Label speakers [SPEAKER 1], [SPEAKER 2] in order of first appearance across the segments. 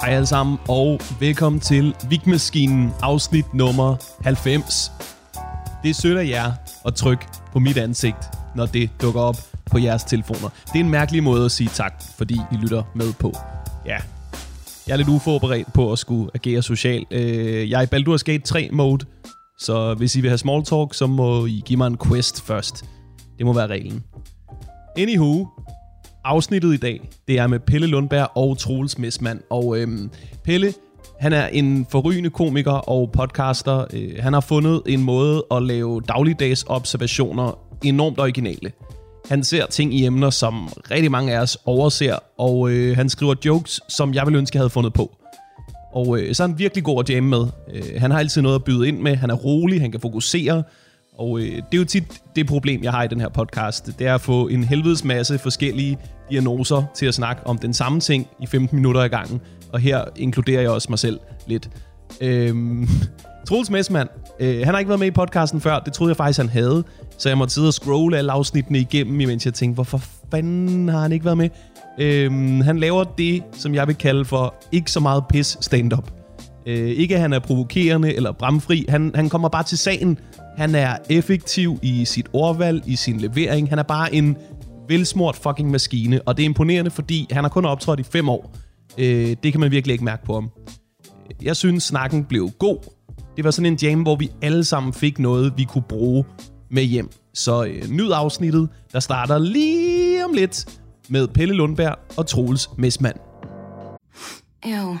[SPEAKER 1] Hej alle sammen, og velkommen til Vigmaskinen, afsnit nummer 90. Det er sødt af jer at trykke på mit ansigt, når det dukker op på jeres telefoner. Det er en mærkelig måde at sige tak, fordi I lytter med på. Ja, jeg er lidt uforberedt på at skulle agere social. Øh, Jeg er i Baldur's Gate 3-mode, så hvis I vil have small talk, så må I give mig en quest først. Det må være reglen. Anywho, afsnittet i dag, det er med Pelle Lundberg og Troels Messmann. Og øhm, Pelle, han er en forrygende komiker og podcaster. Øh, han har fundet en måde at lave dagligdags observationer enormt originale. Han ser ting i emner, som rigtig mange af os overser, og øh, han skriver jokes, som jeg ville ønske, jeg havde fundet på. Og øh, så er han virkelig god at jamme med. Øh, han har altid noget at byde ind med. Han er rolig, han kan fokusere. Og øh, det er jo tit det problem, jeg har i den her podcast. Det er at få en helvedes masse forskellige diagnoser til at snakke om den samme ting i 15 minutter ad gangen. Og her inkluderer jeg også mig selv lidt. Øhm, Troels Messmann, øh, han har ikke været med i podcasten før. Det troede jeg faktisk, han havde. Så jeg måtte sidde og scrolle alle afsnittene igennem, imens jeg tænkte, hvorfor fanden har han ikke været med? Øhm, han laver det, som jeg vil kalde for ikke så meget pis stand-up. Øh, ikke at han er provokerende eller bramfri. Han, han kommer bare til sagen. Han er effektiv i sit ordvalg, i sin levering. Han er bare en velsmurt fucking maskine. Og det er imponerende, fordi han har kun optrådt i fem år. Øh, det kan man virkelig ikke mærke på ham. Jeg synes, snakken blev god. Det var sådan en jam, hvor vi alle sammen fik noget, vi kunne bruge med hjem. Så øh, nyd afsnittet, der starter lige om lidt med Pelle Lundberg og Troels Messmann.
[SPEAKER 2] Ew,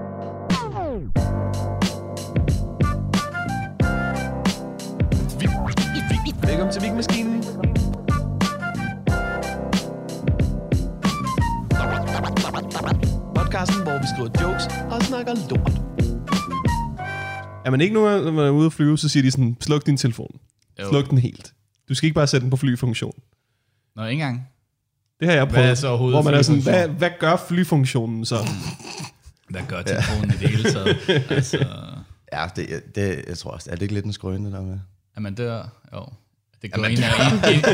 [SPEAKER 1] Velkommen til Vigmaskinen. Podcasten, hvor vi skriver jokes og snakker lort. Er man ikke nogen, når man er ude at flyve, så siger de sådan, sluk din telefon. Jo. Sluk den helt. Du skal ikke bare sætte den på flyfunktion.
[SPEAKER 3] Nå, ikke engang.
[SPEAKER 1] Det har jeg prøvet,
[SPEAKER 3] er så overhovedet
[SPEAKER 1] hvor man er sådan, hvad,
[SPEAKER 3] flyfunktion?
[SPEAKER 1] hvad gør flyfunktionen så?
[SPEAKER 3] Hvad gør telefonen i det hele taget? Altså,
[SPEAKER 4] Ja, det, det, jeg tror også, er det ikke lidt en skrøne der med?
[SPEAKER 3] at man dør, jo. Det går ind og ind, ind, ind,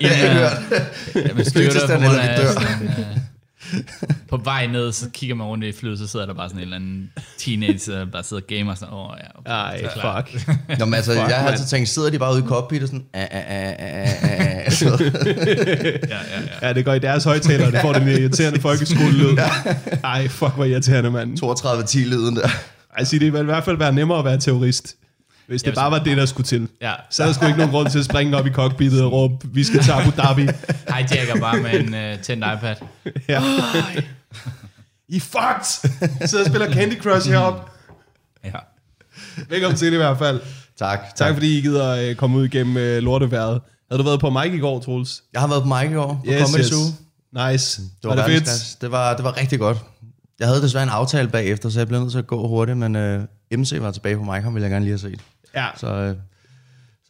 [SPEAKER 3] ind, ind, ind, man styrter på
[SPEAKER 4] Følelsesstand
[SPEAKER 3] grund
[SPEAKER 4] eller vi
[SPEAKER 3] af
[SPEAKER 4] dør.
[SPEAKER 3] sådan, øh, på vej ned, så kigger man rundt i flyet, så sidder der bare sådan en eller anden teenager, der bare sidder og gamer sådan, åh oh, ja, okay,
[SPEAKER 1] Ej,
[SPEAKER 3] det er klart."
[SPEAKER 1] fuck.
[SPEAKER 4] Nå, men altså, jeg har altid tænkt, sidder de bare ude i cockpit og sådan, ah, ah, ah, ah, ah, ah, sådan noget.
[SPEAKER 3] Ja, ja, ja.
[SPEAKER 1] Ja, det går i deres højtalere, det får den irriterende folkeskolelyd. Ej, fuck, hvor irriterende, mand.
[SPEAKER 4] 32-10-lyden der.
[SPEAKER 1] Altså, det ville i hvert fald være nemmere at være terrorist, hvis det
[SPEAKER 3] hvis
[SPEAKER 1] bare
[SPEAKER 3] man-
[SPEAKER 1] var det, der skulle til.
[SPEAKER 3] Ja.
[SPEAKER 1] Så er der sgu ikke nogen grund til at springe op i cockpittet og råbe, vi skal til Abu Dhabi.
[SPEAKER 3] Hijacker bare med en uh, tændt iPad.
[SPEAKER 1] Ja. I fucked! Sidder og spiller Candy Crush heroppe.
[SPEAKER 3] Ja.
[SPEAKER 1] Velkommen til det i hvert fald.
[SPEAKER 4] Tak, tak.
[SPEAKER 1] Tak fordi I gider øh, komme ud igennem øh, lorteværet. Havde du været på Mike i går, Troels?
[SPEAKER 4] Jeg har været på Mike i år på Comedy Zoo.
[SPEAKER 1] Nice.
[SPEAKER 4] Det var,
[SPEAKER 1] det fedt?
[SPEAKER 4] verdensklasse. det var Det var rigtig godt. Jeg havde desværre en aftale bagefter, så jeg blev nødt til at gå hurtigt, men øh, MC var tilbage på Mike, ham ville jeg gerne lige have set.
[SPEAKER 1] Ja.
[SPEAKER 4] Så, øh, så
[SPEAKER 1] Det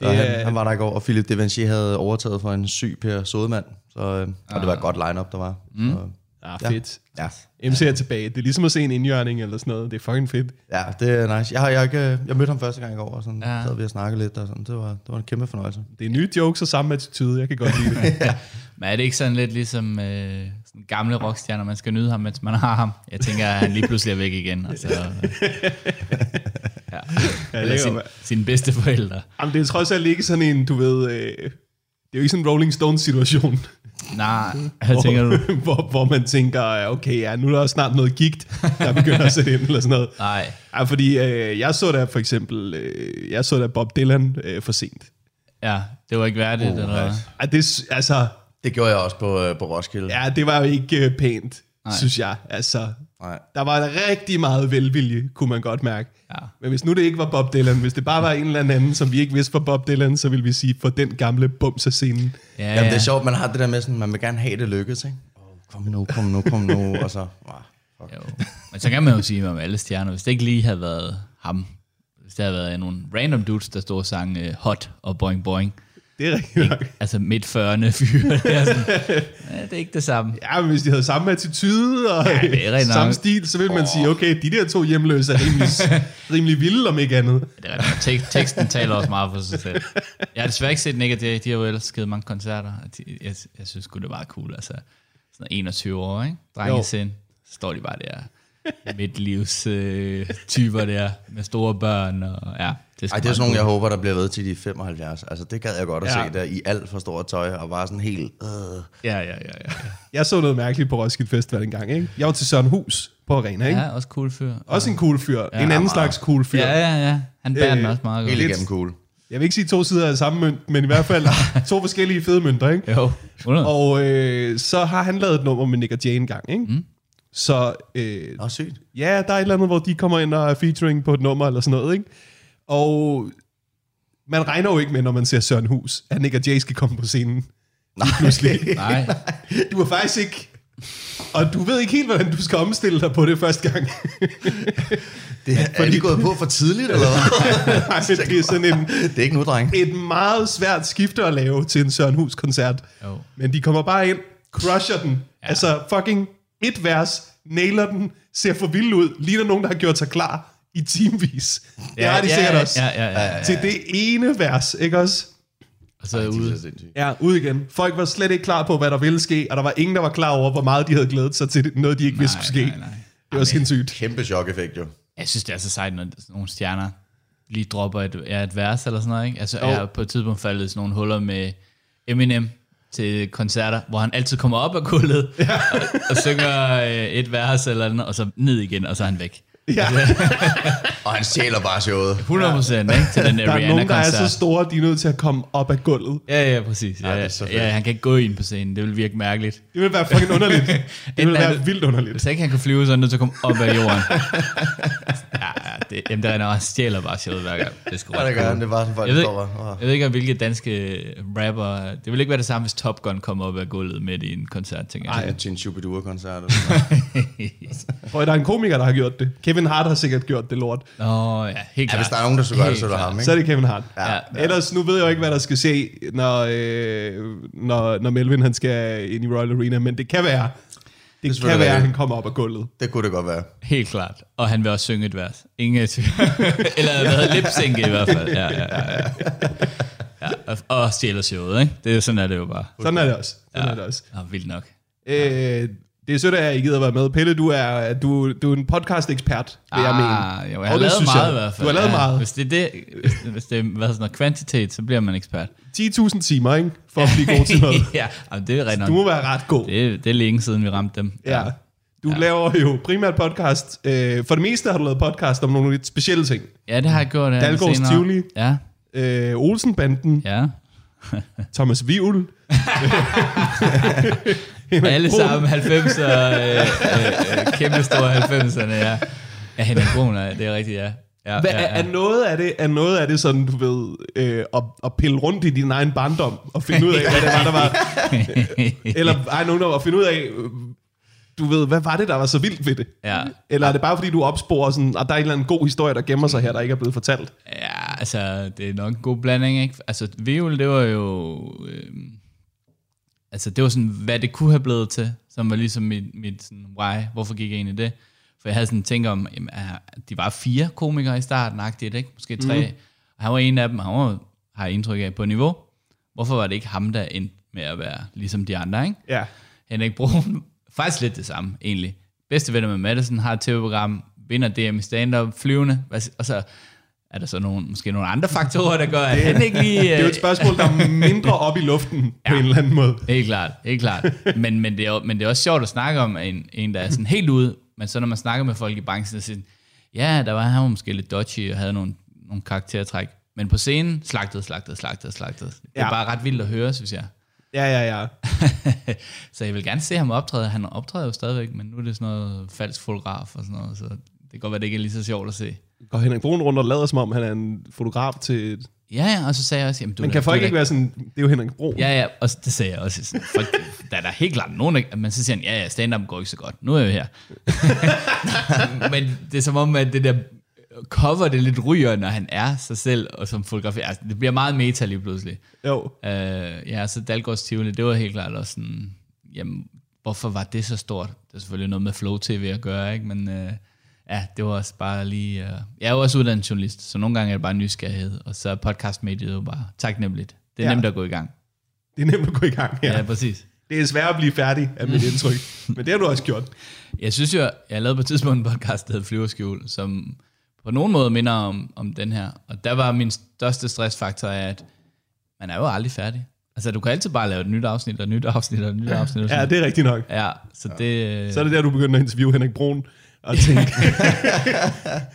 [SPEAKER 4] det,
[SPEAKER 1] er-
[SPEAKER 4] han, han, var der i går, og Philip Devanchier havde overtaget for en syg Per Sodemand, så, øh, og det var et godt lineup der var. Mm. Så,
[SPEAKER 1] Ah,
[SPEAKER 4] Ja.
[SPEAKER 1] fedt.
[SPEAKER 4] ja.
[SPEAKER 1] MC er tilbage. Det er ligesom at se en indjørning eller sådan noget. Det er fucking fedt.
[SPEAKER 4] Ja, det er nice. Jeg, har, jeg, har ikke, jeg mødte ham første gang i går, og sådan,
[SPEAKER 3] Ja.
[SPEAKER 4] ja. sad vi og snakkede lidt, og sådan. Det, var, det var en kæmpe fornøjelse.
[SPEAKER 1] Det er nye jokes og samme attitude. Jeg kan godt lide det.
[SPEAKER 3] Men er det ikke sådan lidt ligesom øh, sådan gamle rockstjerner, man skal nyde ham, mens man har ham? Jeg tænker, at han lige pludselig er væk igen. Og så, øh, ja. Eller
[SPEAKER 1] kan
[SPEAKER 3] sin,
[SPEAKER 1] være.
[SPEAKER 3] sine bedste forældre.
[SPEAKER 1] Jamen, det er trods alt ikke sådan en, du ved... Øh, det er jo ikke sådan en Rolling Stones-situation,
[SPEAKER 3] Nej, hvad tænker du?
[SPEAKER 1] hvor, hvor man tænker, okay, ja, nu er der snart noget gigt, der begynder at sætte ind, eller sådan noget.
[SPEAKER 3] Nej.
[SPEAKER 1] Ja, fordi øh, jeg så da for eksempel, øh, jeg så da Bob Dylan øh, for sent.
[SPEAKER 3] Ja, det var ikke værdigt. Oh, eller hvad?
[SPEAKER 1] Ej, det, s- altså,
[SPEAKER 4] Det gjorde jeg også på, øh, på Roskilde.
[SPEAKER 1] ja, det var jo ikke øh, pænt, Nej. synes jeg. Altså,
[SPEAKER 4] Nej.
[SPEAKER 1] der var rigtig meget velvilje, kunne man godt mærke.
[SPEAKER 3] Ja.
[SPEAKER 1] Men hvis nu det ikke var Bob Dylan, hvis det bare var en eller anden, som vi ikke vidste var Bob Dylan, så ville vi sige, for den gamle bums af scenen.
[SPEAKER 3] Ja,
[SPEAKER 4] Jamen, det er
[SPEAKER 3] ja.
[SPEAKER 4] sjovt, man har det der med, sådan, man vil gerne have det lykkes, ikke? Oh, kom nu, kom nu, kom nu, og så... Ah, fuck.
[SPEAKER 3] Jo. Men så kan man jo sige om alle stjerner, hvis det ikke lige havde været ham, hvis det havde været nogle random dudes, der stod og sang øh, Hot og Boing Boing,
[SPEAKER 1] Det er rigtigt nok.
[SPEAKER 3] altså midt 40'erne fyre, det, er sådan, ja, det er ikke det samme.
[SPEAKER 1] Ja, men hvis de havde samme attitude og ja,
[SPEAKER 3] det er rigtig nok.
[SPEAKER 1] samme stil, så ville man sige, okay, de der to hjemløse er rimelig, rimelig vilde, om ikke andet.
[SPEAKER 3] Det er rigtigt. Tek- Teksten taler også meget for sig selv. Jeg har desværre ikke set Nick og Jay. De har jo ellers givet mange koncerter. og de- Jeg, jeg synes sgu, det var cool. Altså, sådan 21 år, ikke? Drengesind. Så står de bare der midtlivs øh, typer der med store børn. Og, ja, det,
[SPEAKER 4] Ej, det er sådan nogle, jeg håber, der bliver ved til de er 75. Altså, det gad jeg godt at
[SPEAKER 1] Ja.
[SPEAKER 4] ja. se der i alt for stort tøj, og bare sådan helt... Øh.
[SPEAKER 3] Ja, ja, ja. ja.
[SPEAKER 1] Jeg så noget mærkeligt på Roskilde Festival engang, ikke? Jeg var til Søren Hus på Arena, ikke?
[SPEAKER 3] ja også cool fyr.
[SPEAKER 1] Også en cool fyr. Ja, en anden slags cool fyr.
[SPEAKER 3] Ja, ja, ja. Han bærer den
[SPEAKER 1] Øh,
[SPEAKER 3] også meget
[SPEAKER 4] Helt
[SPEAKER 3] godt.
[SPEAKER 4] igennem cool.
[SPEAKER 1] Jeg vil ikke sige to sider af samme mønt, men i hvert fald to forskellige fede mønter, ikke?
[SPEAKER 3] Jo, 100.
[SPEAKER 1] Og øh, så har han lavet et nummer med Nick og Jay engang, ikke? Mm. Så øh,
[SPEAKER 4] Nå, sygt.
[SPEAKER 1] ja, der er et eller andet, hvor de kommer ind og er featuring på et nummer eller sådan noget, ikke? Og man regner jo ikke med, når man ser Søren Hus, at Nick og Jay skal komme på scenen. Nej. Pludselig.
[SPEAKER 3] Nej,
[SPEAKER 1] Du er faktisk ikke... Og du ved ikke helt, hvordan du skal omstille dig på det første gang.
[SPEAKER 4] Det, er, er de gået på for tidligt, eller hvad?
[SPEAKER 1] Nej, det er sådan en,
[SPEAKER 4] det er ikke nu, dreng.
[SPEAKER 1] et meget svært skifte at lave til en Søren Hus-koncert.
[SPEAKER 3] Jo.
[SPEAKER 1] Men de kommer bare ind, crusher den. Ja. Altså fucking et vers, nailer den, ser for vild ud, ligner nogen, der har gjort sig klar i timevis. Ja, det har de
[SPEAKER 3] ja,
[SPEAKER 1] sikkert
[SPEAKER 3] ja,
[SPEAKER 1] også.
[SPEAKER 3] Ja, ja, ja. ja, ja.
[SPEAKER 1] Til det ene vers, ikke også?
[SPEAKER 3] Og så er jeg ude.
[SPEAKER 1] Ja, ud igen. Folk var slet ikke klar på, hvad der ville ske, og der var ingen, der var klar over, hvor meget de havde glædet sig til det- noget, de ikke vidste skulle ske.
[SPEAKER 3] nej, nej.
[SPEAKER 1] Det var sindssygt.
[SPEAKER 4] Kæmpe chok-effekt, jo.
[SPEAKER 3] Jeg synes, det er så sejt, når sådan nogle stjerner lige dropper et, ja, et vers eller sådan noget. Ikke? Altså, jeg er på et tidspunkt faldet i sådan nogle huller med Eminem til koncerter, hvor han altid kommer op af gulvet ja. og, og synger øh, et vers eller noget, og så ned igen, og så er han væk.
[SPEAKER 1] Ja,
[SPEAKER 4] Og han stjæler bare showet.
[SPEAKER 3] 100 procent, ikke? Til den der,
[SPEAKER 1] der er nogen, der er så
[SPEAKER 3] Rihanna-koncert.
[SPEAKER 1] store, at de er nødt til at komme op af gulvet.
[SPEAKER 3] Ja, ja, præcis. Ja,
[SPEAKER 4] det
[SPEAKER 3] ja,
[SPEAKER 4] er så fedt.
[SPEAKER 3] ja, han kan ikke gå ind på scenen. Det vil virke mærkeligt.
[SPEAKER 1] Det ville være fucking underligt. Det ville
[SPEAKER 3] Enten er
[SPEAKER 1] være vildt underligt.
[SPEAKER 3] Hvis ikke han kan flyve, så er han nødt til at komme op af jorden. ja, ja, det, jamen, det er nok, han stjæler bare showet hver gang. Det er sgu
[SPEAKER 4] Ja,
[SPEAKER 3] ret
[SPEAKER 4] det gør han. Det er bare sådan, folk
[SPEAKER 3] Jeg ved,
[SPEAKER 4] står bare. åh.
[SPEAKER 3] jeg ved ikke, om hvilke danske øh, rapper... Det vil ikke være det samme, hvis Top Gun kommer op af gulvet midt i en koncert, tænker jeg.
[SPEAKER 4] Det er til en Shubidua-koncert.
[SPEAKER 1] Og der er en komiker, der har gjort det. Kevin Hart har sikkert gjort det lort.
[SPEAKER 3] Nå, ja, helt
[SPEAKER 4] Ja,
[SPEAKER 3] klart.
[SPEAKER 4] hvis der er nogen, der skulle gøre det, så er det
[SPEAKER 3] Helt
[SPEAKER 4] ham,
[SPEAKER 1] Så er
[SPEAKER 4] ikke?
[SPEAKER 1] det Kevin Hart.
[SPEAKER 3] Ja. Ja.
[SPEAKER 1] Ellers, nu ved jeg jo ikke, hvad der skal se, når, øh, når, når Melvin han skal ind i Royal Arena, men det kan være, det, det kan
[SPEAKER 4] selvfølgelig
[SPEAKER 1] være, at
[SPEAKER 4] rigtigt.
[SPEAKER 1] han kommer op af gulvet.
[SPEAKER 4] Det kunne det godt være.
[SPEAKER 3] Helt klart. Og han vil også synge et vers. Ingen tvivl. Eller han havde lipsynke i hvert fald. Ja, ja, ja. ja. ja og, og stjæler showet, ikke? Det, er- sådan er det jo bare.
[SPEAKER 1] Sådan er det også. Sådan ja. er det også.
[SPEAKER 3] Nå, vildt nok.
[SPEAKER 1] Øh, det er sødt, at jeg ikke gider at være med. Pelle, du er, du, du er en podcast-ekspert, vil jeg mene.
[SPEAKER 3] Ah, jo,
[SPEAKER 1] Og
[SPEAKER 3] jeg har
[SPEAKER 1] det
[SPEAKER 3] lavet
[SPEAKER 1] synes
[SPEAKER 3] meget i hvert fald.
[SPEAKER 1] Du har lavet
[SPEAKER 3] ja.
[SPEAKER 1] meget.
[SPEAKER 3] Hvis det er det, hvis, hvis det er hvad hedder sådan noget, kvantitet, så bliver man ekspert.
[SPEAKER 1] 10.000 timer, ikke? For at blive god til noget.
[SPEAKER 3] ja, jamen, det er rigtig nok.
[SPEAKER 1] Du må være ret god.
[SPEAKER 3] Det, det er længe siden, vi ramte dem.
[SPEAKER 1] Ja. Du ja. laver jo primært podcast. Øh, for det meste har du lavet podcast om nogle lidt specielle ting.
[SPEAKER 3] Ja, det har jeg gjort. ja,
[SPEAKER 1] Dalgårds
[SPEAKER 3] senere.
[SPEAKER 1] Tivoli.
[SPEAKER 3] Ja,
[SPEAKER 1] Øh, Olsenbanden, ja.
[SPEAKER 3] ja.
[SPEAKER 1] Thomas Vivl.
[SPEAKER 3] Alle sammen 90'er, øh, øh, øh, kæmpe store 90'erne, ja. Ja, Henrik Brun, er- det er rigtigt, ja. ja,
[SPEAKER 1] Hvad,
[SPEAKER 3] ja,
[SPEAKER 1] er,
[SPEAKER 3] ja.
[SPEAKER 1] er, noget af det, er noget af det sådan, du ved, øh, at, at pille rundt i din egen barndom og finde ud af, hvad det var, der var... Eller ej, nogen, der var at finde ud af, øh, du ved, hvad var det, der var så vildt ved det?
[SPEAKER 3] Ja.
[SPEAKER 1] Eller er det bare, fordi du opsporer sådan, at der er en eller anden god historie, der gemmer sig her, der ikke er blevet fortalt?
[SPEAKER 3] Ja, altså, det er nok en god blanding, ikke? Altså, Viol, det var jo... Øh, altså, det var sådan, hvad det kunne have blevet til, som var ligesom mit, mit sådan, why, hvorfor gik jeg ind i det? For jeg havde sådan tænkt om, jamen, er- de var fire komikere i starten, agtigt, ikke? Måske tre. Mm. Og han var en af dem, han var, har jeg indtryk af, på niveau. Hvorfor var det ikke ham, der endte med at være ligesom de andre, ikke?
[SPEAKER 1] Ja.
[SPEAKER 3] Henrik Brun, faktisk lidt det samme egentlig. Bedste venner med Madison har et tv-program, vinder DM i stand-up, flyvende, Hvad s- og så er der så nogle, måske nogle andre faktorer, der gør, at han ikke lige... øh,
[SPEAKER 1] Det er jo et spørgsmål, der er mindre op i luften Øh. ja. på en eller anden måde.
[SPEAKER 3] Helt klart, helt klart. Men, men, det er, jo- men det er også sjovt at snakke om en, en, der er sådan helt ude, men så når man snakker med folk i branchen, så siger de, ja, der var han var måske lidt dodgy og havde nogle, nogle karaktertræk, men på scenen, slagtede, slagtede, slagtede, slagtede. Det er
[SPEAKER 1] Ja.
[SPEAKER 3] ja. bare ret vildt at høre, synes jeg.
[SPEAKER 1] Ja, ja, ja.
[SPEAKER 3] så jeg vil gerne se ham optræde. Han optræder jo stadigvæk, men nu er det sådan noget falsk fotograf og sådan noget, så det kan godt være, det ikke er lige så sjovt at se.
[SPEAKER 1] går Henrik Brun rundt og lader som om, han er en fotograf til... Et...
[SPEAKER 3] Ja, ja, og så sagde jeg også, jamen, du
[SPEAKER 1] Men
[SPEAKER 3] er
[SPEAKER 1] kan
[SPEAKER 3] da-
[SPEAKER 1] folk
[SPEAKER 3] du er da-
[SPEAKER 1] ikke være sådan, det er jo Henrik Brun.
[SPEAKER 3] Ja, ja, og det sagde jeg også. Sådan, folk, der er da helt klart nogen, der- men så siger han, ja, ja, stand-up går ikke så godt. Nu er jeg jo her. men det er som om, at det der cover, det lidt ryger, når han er sig selv, og som fotografer. Altså, det bliver meget meta lige pludselig.
[SPEAKER 1] Jo.
[SPEAKER 3] Øh, ja, så Dalgårds Tivoli, det var helt klart også sådan, jamen, hvorfor var det så stort? Det er selvfølgelig noget med Flow TV at gøre, ikke? Men øh, ja, det var også bare lige... Øh, jeg er jo også uddannet journalist, så nogle gange er det bare nysgerrighed, og så er podcastmediet jo bare taknemmeligt. Det er
[SPEAKER 1] Ja.
[SPEAKER 3] ja. nemt at gå i gang.
[SPEAKER 1] Det er nemt at gå i gang her.
[SPEAKER 3] Ja,
[SPEAKER 1] Ja.
[SPEAKER 3] ja præcis.
[SPEAKER 1] Det er svært at blive færdig af mit indtryk. Men det har du også gjort.
[SPEAKER 3] Jeg synes jo, jeg lavede på et tidspunkt en podcast, der hed Flyverskjul, som på nogen måde minder om, om den her. Og der var min største stressfaktor, af, at man er jo aldrig færdig. Altså, du kan altid bare lave et nyt afsnit, og et nyt afsnit, og et nyt afsnit. Og
[SPEAKER 1] Ja,
[SPEAKER 3] sådan.
[SPEAKER 1] det er rigtigt nok.
[SPEAKER 3] ja så det... øh,
[SPEAKER 1] Så er det der, du begynder at interviewe Henrik Brun og tænke,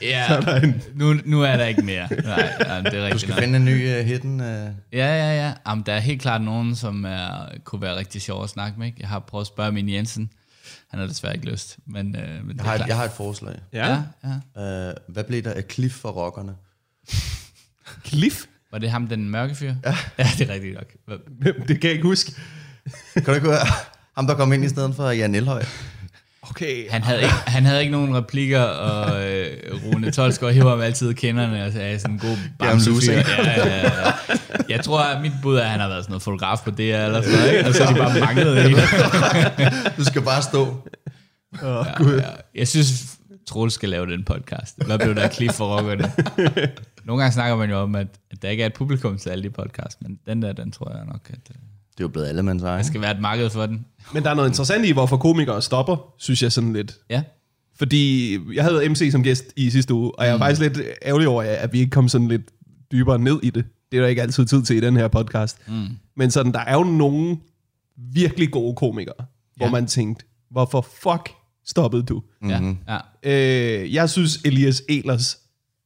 [SPEAKER 3] ja,
[SPEAKER 1] så er der en...
[SPEAKER 3] nu, nu er der ikke mere. Nej, ja, det er
[SPEAKER 4] Du
[SPEAKER 3] rigtigt
[SPEAKER 4] skal
[SPEAKER 3] nok.
[SPEAKER 4] finde en ny uh, hidden... Uh,
[SPEAKER 3] Ja, ja, ja. Jamen, der er helt klart nogen, som er, kunne være rigtig sjov at snakke med. Ikke? Jeg har prøvet at spørge min Jensen. Han har desværre ikke lyst, men, øh, men
[SPEAKER 4] jeg,
[SPEAKER 3] det
[SPEAKER 4] har
[SPEAKER 3] er
[SPEAKER 4] et,
[SPEAKER 3] klart.
[SPEAKER 4] jeg har et forslag.
[SPEAKER 3] Ja, ja.
[SPEAKER 4] Uh, hvad blev der af Cliff for rockerne?
[SPEAKER 1] Cliff?
[SPEAKER 3] Var det ham, den mørke fyr? Ja. Ja, det er rigtigt nok. Hvad-
[SPEAKER 1] Hvem? Det kan jeg ikke huske.
[SPEAKER 4] Kan du ikke høre? Ham, der kom ind i stedet for Jan Elhøj.
[SPEAKER 1] Okay.
[SPEAKER 3] Han havde, ikke, han havde ikke nogen replikker, og øh, Rune Tolsgaard hiver ham altid i kinderne, og så er jeg sådan en god bamsefyr.
[SPEAKER 4] loser,
[SPEAKER 3] Ja,
[SPEAKER 4] ikke?
[SPEAKER 3] ja, ja. Jeg tror, at mit bud er, at han har været sådan noget fotograf på det, eller sådan noget, ikke? og så har de bare manglet det.
[SPEAKER 4] Du skal bare stå.
[SPEAKER 3] Ja, ja. Jeg synes, Troels skal lave den podcast. Hvad blev der af klip for rockerne? Nogle gange snakker man jo om, at, at der ikke er et publikum til alle de podcasts, men den der, den tror jeg nok, at øh,
[SPEAKER 4] Det er jo blevet alle mands egen.
[SPEAKER 3] skal være et marked for den.
[SPEAKER 1] Men der er noget interessant i, hvorfor komikere stopper, synes jeg sådan lidt.
[SPEAKER 3] Ja,
[SPEAKER 1] Fordi jeg havde MC som gæst i sidste uge, og jeg er mm. faktisk lidt ærgerlig over, at vi ikke kom sådan lidt dybere ned i det. Det er der ikke altid tid til i den her podcast. Mm. Men sådan, der er jo nogle virkelig gode komikere, ja. hvor
[SPEAKER 3] Ja.
[SPEAKER 1] man tænkte, hvorfor fuck stoppede du?
[SPEAKER 3] mm-hmm. ja, ja.
[SPEAKER 1] Øh, jeg synes, Elias Elers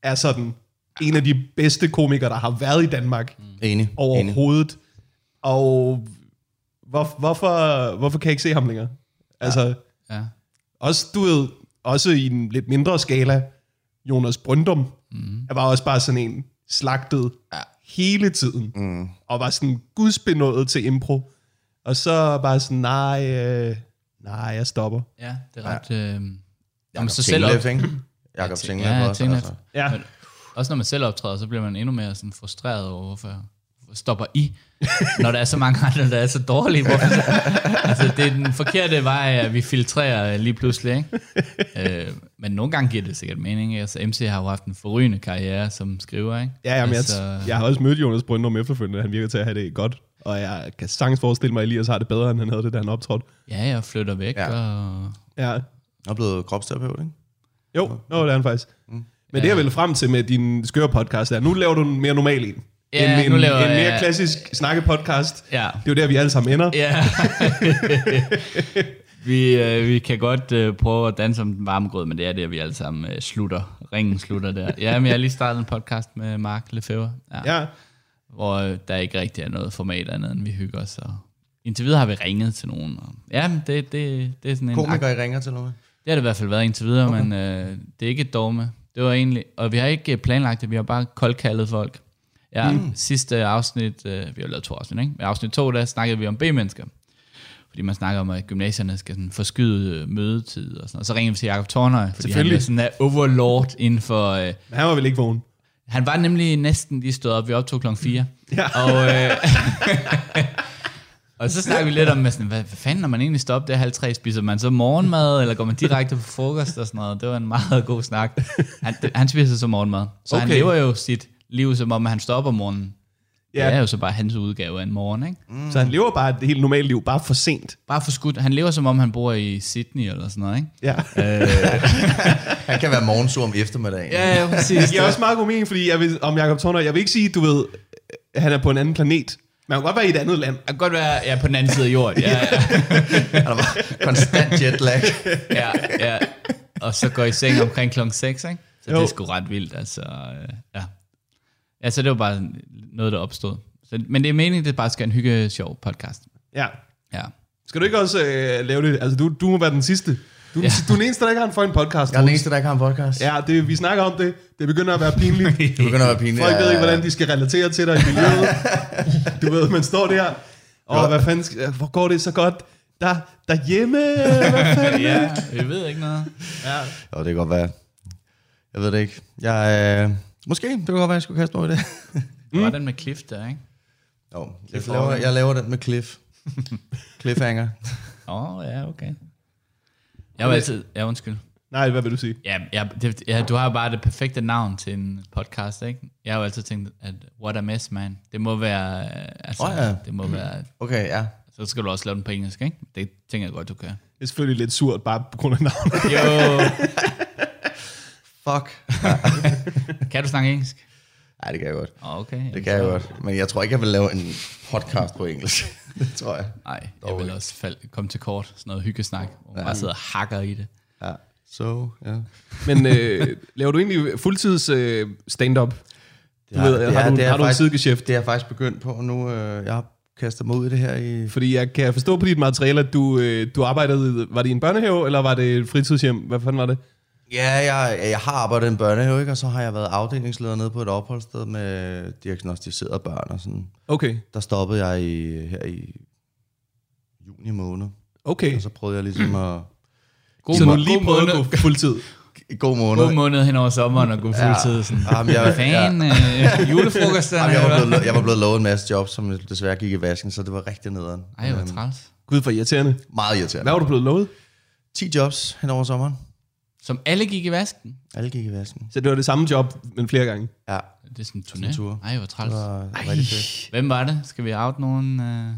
[SPEAKER 1] er sådan en af de bedste komikere, der har været i Danmark mm.
[SPEAKER 4] Enig. Enig.
[SPEAKER 1] overhovedet. Og hvor, hvorfor, hvorfor kan jeg ikke se ham længere? Altså... Ja.
[SPEAKER 3] ja.
[SPEAKER 1] Også, du ved, også i en lidt mindre skala, Jonas Brøndum,
[SPEAKER 3] Mhm.
[SPEAKER 1] mm. var også bare sådan en slagtet ja. hele tiden,
[SPEAKER 3] Mhm.
[SPEAKER 1] mm. og var sådan gudsbenået til impro. Og så bare sådan, nej, øh, nej, jeg stopper.
[SPEAKER 3] ja det er ret... Øh, jamen, så selv op,
[SPEAKER 4] Tinglef, ikke? Jakob Tinglef
[SPEAKER 3] ja,
[SPEAKER 4] også.
[SPEAKER 3] Tinglef.
[SPEAKER 4] Altså.
[SPEAKER 1] Ja.
[SPEAKER 3] Men også når man selv optræder, så bliver man endnu mere sådan frustreret over, hvorfor hvorfor stopper I, når der er så mange andre, der er så dårlige. Hvorfor altså, det er den forkerte vej, at vi filtrerer lige pludselig. Ikke? Øh, men nogle gange giver det sikkert mening. ikke? Altså, MC har jo haft en forrygende karriere som skriver. Ikke?
[SPEAKER 1] Ja, jamen,
[SPEAKER 3] altså,
[SPEAKER 1] jeg, jeg har også mødt Jonas Brøndum efterfølgende, han virker til at have det godt. Og jeg kan sagtens forestille mig, at Elias har det bedre, end han havde det, da han optrådte.
[SPEAKER 3] ja, jeg flytter væk. Ja.
[SPEAKER 4] Ja.
[SPEAKER 3] Og,
[SPEAKER 1] Ja.
[SPEAKER 4] Jeg er blevet kropsterapeut, ikke?
[SPEAKER 1] Jo, nå, det er han faktisk. Mm. Men det jeg vil frem til med din skøre podcast er, nu laver du en mere normal en.
[SPEAKER 3] Ja,
[SPEAKER 1] en,
[SPEAKER 3] nu
[SPEAKER 1] en,
[SPEAKER 3] laver
[SPEAKER 1] en mere
[SPEAKER 3] jeg-
[SPEAKER 1] klassisk snakkepodcast.
[SPEAKER 3] ja.
[SPEAKER 1] Det er jo der, vi alle sammen ender.
[SPEAKER 3] Ja. vi, øh, vi kan godt øh, prøve at danse om den varme grød, men det er det, vi alle sammen øh, slutter. Ringen slutter der. Ja, men jeg har lige startet en podcast med Mark Lefebvre, ja, ja.
[SPEAKER 1] Ja,
[SPEAKER 3] hvor øh, der ikke rigtig er noget format andet, end vi hygger os. Og indtil videre har vi ringet til nogen. Og, ja, men det, det, det er sådan en...
[SPEAKER 4] Komikere, I ringer til noget.
[SPEAKER 3] Det har det i hvert fald været indtil videre, okay. men øh, det er ikke et dogme. Det var egentlig, og vi har ikke øh, planlagt det, vi har bare koldkaldet folk. Ja, mm. sidste afsnit, øh, vi har lavet to afsnit, ikke? I afsnit to, der snakkede vi om B-mennesker. Fordi man snakker om, at gymnasierne skal sådan forskyde øh, mødetid og sådan Og så ringede vi til Jacob Tornøj, fordi han
[SPEAKER 1] Selvfølgelig.
[SPEAKER 3] er sådan en overlord inden for... Øh,
[SPEAKER 1] men han var vel ikke vågen.
[SPEAKER 3] han var nemlig næsten lige stået op. Vi optog klokken 4.
[SPEAKER 1] Ja.
[SPEAKER 3] Og, øh, og så snakker vi lidt om, sådan, hvad, hvad fanden, når man egentlig står op der halv tre, spiser man så morgenmad, eller går man direkte på frokost og sådan noget. Det var en meget god snak. Han, han spiser så morgenmad. Så okay. han
[SPEAKER 1] Okay.
[SPEAKER 3] lever jo sit liv, som om han står op om morgenen. Ja.
[SPEAKER 1] Ja.
[SPEAKER 3] Det er jo så bare hans udgave af en morgen, ikke?
[SPEAKER 1] Mm. Så han lever bare et helt normalt liv, bare for sent.
[SPEAKER 3] Bare for skudt. Han lever, som om han bor i Sydney eller sådan noget, ikke?
[SPEAKER 1] Ja.
[SPEAKER 4] Han kan være morgensur om eftermiddagen.
[SPEAKER 3] Ja, ja, præcis.
[SPEAKER 1] Det giver også meget god mening, fordi jeg vil, om Jacob Tornøj, jeg vil ikke sige, du ved, at han er på en anden planet. Man kan godt være i et andet land.
[SPEAKER 3] Det kan godt være, jeg er på den anden side af jorden. Ja, ja.
[SPEAKER 4] Han er bare konstant jetlag.
[SPEAKER 3] ja, ja. Og så går i seng omkring klokken 6, ikke? Så jo.
[SPEAKER 1] Jo.
[SPEAKER 3] det er sgu ret vildt, altså. øh, Ja. ja, så det var bare noget, der opstod. Så, men det er meningen, det bare skal være en hygge sjov podcast.
[SPEAKER 1] Ja.
[SPEAKER 3] Ja.
[SPEAKER 1] Skal du ikke også øh, lave det? Altså, du, du må være den sidste. Du, ja. du er den eneste, der ikke har en fucking podcast.
[SPEAKER 4] Jeg er den
[SPEAKER 1] Troels.
[SPEAKER 4] eneste, der ikke har en podcast.
[SPEAKER 1] Ja, det, vi snakker om det. Det begynder at være pinligt.
[SPEAKER 4] Det begynder at være pinligt.
[SPEAKER 1] Folk ved
[SPEAKER 4] Ja,
[SPEAKER 1] ikke,
[SPEAKER 4] ja,
[SPEAKER 1] hvordan de skal relatere til dig i miljøet. Du ved, man står der. Og hvad fanden, skal- hvor går det så godt? Der, derhjemme, hvad fanden?
[SPEAKER 3] Ja, jeg ved ikke noget.
[SPEAKER 4] Jo, det kan godt være. Jeg ved det ikke. Jeg, øh, måske, det kunne godt være, jeg skulle kaste mig over det.
[SPEAKER 3] Det var den med Cliff der, ikke?
[SPEAKER 4] Jo, jeg laver, jeg laver den med Cliff. Cliffhanger.
[SPEAKER 3] Åh, oh, ja, okay. Jeg var altid... Ja, undskyld.
[SPEAKER 1] Nej, hvad vil du sige?
[SPEAKER 3] Ja, jeg, det, ja, du har jo bare det perfekte navn til en podcast, ikke? Jeg har jo altid tænkt, at what a mess, man. Det må være... øh, Altså,
[SPEAKER 4] Åh, ja.
[SPEAKER 3] Det må være...
[SPEAKER 4] Okay, ja.
[SPEAKER 3] Så skal du også lave den på engelsk, ikke? Det tænker jeg godt, du kan.
[SPEAKER 1] Det er selvfølgelig lidt surt, bare på grund af navnet.
[SPEAKER 3] Jo,
[SPEAKER 4] Fuck.
[SPEAKER 3] kan du snakke engelsk?
[SPEAKER 4] Nej, det kan jeg godt.
[SPEAKER 3] Åh, Okay.
[SPEAKER 4] Det kan jeg godt. Men jeg tror ikke, jeg vil lave en podcast på engelsk. det tror jeg.
[SPEAKER 3] Nej, jeg vil også fald, komme til kort. Sådan noget hyggesnak, hvor man bare sidder og hakker i det.
[SPEAKER 4] Ja. Så, ja.
[SPEAKER 1] Men øh, laver du egentlig fuldtids øh, stand-up? Du ved, har du- har du en sidegeschæft?
[SPEAKER 4] Det er jeg faktisk begyndt på nu. Øh, jeg har kastet mig ud i det her i...
[SPEAKER 1] Fordi jeg kan forstå på dit materiale, at du, øh, du arbejdede... Var det i en børnehave, eller var det et fritidshjem? Hvad fanden var det?
[SPEAKER 4] Ja, jeg, jeg har arbejdet i en børnehave, ikke? og så har jeg været afdelingsleder nede på et opholdssted med diagnostiserede børn og sådan.
[SPEAKER 1] Okay,
[SPEAKER 4] Der stoppede jeg i, her i juni måned,
[SPEAKER 1] okay.
[SPEAKER 4] og så prøvede jeg ligesom at...
[SPEAKER 3] Altså, God,
[SPEAKER 1] Så du
[SPEAKER 3] må-
[SPEAKER 1] lige
[SPEAKER 3] god
[SPEAKER 1] prøvede
[SPEAKER 3] måned.
[SPEAKER 1] at gå fuldtid.
[SPEAKER 4] I god måned.
[SPEAKER 3] God måned hen over sommeren og gå fuldtid. Sådan.
[SPEAKER 4] Jamen, jeg, jeg,
[SPEAKER 3] Fan, øh, julefrokosterne.
[SPEAKER 4] Jamen, jeg, var
[SPEAKER 3] eller
[SPEAKER 4] blevet, jeg var blevet lovet en masse jobs, som desværre gik i vasken, så det var rigtig nederen. Øhm,
[SPEAKER 3] hvad? Ej, hvor træls.
[SPEAKER 1] Gud, for irriterende.
[SPEAKER 4] Meget irriterende.
[SPEAKER 1] Hvad var du blevet lovet?
[SPEAKER 4] 10 jobs hen over sommeren.
[SPEAKER 3] Som alle gik i vasken.
[SPEAKER 4] Alle gik i vasken.
[SPEAKER 1] Så det var det samme job, men flere gange.
[SPEAKER 4] Ja,
[SPEAKER 3] Det er sådan en turné.
[SPEAKER 4] tur.
[SPEAKER 3] Ej, hvor træls.
[SPEAKER 4] det var rigtig fedt.
[SPEAKER 3] Hvem var det? Skal vi out nogen? Øh?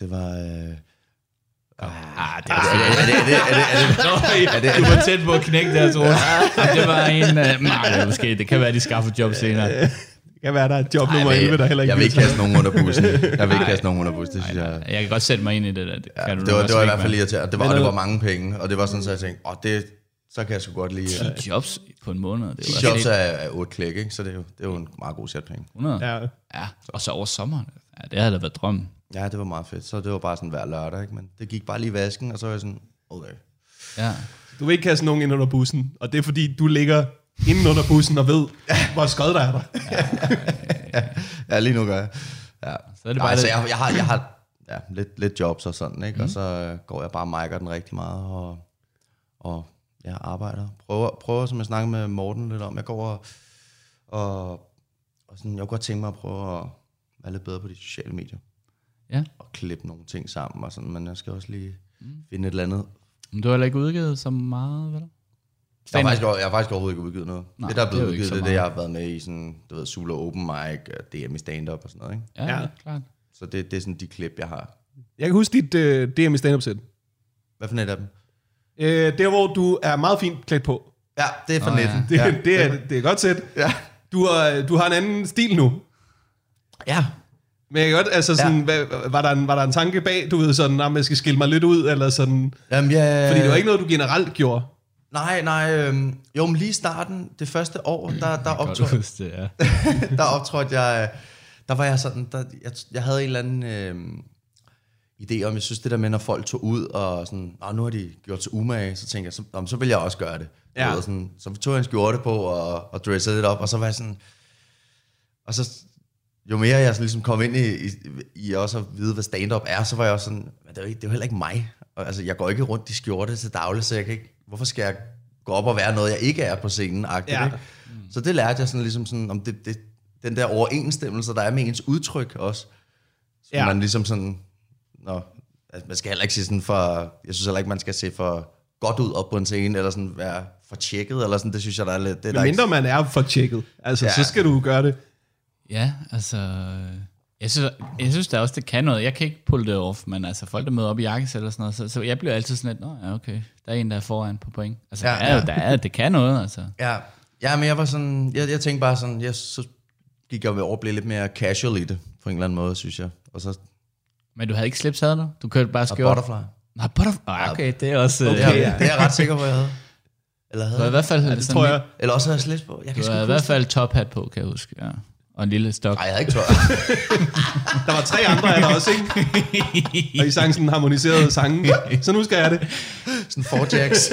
[SPEAKER 4] Det var... Øh,
[SPEAKER 3] Ah, det var
[SPEAKER 4] er, det, er, det, er, det, er, det,
[SPEAKER 3] det, du var tæt på at knække deres ord. det var en... Øh, Mario, måske. Det kan være, de skaffer job senere.
[SPEAKER 1] Det kan være, der er et job nummer
[SPEAKER 4] jeg,
[SPEAKER 1] 11, der heller ikke
[SPEAKER 4] jeg vil ikke
[SPEAKER 1] bliver
[SPEAKER 4] kaste nogen under bussen. Jeg vil ikke kaste nogen under bussen, det synes jeg...
[SPEAKER 3] Jeg kan godt sætte mig ind i det der. Det,
[SPEAKER 4] Ja,
[SPEAKER 3] kan du
[SPEAKER 4] det, var,
[SPEAKER 3] nok
[SPEAKER 4] det var i
[SPEAKER 3] også
[SPEAKER 4] hvert fald
[SPEAKER 3] ikke,
[SPEAKER 4] irriterende. Det var, og det var mange penge, og det var sådan, så jeg tænkte, åh, det, så kan jeg sgu godt øh, lide...
[SPEAKER 3] mand. 10 jobs på en måned. Det
[SPEAKER 4] 10
[SPEAKER 3] var
[SPEAKER 4] jobs
[SPEAKER 3] jobs.
[SPEAKER 4] er, er 8 klik, ikke? så det er, jo, det er jo en meget god sæt penge.
[SPEAKER 3] 100. Ja.
[SPEAKER 1] taget. Ja.
[SPEAKER 3] ja. Og så over sommeren. Ja, det havde da været drømmen.
[SPEAKER 4] Ja, det var meget fedt. Så det var bare sådan hver lørdag, ikke? men det gik bare lige i vasken, og så var jeg sådan, okay.
[SPEAKER 3] Ja.
[SPEAKER 1] Du vil ikke kaste nogen ind under bussen, og det er fordi, du ligger inden under bussen og ved, hvor skød der er der.
[SPEAKER 4] Ja, lige nu gør jeg. Ja.
[SPEAKER 3] Så er det
[SPEAKER 4] Nej,
[SPEAKER 3] bare
[SPEAKER 4] altså,
[SPEAKER 3] lidt- Mhm.
[SPEAKER 4] jeg, jeg har, jeg har ja, lidt, lidt jobs og sådan, ikke? Mm. og så øh, går jeg bare og mic'er den rigtig meget, og, og jeg arbejder. Prøver, prøver, som jeg snakkede med Morten lidt om, jeg går og, og, og sådan, jeg kunne godt tænke mig at prøve at være lidt bedre på de sociale medier,
[SPEAKER 3] ja.
[SPEAKER 4] og klippe nogle ting sammen og sådan, men jeg skal også lige
[SPEAKER 3] Mhm.
[SPEAKER 4] mm. finde et eller andet.
[SPEAKER 3] Men du har heller ikke udgivet så meget, vel?
[SPEAKER 4] Jeg
[SPEAKER 3] Stand-up.
[SPEAKER 4] har, faktisk, over- jeg har faktisk overhovedet ikke udgivet noget.
[SPEAKER 3] Nej,
[SPEAKER 4] Nej, det, der er
[SPEAKER 3] det er
[SPEAKER 4] blevet
[SPEAKER 3] jo ikke
[SPEAKER 4] udgivet,
[SPEAKER 3] så
[SPEAKER 4] det er det, jeg
[SPEAKER 3] meget.
[SPEAKER 4] har været med i sådan, du ved, Sula Open Mic, og DM i stand-up og sådan noget, ikke?
[SPEAKER 3] Ja,
[SPEAKER 1] Ja.
[SPEAKER 3] ja. klart.
[SPEAKER 4] Så det, det er sådan de klip, jeg har.
[SPEAKER 1] Jeg kan huske dit øh, DM i stand-up set.
[SPEAKER 4] Hvad for net af dem?
[SPEAKER 1] Øh, der, hvor du er meget fint klædt på.
[SPEAKER 4] Ja, det er for
[SPEAKER 3] Nå,
[SPEAKER 4] oh, netten.
[SPEAKER 1] Det,
[SPEAKER 4] Ja.
[SPEAKER 1] ja, det, er, det er godt set.
[SPEAKER 4] Ja.
[SPEAKER 1] Du har, du har en anden stil nu.
[SPEAKER 4] ja.
[SPEAKER 1] Men jeg kan godt, altså sådan, ja. hvad, var, der en, var der en tanke bag, du ved sådan, at jeg skal skille mig lidt ud, eller sådan,
[SPEAKER 4] Jamen, ja.
[SPEAKER 1] fordi det var ikke noget, du generelt gjorde.
[SPEAKER 4] Nej, nej. Øhm, jo, men lige i starten, det første år, der, der,
[SPEAKER 3] Godt du
[SPEAKER 4] optrådte,
[SPEAKER 3] huske det, ja.
[SPEAKER 4] der optrådte jeg... øh, Der var jeg sådan... Der, jeg, jeg havde en eller anden øhm, idé om, jeg synes det der med, når folk tog ud og sådan... "Nå, nu har de gjort sig umage, så tænkte jeg, så, "Nå, men så vil jeg også gøre det.
[SPEAKER 1] Ja.
[SPEAKER 4] Ja. Ved, sådan, så tog jeg en skjorte på og, og dressede lidt op, og så var jeg sådan... Og så jo mere jeg så ligesom kom ind i, i, i også at vide, hvad stand-up er, så var jeg også sådan, men det er jo, ikke, det er jo heller ikke mig. Og, altså, jeg går ikke rundt i skjorte til daglig, så jeg kan ikke, hvorfor skal jeg gå op og være noget, jeg ikke er på scenen?
[SPEAKER 1] Ja.
[SPEAKER 4] Ja. Ikke? Så det lærte jeg sådan ligesom sådan, om det, det, den der overensstemmelse, der er med ens udtryk også. Så
[SPEAKER 1] Ja.
[SPEAKER 4] ja. man ligesom sådan, nå, altså, man skal heller ikke se sådan for, jeg synes heller ikke, man skal se for godt ud op på en scene, eller sådan være for tjekket, eller sådan, det synes jeg, der er lidt... Det, er der
[SPEAKER 1] Men
[SPEAKER 4] ikke-
[SPEAKER 1] mindre man er for tjekket, altså, ja.
[SPEAKER 4] Ja.
[SPEAKER 1] så skal du gøre det.
[SPEAKER 3] Ja, altså... Jeg synes, jeg synes da også, det kan noget. Jeg kan ikke pulle det off, men altså folk, der møder op i jakkes eller sådan noget, så, så jeg bliver altid sådan lidt, nå ja, okay, der er en, der er foran på point. Altså, ja,
[SPEAKER 4] Ja,
[SPEAKER 3] der er, ja.
[SPEAKER 4] ja.
[SPEAKER 3] der er, det kan noget, altså.
[SPEAKER 4] Ja, ja men jeg var sådan, jeg, jeg tænkte bare sådan, jeg, så gik jeg over og blev lidt mere casual i det, på en eller anden måde, synes jeg. Og så
[SPEAKER 3] Men du havde ikke slips, havde du? Du kørte bare skjort?
[SPEAKER 4] butterfly.
[SPEAKER 3] Nej, butterfly. Ah, okay, det er også... Okay,
[SPEAKER 4] Okay,
[SPEAKER 3] ja.
[SPEAKER 4] ja. Det er jeg ret sikker på, jeg havde. Eller,
[SPEAKER 3] Du har i
[SPEAKER 4] havde.
[SPEAKER 3] hvert fald ja,
[SPEAKER 1] Det
[SPEAKER 3] sådan
[SPEAKER 1] tror
[SPEAKER 3] lidt-
[SPEAKER 1] jeg.
[SPEAKER 4] Eller også havde jeg slips på. Jeg kan
[SPEAKER 3] Du
[SPEAKER 4] sgu
[SPEAKER 3] har i
[SPEAKER 4] ikke
[SPEAKER 3] hvert
[SPEAKER 4] huske.
[SPEAKER 3] fald top hat på, kan jeg huske. Ja. og en lille stok.
[SPEAKER 4] Nej, jeg havde ikke tøj.
[SPEAKER 1] Der var tre andre af der også, ikke? Og I sang sådan harmoniserede sange. Så nu skal jeg det.
[SPEAKER 4] Sådan four jacks.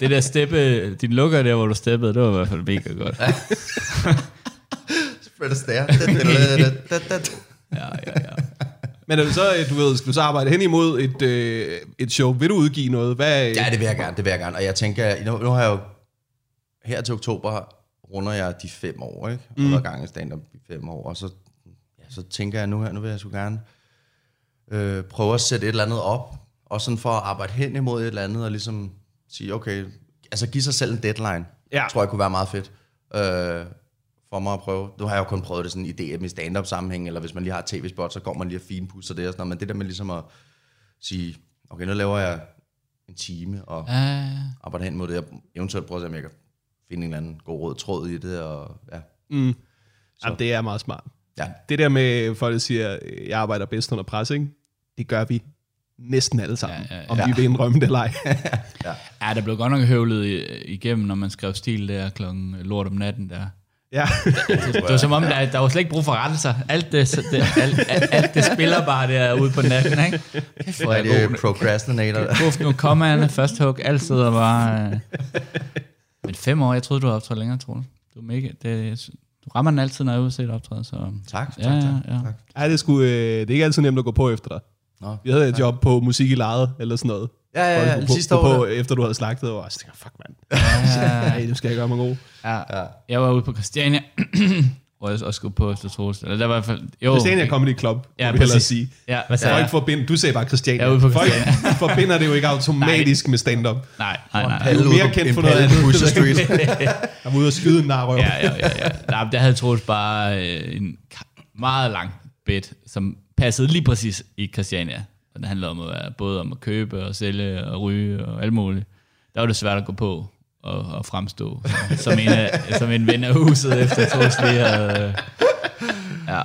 [SPEAKER 3] Det der steppe, din lukker der, hvor du steppede, det var i hvert fald mega godt.
[SPEAKER 4] Fred Astaire. Da, da, da, da, da, da.
[SPEAKER 3] Ja, ja, ja.
[SPEAKER 1] Men er det så, at du ved, skal du så arbejde hen imod et, øh, et show? Vil du udgive noget? Hvad, øh,
[SPEAKER 4] Ja, det vil jeg gerne, det vil jeg gerne. Og jeg tænker, nu, nu har jeg jo, her til oktober runder jeg de fem år, ikke? 100 mm. gange stand-up i fem år, og så, ja, så tænker jeg nu her, nu vil jeg så gerne øh, prøve at sætte et eller andet op, og sådan for at arbejde hen imod et eller andet, og ligesom sige, okay, altså give sig selv en deadline,
[SPEAKER 1] Ja.
[SPEAKER 4] tror jeg kunne være meget fedt. Øh, for mig at prøve. Nu har jeg jo kun prøvet det sådan i DM i stand-up sammenhæng, eller hvis man lige har et tv-spot, så går man lige og finpudser det og sådan noget, men det der med ligesom at sige, okay, nu laver jeg en time, og
[SPEAKER 3] Ah,
[SPEAKER 4] arbejder hen mod det, og eventuelt prøver at se, om jeg kan finde en eller anden god rød tråd i det, og ja.
[SPEAKER 1] Jamen, det er meget smart.
[SPEAKER 4] ja.
[SPEAKER 1] Det der med, folk der siger, øh, jeg arbejder bedst under pres, ikke? Det gør vi næsten alle sammen. Ja, ja, ja. Om vi vil indrømme det eller ej.
[SPEAKER 3] ja, der blev godt nok høvlet i- igennem, når man skrev stil der klokken lort om natten der. Altså,
[SPEAKER 1] ja.
[SPEAKER 3] Det var som om, der, der var slet ikke brug for rettelser. Alt det, det, alt, alt, alt det spiller bare der ude på natten, ikke? Kæft, hvor er
[SPEAKER 4] Ja,
[SPEAKER 3] jeg
[SPEAKER 4] det er
[SPEAKER 3] god.
[SPEAKER 4] jo procrastinator.
[SPEAKER 3] Puff nu, kommaerne, første hug, alt sidder bare... Øh. Men fem år, jeg troede, du havde optrådt længere, Troels. Du, er mega, det, du rammer den altid, når jeg er ude og se et optræde, så...
[SPEAKER 4] Tak, tak,
[SPEAKER 3] ja, ja,
[SPEAKER 4] tak.
[SPEAKER 3] ja.
[SPEAKER 1] Ej, det, skulle, øh, det er ikke altid nemt at gå på efter dig.
[SPEAKER 4] Nå.
[SPEAKER 1] Vi havde et job på musik i lejet, eller sådan noget.
[SPEAKER 4] Ja, ja,
[SPEAKER 1] Hvor du
[SPEAKER 4] ja,
[SPEAKER 1] skulle
[SPEAKER 4] sidste
[SPEAKER 1] på,
[SPEAKER 4] år,
[SPEAKER 1] gå på, efter du havde slagtet, og jeg tænkte, fuck mand,
[SPEAKER 3] ja.
[SPEAKER 1] ej, nu skal jeg gøre mig god.
[SPEAKER 3] ja. Jeg var ude på Christiania, hvor jeg også skulle på efter Troels. Eller der var i hvert fald... Jo,
[SPEAKER 1] Christiania Comedy Club, ja, vil jeg hellere sige.
[SPEAKER 3] Ja, hvad sagde
[SPEAKER 1] Folk
[SPEAKER 3] jeg?
[SPEAKER 1] forbinder, du sagde bare Christiania.
[SPEAKER 3] Jeg er ude på
[SPEAKER 1] Folk
[SPEAKER 3] Christiania.
[SPEAKER 1] forbinder det jo ikke automatisk med stand-up.
[SPEAKER 3] Nej, nej, nej.
[SPEAKER 1] Du er mere kendt for noget andet.
[SPEAKER 4] Pusher Street.
[SPEAKER 1] Jeg var ude og skyde en narrøv.
[SPEAKER 3] Ja, ja, ja. ja. Nej, men der havde Troels bare øh, en ka- meget lang bet, som passede lige præcis i Christiania. Og den handlede om at være, øh, både om at købe og sælge og ryge og alt muligt. Der var det svært at gå på og, og fremstå som- som en, af, som en ven af huset, efter Troels lige havde... Øh, ja.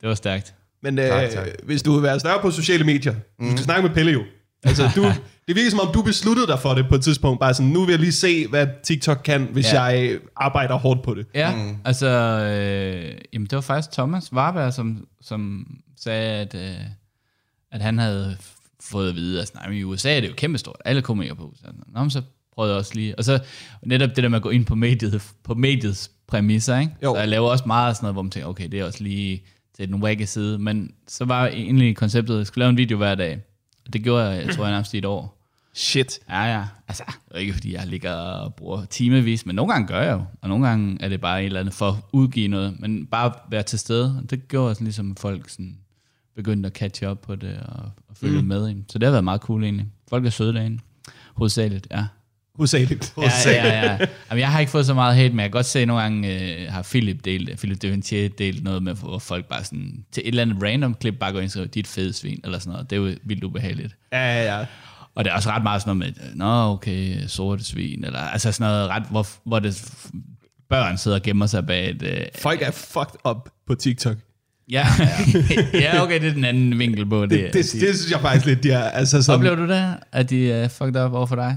[SPEAKER 3] det var stærkt.
[SPEAKER 1] Men øh, tak, tak. hvis du vil være større på sociale medier, mm. du skal snakke med Pelle jo. Altså, du, det virker som om, du besluttede dig for det på et tidspunkt. Bare sådan, nu vil jeg lige se, hvad TikTok kan, hvis ja.
[SPEAKER 3] Ja.
[SPEAKER 1] jeg arbejder hårdt på det.
[SPEAKER 3] Ja, mm. altså, øh, jamen det var faktisk Thomas Warberg, som, som sagde, at, øh, at han havde f- fået at vide, at sådan, "Ej, men i USA er det jo kæmpestort, alle komikere på USA. Nå, men så prøvede jeg også lige, og så netop det der med at gå ind på, mediet, på mediets præmisser, ikke?
[SPEAKER 1] Jo.
[SPEAKER 3] så jeg laver også meget af sådan noget, hvor man tænker, okay, det er også lige til den wacky side, men så var egentlig konceptet, at jeg skulle lave en video hver dag, og det gjorde jeg, jeg tror jeg nærmest i et år.
[SPEAKER 1] Shit.
[SPEAKER 3] Ja, ja. Altså, det er ikke fordi, jeg ligger og bruger timevis, men nogle gange gør jeg jo. Og nogle gange er det bare et eller andet for at udgive noget. Men bare være til stede. Og det gjorde sådan ligesom, at folk sådan begyndte at catch up på det og, og følge mm. med. ind. Så det har været meget cool egentlig. Folk er søde derinde. Hovedsageligt, ja.
[SPEAKER 1] Hovedsageligt.
[SPEAKER 3] Ja, ja, ja. Jamen, jeg har ikke fået så meget hate, men jeg kan godt se, at nogle gange øh, har Philip delt, Philip Deventier delt noget med, hvor folk bare sådan, til et eller andet random klip bare går ind og skriver, dit fede svin, eller sådan noget. Det er jo vildt ubehageligt.
[SPEAKER 1] Ja, ja, ja.
[SPEAKER 3] Og det er også ret meget sådan noget med, øh, nå okay, sorte svin, eller altså sådan noget ret, hvor, hvor det, f- børn sidder og gemmer sig bag et... Øh,
[SPEAKER 1] Folk er fucked up på TikTok.
[SPEAKER 3] ja, ja, okay, det er den anden vinkel på det.
[SPEAKER 1] Det, det, det, det synes jeg faktisk lidt, de er. Altså sådan,
[SPEAKER 3] Oplever du det, at de er fucked up over for dig?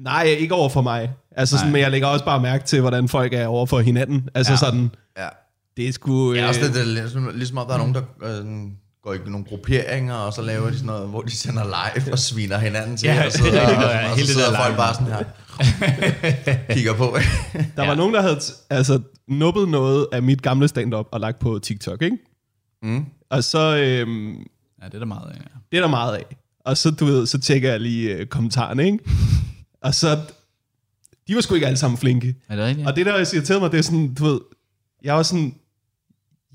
[SPEAKER 1] Nej, ikke over for mig. Altså sådan, men jeg lægger også bare mærke til, hvordan folk er over for hinanden. Altså ja. sådan,
[SPEAKER 4] Ja.
[SPEAKER 1] det er sgu...
[SPEAKER 4] Det
[SPEAKER 1] Øh,
[SPEAKER 4] er også lidt, det, er ligesom, ligesom om der er nogen, der øh, sådan går i nogle grupperinger, og så laver de sådan noget, hvor de sender live og sviner hinanden til,
[SPEAKER 3] Ja,
[SPEAKER 4] og, sidder,
[SPEAKER 3] det er
[SPEAKER 4] og,
[SPEAKER 3] rigtigt, og
[SPEAKER 4] og, og så
[SPEAKER 3] hele det der
[SPEAKER 4] sidder folk
[SPEAKER 3] live.
[SPEAKER 4] bare sådan her, kigger på.
[SPEAKER 1] der ja. var nogen, der havde t- altså, nuppet noget af mit gamle stand-up og lagt på TikTok, ikke? Mm. Og så... Øh,
[SPEAKER 3] Ja, det er der meget af. Ja.
[SPEAKER 1] Det er der meget af. Og så, du ved, så tjekker jeg lige øh, kommentarerne, ikke? Og så, de var sgu ikke alle sammen flinke.
[SPEAKER 3] Er det rigtigt?
[SPEAKER 1] Og det, der også irriterede mig, det er sådan, du ved, jeg var sådan,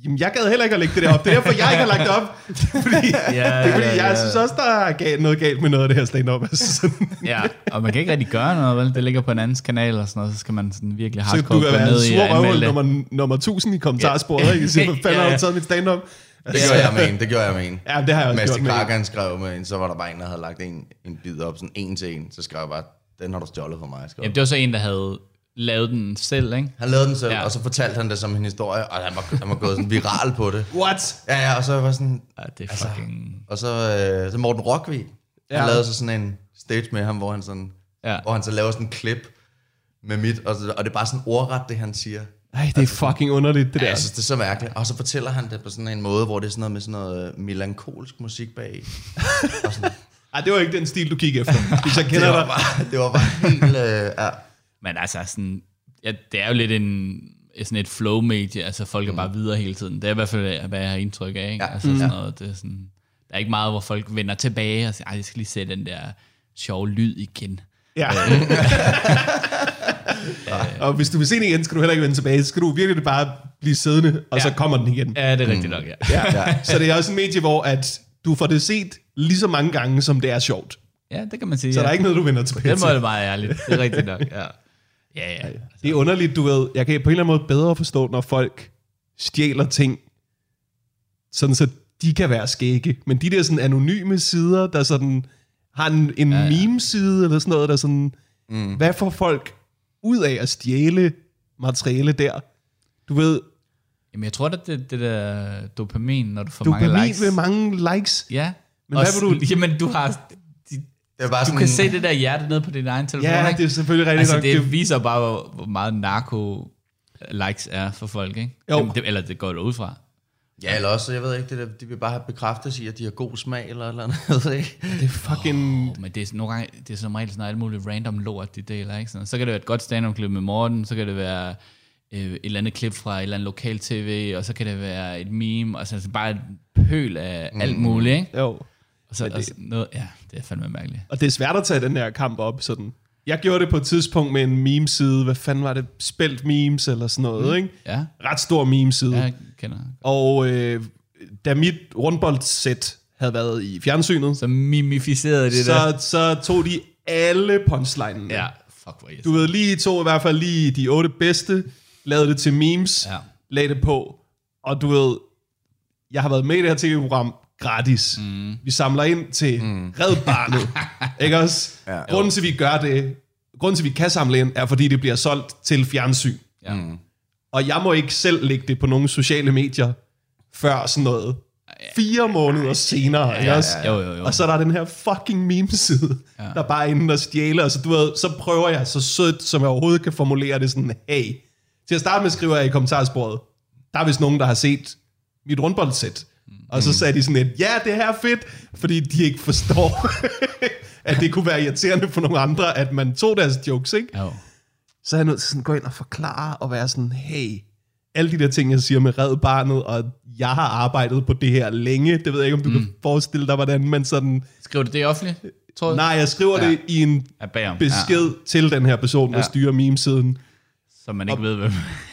[SPEAKER 1] jamen, jeg gad heller ikke at lægge det der op. Det er derfor, jeg ikke har lagt det op. Fordi,
[SPEAKER 3] Ja,
[SPEAKER 1] det er fordi,
[SPEAKER 3] ja,
[SPEAKER 1] jeg
[SPEAKER 3] ja.
[SPEAKER 1] synes også, der er galt, noget galt med noget af det her stand-up. Altså sådan,
[SPEAKER 3] Ja, og man kan ikke rigtig gøre noget, vel? Det ligger på en andens kanal og sådan noget, så skal man sådan virkelig
[SPEAKER 1] så
[SPEAKER 3] hardcore
[SPEAKER 1] du kan
[SPEAKER 3] gå
[SPEAKER 1] være en
[SPEAKER 3] ned i
[SPEAKER 1] sur
[SPEAKER 3] og anmelde
[SPEAKER 1] røvhul
[SPEAKER 3] det.
[SPEAKER 1] nummer, nummer 1000 i kommentarsporet,
[SPEAKER 3] Ja.
[SPEAKER 1] ikke? Jeg siger, hvad fanden
[SPEAKER 3] Ja,
[SPEAKER 1] har
[SPEAKER 3] ja.
[SPEAKER 1] du taget mit stand-up? Altså,
[SPEAKER 4] Det gjorde jeg med en, det gjorde jeg med en.
[SPEAKER 1] Ja, det har jeg også
[SPEAKER 4] Mads
[SPEAKER 1] gjort
[SPEAKER 4] de
[SPEAKER 1] med en.
[SPEAKER 4] Clark, han skrev med en, så var der bare en, der havde lagt en, en bid op, sådan en til en, så skrev jeg bare, den har du stjålet for mig, skrev jeg.
[SPEAKER 3] Jamen, det var så en, der havde lavet den selv, ikke?
[SPEAKER 4] Han lavede den selv,
[SPEAKER 3] Ja.
[SPEAKER 4] ja. og så fortalte han det som en historie, og han var, han var gået sådan viral på det.
[SPEAKER 1] What?
[SPEAKER 4] Ja, ja, og så var sådan...
[SPEAKER 3] Ja, det er fucking...
[SPEAKER 4] Og så, øh, så Morten Rockvig, ja.
[SPEAKER 1] Ja.
[SPEAKER 4] han lavede så sådan en stage med ham, hvor han, sådan,
[SPEAKER 3] Ja.
[SPEAKER 4] ja. hvor han så laver sådan en klip med mit, og, så, og det er bare sådan ordret, det han siger.
[SPEAKER 1] Ej, det er fucking underligt, det
[SPEAKER 4] Ja, altså-
[SPEAKER 1] der.
[SPEAKER 4] jeg synes, det er så mærkeligt. Og så fortæller han det på sådan en måde, hvor det er sådan noget med sådan noget øh, melankolsk musik bag.
[SPEAKER 1] Ej, det var ikke den stil, du kiggede efter. Hvis jeg kender
[SPEAKER 4] det var
[SPEAKER 1] dig.
[SPEAKER 4] bare, det var bare helt... Øh, ja.
[SPEAKER 3] Men altså, sådan, ja, det er jo lidt en, sådan et flow-medie, altså folk er bare videre hele tiden. Det er i hvert fald, øh, hvad jeg har indtryk af. Ikke? Ja. Altså, sådan noget, det er sådan, der er ikke meget, hvor folk vender tilbage og siger, "Ej, jeg skal lige se den der sjove lyd igen.
[SPEAKER 1] Ja. og hvis du vil se den igen, skal du heller ikke vende tilbage. Så skal du virkelig bare blive siddende, og ja. så kommer den igen.
[SPEAKER 3] Ja, det er rigtigt nok, ja. Ja,
[SPEAKER 1] Ja. så det er også en medie, hvor at du får det set lige så mange gange, som det er sjovt. Så
[SPEAKER 3] ja det kan man sige.
[SPEAKER 1] ja.
[SPEAKER 3] ja.
[SPEAKER 1] der er ikke noget, du vender tilbage
[SPEAKER 3] Den
[SPEAKER 1] til.
[SPEAKER 3] må det meget ærligt. Det er rigtigt nok, ja. Ja, Altså, ja.
[SPEAKER 1] Det er underligt, du ved. Jeg kan på en eller anden måde bedre forstå, når folk stjæler ting, sådan så de kan være skægge. Men de der sådan anonyme sider, der sådan har en, en ja, ja. meme-side eller sådan noget, der sådan... Mm. Hvad får folk ud af at stjæle materiale der? Du ved,
[SPEAKER 3] Jamen, jeg tror, at det, det der dopamin, når du får
[SPEAKER 1] du
[SPEAKER 3] mange
[SPEAKER 1] er
[SPEAKER 3] likes.
[SPEAKER 1] med mange likes.
[SPEAKER 3] Ja.
[SPEAKER 1] Men hvad vil du-
[SPEAKER 3] Jamen, du har...
[SPEAKER 4] Det var bare
[SPEAKER 3] Du
[SPEAKER 4] sådan,
[SPEAKER 3] kan se det der hjerte ned på din egen telefon,
[SPEAKER 1] Ja,
[SPEAKER 3] ikke?
[SPEAKER 1] det er selvfølgelig rigtigt
[SPEAKER 3] Altså,
[SPEAKER 1] nok.
[SPEAKER 3] det viser bare, hvor, hvor meget narko-likes er for folk, ikke?
[SPEAKER 1] Jo.
[SPEAKER 3] Jamen, Det, eller det går du ud fra.
[SPEAKER 4] Ja, eller også, jeg ved ikke, det der, de vil bare have bekræftet i, at de har god smag eller et eller andet, jeg ved ikke?
[SPEAKER 1] det er fucking...
[SPEAKER 3] Oh, men det er, nogle gange, det er som regel sådan alt muligt random lort, de deler, ikke? Sådan, så kan det være et godt stand-up-klip med Morten, så kan det være øh, et eller andet klip fra et eller andet lokal tv, og så kan det være et meme, og så altså bare et pøl af mm. alt muligt, ikke?
[SPEAKER 1] Jo.
[SPEAKER 3] Og så, det, og så noget, ja, det er fandme mærkeligt.
[SPEAKER 1] Og det er svært at tage den her kamp op sådan. Jeg gjorde det på et tidspunkt med en meme-side. Hvad fanden var det? Spelt memes eller sådan noget, mm. ikke?
[SPEAKER 3] Ja.
[SPEAKER 1] Ret stor meme-side.
[SPEAKER 3] Jeg kender.
[SPEAKER 1] Og øh, da mit rundboldsæt havde været i fjernsynet, så,
[SPEAKER 3] Så mimificerede det der.
[SPEAKER 1] så, så tog de alle punchline.
[SPEAKER 3] Ja, fuck
[SPEAKER 1] Du
[SPEAKER 3] hvor irriterende.
[SPEAKER 1] ved, lige to i hvert fald lige de otte bedste, lavede det til memes,
[SPEAKER 3] Ja.
[SPEAKER 1] lagde det på. Og du ved, jeg har været med i det her tv-program gratis. Mm. Vi samler ind til mm. Red Barnet. ikke også? Ja, grunden til, vi gør det, grunden til, vi kan samle ind, er, fordi det bliver solgt til fjernsyn.
[SPEAKER 3] Ja. Mm.
[SPEAKER 1] Og jeg må ikke selv lægge det på nogle sociale medier, før sådan noget. Fire måneder senere, ikke også?
[SPEAKER 3] Jo, jo, jo.
[SPEAKER 1] Og så er der den her fucking meme-side, ja. der bare er inde og stjæler. Altså, du ved, så prøver jeg så sødt, som jeg overhovedet kan formulere det sådan, hey. Til at starte med skriver jeg i kommentarsporet, der er vist nogen, der har set mit rundboldsæt. Og
[SPEAKER 3] Mm.
[SPEAKER 1] så sagde de sådan et, ja, det her er fedt, fordi de ikke forstår, at det kunne være irriterende for nogle andre, at man tog deres jokes, ikke?
[SPEAKER 3] Jo.
[SPEAKER 1] så er jeg nødt til sådan at gå ind og forklare og være sådan, hey, alle de der ting, jeg siger med red barnet, og jeg har arbejdet på det her længe, det ved jeg ikke, om du mm. kan forestille dig, hvordan man sådan,
[SPEAKER 3] Skriver du det offentligt? Tror du?
[SPEAKER 1] nej, jeg skriver ja. det i en
[SPEAKER 3] Ja, bagom.
[SPEAKER 1] besked ja. til den her person, der ja. styrer meme-siden,
[SPEAKER 3] Ja, så man ikke ved, hvem.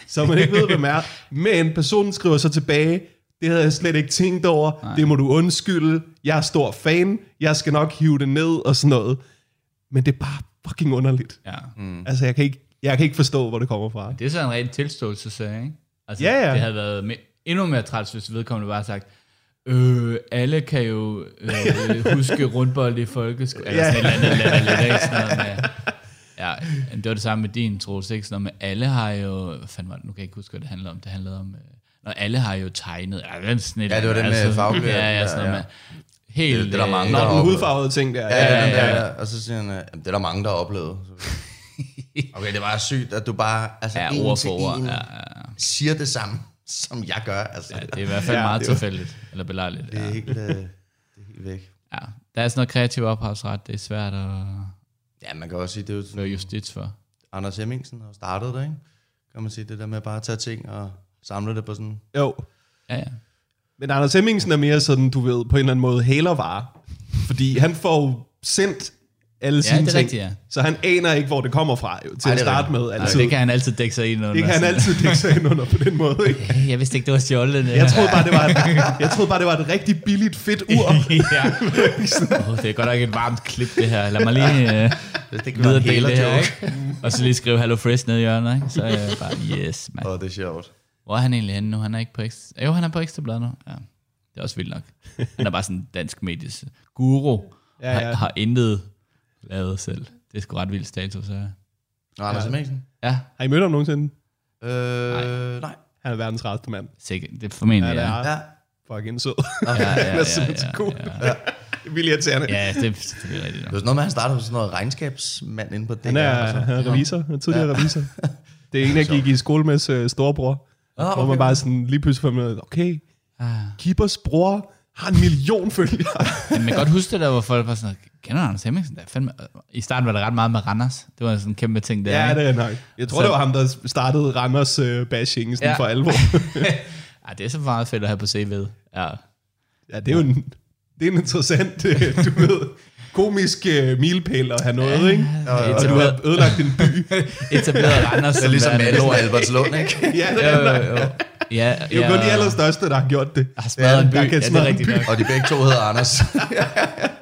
[SPEAKER 1] så man ikke ved, hvem er. Men personen skriver så tilbage, det havde jeg slet ikke tænkt over, nej. det må du undskylde, jeg er stor fan, jeg skal nok hive det ned og sådan noget. Men det er bare fucking underligt.
[SPEAKER 3] Ja. Mm.
[SPEAKER 1] Mm. Altså, jeg kan, ikke, jeg kan ikke forstå, hvor det kommer fra.
[SPEAKER 3] Det er sådan en ren tilståelsessag, ikke? Altså,
[SPEAKER 1] Ja, ja.
[SPEAKER 3] Det havde været me- endnu mere træls, hvis vedkommende bare havde sagt, øh, alle kan jo øh, huske rundbold i folkeskolen, eller sådan et eller andet, eller, eller, eller sådan noget med, Ja, men det var det samme med din, Troels, ikke? Sådan noget med, alle har jo, hvad fanden var det, nu kan jeg ikke huske, hvad det handlede om, det handlede om, øh, når alle har jo tegnet, eller sådan et
[SPEAKER 4] Ja, det var
[SPEAKER 3] eller
[SPEAKER 4] det
[SPEAKER 3] andet,
[SPEAKER 4] med farveklæder.
[SPEAKER 3] Ja, ja, sådan
[SPEAKER 4] Ja,
[SPEAKER 3] noget
[SPEAKER 4] ja.
[SPEAKER 3] med, helt,
[SPEAKER 4] Det- det er der
[SPEAKER 3] øh,
[SPEAKER 4] mange,
[SPEAKER 1] Nå,
[SPEAKER 4] der
[SPEAKER 1] den
[SPEAKER 4] har-
[SPEAKER 1] hudfarvede ting der.
[SPEAKER 4] Ja, ja, ja, ja. Og så siger han, øh, "Jamen, det er der mange, der har oplevet. Okay, det var sygt, at du bare altså,
[SPEAKER 3] Ja,
[SPEAKER 4] ja, en
[SPEAKER 3] ord
[SPEAKER 4] til
[SPEAKER 3] for ord,
[SPEAKER 4] en
[SPEAKER 3] ja,
[SPEAKER 4] ja,
[SPEAKER 3] ja,
[SPEAKER 4] ja. siger det samme, som jeg gør. Altså, ja,
[SPEAKER 3] Det er i hvert fald
[SPEAKER 1] Ja,
[SPEAKER 3] meget
[SPEAKER 1] det var-
[SPEAKER 3] tilfældigt, eller belejligt.
[SPEAKER 4] det,
[SPEAKER 3] Ja.
[SPEAKER 4] er helt, øh, det er helt væk.
[SPEAKER 3] ja. Der er sådan noget kreativ ophavsret, det er svært at
[SPEAKER 4] Ja, man kan også sige, det er jo sådan,
[SPEAKER 3] føre justits for.
[SPEAKER 4] Anders Hemmingsen har startet det, ikke? Kan man sige, det der med bare at tage ting og samle det på sådan...
[SPEAKER 1] Jo.
[SPEAKER 3] Ja, ja.
[SPEAKER 1] Men Anders Hemmingsen er mere sådan, du ved, på en eller anden måde hælervare. Fordi han får jo sendt alle sine
[SPEAKER 3] det er
[SPEAKER 1] ting.
[SPEAKER 3] rigtigt, ja.
[SPEAKER 1] Så han aner ikke, hvor det kommer fra, jo, til Ej, at
[SPEAKER 4] det er
[SPEAKER 1] starte med.
[SPEAKER 3] Altså,
[SPEAKER 1] Altid.
[SPEAKER 3] det kan han altid dække sig ind under.
[SPEAKER 1] det kan han altid dække sig ind under på den måde. Ikke?
[SPEAKER 3] altid. Jeg vidste ikke, det var stjålet.
[SPEAKER 1] Jeg troede, bare, det var et, jeg troede bare, det var et rigtig billigt, fedt ur.
[SPEAKER 3] ja. oh, det er godt nok et varmt klip, det her. Lad mig lige øh,
[SPEAKER 4] Det kan være en
[SPEAKER 3] videredele det her,
[SPEAKER 4] hælerjoke.
[SPEAKER 3] ikke? Og så lige skrive Hello Fresh ned i hjørnet, ikke? Så er jeg bare, yes, mand.
[SPEAKER 4] Åh, det er sjovt.
[SPEAKER 3] Hvor er han egentlig henne nu? Han er ikke på ekstra... Jo, han er på ekstrabladet nu. Ja. Det er også vildt nok. Han er bare sådan en dansk medies guru. Ja, ja.
[SPEAKER 1] ja.
[SPEAKER 3] Har, har intet lavet selv. Det er sgu ret vild status, så.
[SPEAKER 4] Nå, Anders Hemmingsen?
[SPEAKER 3] Ja,
[SPEAKER 1] Har I mødt ham nogensinde?
[SPEAKER 4] Øh, nej.
[SPEAKER 1] Han er verdens rareste mand.
[SPEAKER 3] sikkert. Det er formentlig,
[SPEAKER 1] Ja, det
[SPEAKER 3] ja.
[SPEAKER 1] er
[SPEAKER 4] Ja.
[SPEAKER 1] fucking sød.
[SPEAKER 3] Ja, ja,
[SPEAKER 1] Han er simpelthen så cool.
[SPEAKER 3] ja, ja.
[SPEAKER 1] Det er vildt irriterende.
[SPEAKER 3] Ja, det er selvfølgelig rigtigt. nok.
[SPEAKER 4] Det altså. var sådan noget med, at han startede som sådan noget regnskabsmand inde på det.
[SPEAKER 1] Han er, han er revisor. Han er tidligere revisor. Det er en, jeg gik i skole med øh, storebror.
[SPEAKER 4] Ah,
[SPEAKER 1] Ah, hvor man
[SPEAKER 4] okay.
[SPEAKER 1] bare sådan lige pludselig fandt ud af, okay,
[SPEAKER 3] Ah.
[SPEAKER 1] Kippers bror har en million følgere.
[SPEAKER 3] Men man kan godt huske det der, hvor folk var sådan, kender du Anders Hemmingsen? Der er fandme... I starten var det ret meget med Randers. Det var sådan en kæmpe ting der.
[SPEAKER 1] ja,
[SPEAKER 3] ikke?
[SPEAKER 1] det er nok. Jeg tror,
[SPEAKER 3] Så-
[SPEAKER 1] det var ham, der startede Randers øh, bashing sådan
[SPEAKER 3] Ja.
[SPEAKER 1] ja. for alvor.
[SPEAKER 3] Ej, det er så meget fedt at have på CV'et. Ja.
[SPEAKER 1] Ja, det er jo en, det er en interessant, øh, du ved, komisk øh, milepæl at have noget, ikke?
[SPEAKER 3] ja.
[SPEAKER 1] Og du har ødelagt din by.
[SPEAKER 3] Etableret Randers.
[SPEAKER 4] Det er ligesom
[SPEAKER 3] værende
[SPEAKER 4] Malou og
[SPEAKER 3] lort.
[SPEAKER 4] Albertslund, ikke?
[SPEAKER 1] ja, det
[SPEAKER 3] Jo,
[SPEAKER 1] er,
[SPEAKER 3] jo,
[SPEAKER 1] nok.
[SPEAKER 3] jo. Ja,
[SPEAKER 1] det er jo
[SPEAKER 3] ja,
[SPEAKER 1] kun de
[SPEAKER 3] og-
[SPEAKER 1] allerstørste, der har gjort det.
[SPEAKER 3] Har smadret en by.
[SPEAKER 1] Der kan
[SPEAKER 3] Ja, det er
[SPEAKER 1] smadre en
[SPEAKER 3] rigtigt
[SPEAKER 1] by.
[SPEAKER 3] nok.
[SPEAKER 4] Og de begge to hedder Anders.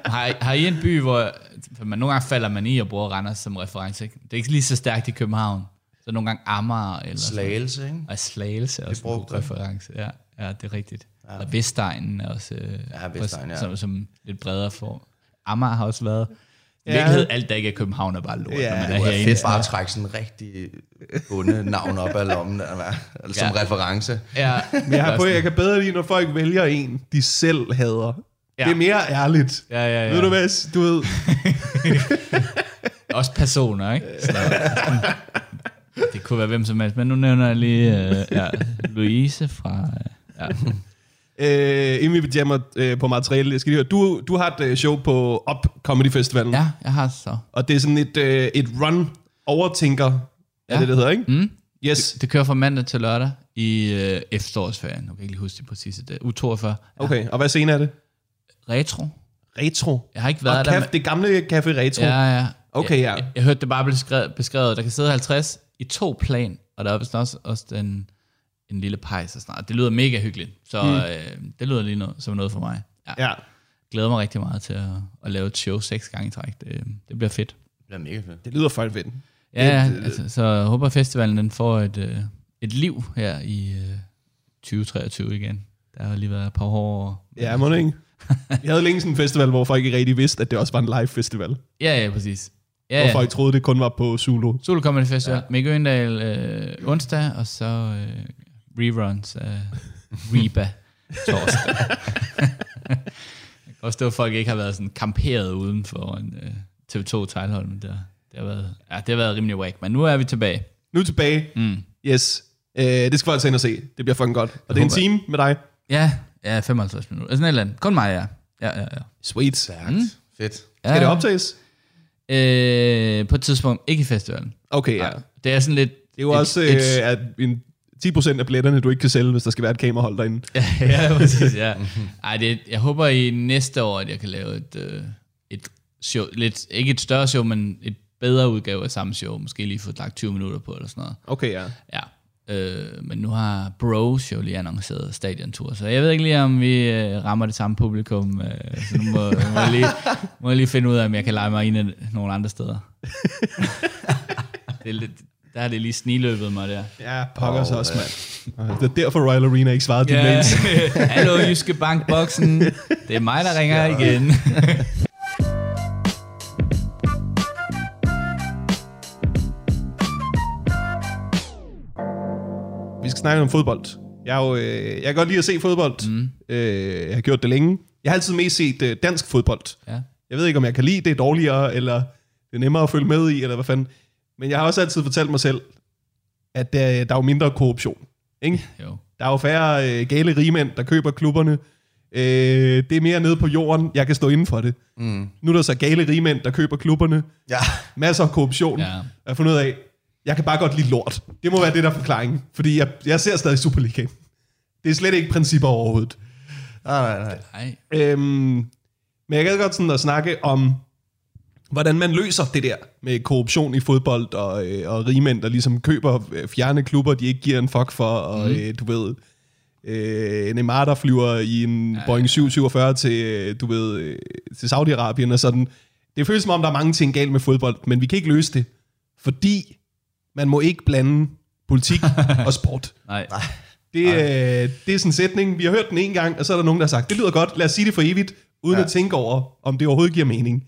[SPEAKER 3] Har, I- har I en by, hvor for man, nogle gange falder man i og bruger Randers som reference? Ikke? Det er ikke lige så stærkt i København. Så nogle gange Amager eller sådan.
[SPEAKER 4] Slagelse, ikke?
[SPEAKER 3] Og Slagelse er også en
[SPEAKER 4] brugte
[SPEAKER 3] god
[SPEAKER 4] jeg.
[SPEAKER 3] reference. Ja, ja, det er rigtigt. Ja. Og Vestegnen er også øh,
[SPEAKER 4] Ja, Vestegnen, ja.
[SPEAKER 3] som, som lidt bredere for. Amager har også været... I
[SPEAKER 1] Ja.
[SPEAKER 3] virkeligheden, alt der ikke er København er bare lort,
[SPEAKER 1] Ja,
[SPEAKER 3] ja, når man
[SPEAKER 1] det
[SPEAKER 3] er
[SPEAKER 4] Det er
[SPEAKER 3] herinde.
[SPEAKER 4] fedt bare at trække sådan en rigtig bunde navn op af lommen, der, hva'? som
[SPEAKER 3] Ja.
[SPEAKER 4] reference.
[SPEAKER 3] Ja,
[SPEAKER 1] Men jeg, har på, jeg kan bedre lide, når folk vælger en, de selv hader. Ja. Det er mere ærligt.
[SPEAKER 3] Ja, ja, ja.
[SPEAKER 1] Ved du hvad, du ved,
[SPEAKER 3] Også personer, ikke? Så, det kunne være hvem som helst, men nu nævner jeg lige øh, ja, Louise fra... Øh, ja.
[SPEAKER 1] øh, inden vi jammer øh, på materiale, jeg skal lige høre, du, du har et øh, show på Up Comedy Festivalen,
[SPEAKER 3] ja, jeg har så...
[SPEAKER 1] og det er sådan et, øh, et run overtænker, ja. er
[SPEAKER 3] Ja.
[SPEAKER 1] det, det hedder, ikke?
[SPEAKER 3] Mm.
[SPEAKER 1] Yes.
[SPEAKER 3] Det kører fra mandag til lørdag i øh, efterårsferien. Nu kan jeg ikke lige huske det præcise dag. U42.
[SPEAKER 1] Okay, og hvad scene er det?
[SPEAKER 3] Retro.
[SPEAKER 1] Retro.
[SPEAKER 3] Jeg har ikke været
[SPEAKER 1] Og
[SPEAKER 3] der.
[SPEAKER 1] kaf, det gamle Café Retro.
[SPEAKER 3] Ja, ja.
[SPEAKER 1] Okay, ja.
[SPEAKER 3] Jeg, jeg, jeg hørte det bare blive skrevet, beskrevet. Der kan sidde 50 i to plan, og der er vist også, også den, en lille pejs og sådan noget. Det lyder mega hyggeligt, så mm. øh, det lyder lige noget, som noget for mig. Ja.
[SPEAKER 1] ja.
[SPEAKER 3] glæder mig rigtig meget til at, at lave et show seks gange i træk. Det, det bliver fedt.
[SPEAKER 4] Det bliver mega fedt.
[SPEAKER 1] Det lyder fucking fedt.
[SPEAKER 3] Ja, ja altså, så jeg håber festivalen den får et, øh, et liv her i øh, 2023 igen. Der har lige været et par hårde år.
[SPEAKER 1] Ja, må det ikke? Vi havde længe sådan en festival, hvor folk ikke rigtig vidste, at det også var en live festival. Ja.
[SPEAKER 3] Ja, ja, præcis. Ja,
[SPEAKER 1] Hvor
[SPEAKER 3] ja.
[SPEAKER 1] folk troede, det kun var på Zulu.
[SPEAKER 3] Solo Comedy Festival, ja. Mikke Øndal øh, onsdag, og så øh, reruns af Reba torsdag. jeg kan også stå, at folk ikke har været sådan kamperet uden for en, øh, TV2 Tejlholm. men Det, har- det, har været, ja, det har været rimelig whack, men nu er vi tilbage.
[SPEAKER 1] Nu er tilbage. Mm. Yes. Øh, det skal folk tage ind og se. Det bliver fucking godt. Og det er en
[SPEAKER 3] håber jeg.
[SPEAKER 1] time med dig.
[SPEAKER 3] Ja, ja 55 minutter. Altså sådan et eller andet. Kun mig, ja. Ja, ja, ja.
[SPEAKER 1] Sweet.
[SPEAKER 4] Stærkt. Mm. Fedt.
[SPEAKER 1] Skal det optages?
[SPEAKER 3] Øh, på et tidspunkt, ikke i festivalen.
[SPEAKER 1] Okay, ja.
[SPEAKER 3] Det er sådan lidt...
[SPEAKER 1] Det er jo også øh, at en 10% af billetterne, du ikke kan sælge, hvis der skal være et kamerahold derinde.
[SPEAKER 3] ja, præcis, ja. Ej, det, jeg håber i næste år, at jeg kan lave et, øh, et show, lidt, ikke et større show, men et bedre udgave af samme show. Måske lige få lagt 20 minutter på, eller sådan noget.
[SPEAKER 1] Okay, ja.
[SPEAKER 3] Ja. Øh, men nu har Bros jo lige annonceret stadiontur, så jeg ved ikke lige, om vi øh, rammer det samme publikum. Øh, så nu må, må, jeg lige, må jeg lige finde ud af, om jeg kan lege mig ind i nogle andre steder. det er lidt, der har det lige sniløbet mig der.
[SPEAKER 1] Ja, pokker oh, så også, mand. Det er derfor Royal Arena ikke svarede yeah. din mails.
[SPEAKER 3] Hallo, Jyske Bankboksen. Det er mig, der ringer igen.
[SPEAKER 1] Vi skal snakke om fodbold. Jeg, er jo, øh, jeg kan godt lide at se fodbold. Mm. Øh, jeg har gjort det længe. Jeg har altid mest set øh, dansk fodbold.
[SPEAKER 3] Ja.
[SPEAKER 1] Jeg ved ikke, om jeg kan lide det dårligere, eller det er nemmere at følge med i, eller hvad fanden. Men jeg har også altid fortalt mig selv, at øh, der, der er jo mindre korruption. Ikke?
[SPEAKER 3] Jo.
[SPEAKER 1] Der er jo færre øh, gale rigmænd, der køber klubberne. Øh, det er mere nede på jorden. Jeg kan stå inden for det. Mm. Nu er der så gale rigmænd, der køber klubberne.
[SPEAKER 4] Ja.
[SPEAKER 1] Masser af korruption.
[SPEAKER 3] Ja.
[SPEAKER 1] Ja. Jeg har fundet ud af, jeg kan bare godt lide lort. Det må være det, der er forklaringen. Fordi jeg, jeg ser stadig Superligaen. Det er slet ikke principper overhovedet.
[SPEAKER 4] Nej, nej, nej.
[SPEAKER 3] Ej.
[SPEAKER 1] Øhm, men jeg gad godt sådan at snakke om, hvordan man løser det der med korruption i fodbold og, øh, og rigmænd, der ligesom køber øh, fjerne klubber, de ikke giver en fuck for, og mm. øh, du ved, øh, Neymar, der flyver i en ja, Boeing 747 til, øh, du ved, øh, til Saudi-Arabien og sådan. Det føles som om, der er mange ting galt med fodbold, men vi kan ikke løse det, fordi man må ikke blande politik og sport.
[SPEAKER 3] Nej.
[SPEAKER 1] Det, øh, det er sådan en sætning. Vi har hørt den en gang, og så er der nogen, der har sagt, det lyder godt, lad os sige det for evigt, uden ja. at tænke over, om det overhovedet giver mening.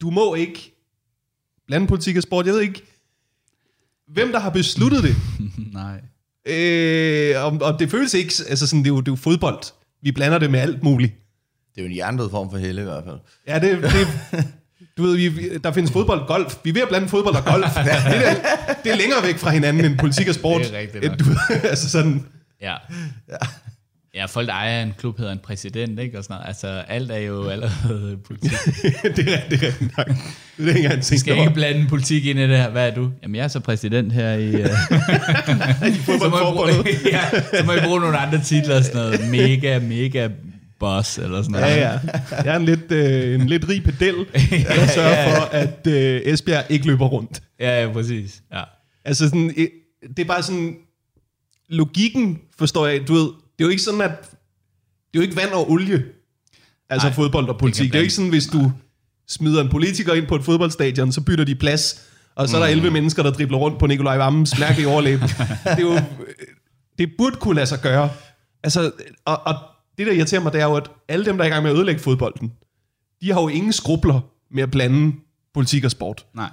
[SPEAKER 1] Du må ikke blande politik og sport. Jeg ved ikke, hvem der har besluttet det.
[SPEAKER 3] Nej.
[SPEAKER 1] Øh, og, og det føles ikke, altså sådan, det er, jo, det er jo fodbold. Vi blander det med alt muligt.
[SPEAKER 4] Det er jo en jerndød form for helle i hvert fald.
[SPEAKER 1] Ja, det, det, Du ved, vi- vi, der findes fodbold og golf. Vi er ved at blande fodbold og golf. det, der, det er længere væk fra hinanden end politik og sport.
[SPEAKER 3] Det er rigtigt
[SPEAKER 1] End
[SPEAKER 3] nok.
[SPEAKER 1] du, altså sådan,
[SPEAKER 3] Ja. Ja, folk, der ejer en klub, hedder en præsident, ikke? Og sådan noget. Altså, alt er jo allerede politik.
[SPEAKER 1] det, er, det er rigtigt nok. Det er ikke engang
[SPEAKER 3] Vi
[SPEAKER 1] tænkt
[SPEAKER 3] skal ikke
[SPEAKER 1] over.
[SPEAKER 3] blande politik ind i det her. Hvad er du? Jamen, jeg er så præsident her i... Uh... så, må I bruge,
[SPEAKER 1] Fodboldforbundet.
[SPEAKER 3] ja, så må I bruge nogle andre titler, sådan noget mega, mega boss, eller sådan noget.
[SPEAKER 1] Ja, ja. Jeg er en lidt, øh, en lidt rig pedel, der sørger for, at øh, Esbjerg ikke løber rundt.
[SPEAKER 3] ja, ja præcis. Ja.
[SPEAKER 1] Altså sådan, øh, det er bare sådan, logikken forstår jeg, du ved, det er jo ikke sådan, at, det er jo ikke vand og olie, altså
[SPEAKER 3] Nej,
[SPEAKER 1] Nej, fodbold og politik. Det,
[SPEAKER 3] blande-
[SPEAKER 1] er jo ikke sådan, hvis du smider en politiker ind på et fodboldstadion, så bytter de plads, og så er der 11 mennesker, der dribler rundt på Nikolaj Vammens mærkelige overlæb. det er jo, øh, det burde kunne lade sig gøre. Altså, og, og det der irriterer mig, det er jo, at alle dem, der er i gang med at ødelægge fodbolden, de har jo ingen skrubler med at blande politik og sport
[SPEAKER 3] Nej.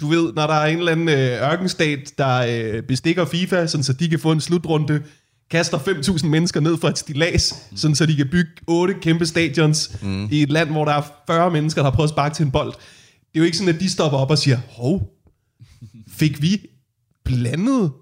[SPEAKER 1] du ved, når der er en eller anden øh, ørkenstat, der øh, bestikker FIFA, sådan, så de kan få en slutrunde, kaster 5.000 mennesker ned fra et stilas, mm. sådan, så de kan bygge otte kæmpe stadions mm. i et land, hvor der er 40 mennesker, der har prøvet at sparke til en bold. Det er jo ikke sådan, at de stopper op og siger, hov, fik vi blandet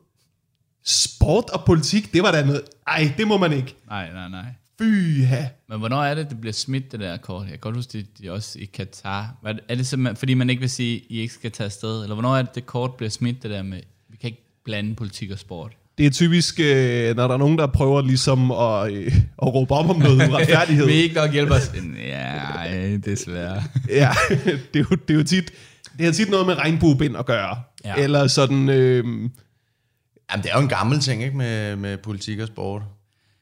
[SPEAKER 1] sport og politik? Det var da noget, ej, det må man ikke.
[SPEAKER 3] Nej, nej, nej.
[SPEAKER 1] Fyha.
[SPEAKER 3] Men hvornår er det, det bliver smidt, det der kort? Jeg kan godt huske, det er også i Katar. Hvad Er det- er det simpelthen, fordi man ikke vil sige, I ikke skal tage afsted? Eller hvornår er det, det kort bliver smidt, det der med, vi kan ikke blande politik og sport?
[SPEAKER 1] Det er typisk, øh, når der er nogen, der prøver ligesom at, øh, at råbe op om noget uretfærdighed.
[SPEAKER 3] Vil I ikke nok hjælpe os? Ja, desværre.
[SPEAKER 1] Ja, det er jo, det er jo tit, det har tit noget med regnbuebind at gøre.
[SPEAKER 3] Ja.
[SPEAKER 1] Ja. Eller sådan, øh,
[SPEAKER 4] Jamen, det er jo en gammel ting, ikke, med, med politik og sport.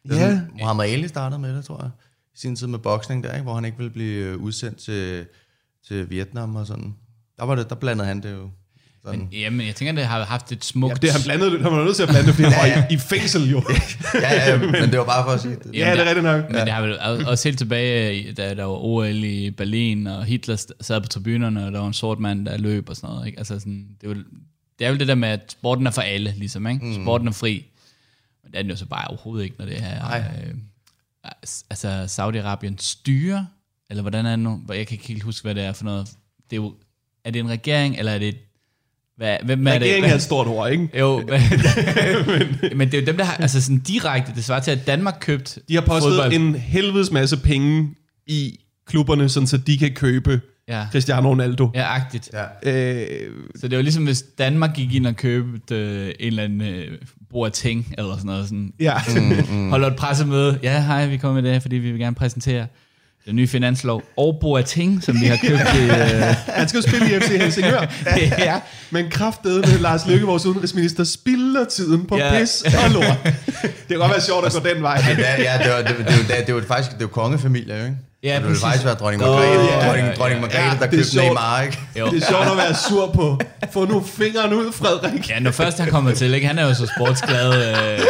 [SPEAKER 4] Det er
[SPEAKER 1] Ja.
[SPEAKER 4] sådan, Muhammad Ali startede med det, tror jeg. I sin tid med boksning der, ikke, hvor han ikke ville blive øh, udsendt til, til Vietnam og sådan. Der, var det, der blandede han det jo. Sådan. Men,
[SPEAKER 3] Jamen, jeg tænker, det har haft et smukt...
[SPEAKER 1] det har han blandet, han var nødt til at blande det, fordi han var i, i fængsel jo.
[SPEAKER 4] ja, ja, men det var bare for at sige det.
[SPEAKER 1] ja, det er rigtigt nok.
[SPEAKER 3] Men det har vel også helt tilbage, i- da der var OL i Berlin, og Hitler st- sad på tribunerne, og der var en sort mand, der løb og sådan noget. Ikke? Altså sådan, det, er jo, det er jo det der med, at sporten er for alle, ligesom. Ikke? Mm. Sporten er fri. Men det er den jo så bare overhovedet ikke, når det er... Øh, altså, Saudi-Arabien styrer, eller hvordan er det nu? Hvor Jeg kan ikke helt huske, hvad det er for noget. Det er, jo, er det en regering, eller er det... et- Hvad, hvem er det?
[SPEAKER 1] Regeringen er et stort ord, ikke?
[SPEAKER 3] Jo, men, men det er jo dem, der har, altså sådan direkte, det svarer til, at Danmark købte
[SPEAKER 1] De har postet
[SPEAKER 3] fodbold.
[SPEAKER 1] en helvedes masse penge i klubberne, sådan, så de kan købe
[SPEAKER 3] Ja.
[SPEAKER 1] ja. Cristiano Ronaldo. Ja.
[SPEAKER 3] Ja, agtigt. Ja.
[SPEAKER 1] Øh,
[SPEAKER 3] Så det var ligesom, hvis Danmark gik ind og købte øh, en eller anden øh, Boateng, eller sådan noget. Sådan.
[SPEAKER 1] ja. Mm.
[SPEAKER 3] Mm. Holder et pressemøde. Ja, hej, vi kommer med det her, fordi vi vil gerne præsentere den nye finanslov og Boateng, som vi har købt i... Øh,
[SPEAKER 1] Han skal jo spille i FC Helsingør.
[SPEAKER 3] ja.
[SPEAKER 1] Men kraftedeme Lars Løkke, vores udenrigsminister, spilder tiden på
[SPEAKER 3] Ja.
[SPEAKER 1] ja. pis og lort. Det kan godt være sjovt at gå den vej.
[SPEAKER 4] Ja, ja, det var, det, det, det, det, det var faktisk det var kongefamilier, jo, ikke?
[SPEAKER 3] Ja,
[SPEAKER 4] det ville
[SPEAKER 3] præcis.
[SPEAKER 4] faktisk være dronning
[SPEAKER 3] Nå,
[SPEAKER 4] Margrethe,
[SPEAKER 3] ja,
[SPEAKER 4] dronning,
[SPEAKER 3] ja, ja.
[SPEAKER 4] dronning Margrethe,
[SPEAKER 1] Ja,
[SPEAKER 4] der
[SPEAKER 1] det er
[SPEAKER 4] købte
[SPEAKER 1] sjovt.
[SPEAKER 4] Neymar, ikke?
[SPEAKER 3] Jo.
[SPEAKER 1] Det er sjovt at være sur på. Få nu fingeren ud, Frederik.
[SPEAKER 3] Ja, når først han kommer til, ikke? han er jo så sportsglad. Øh,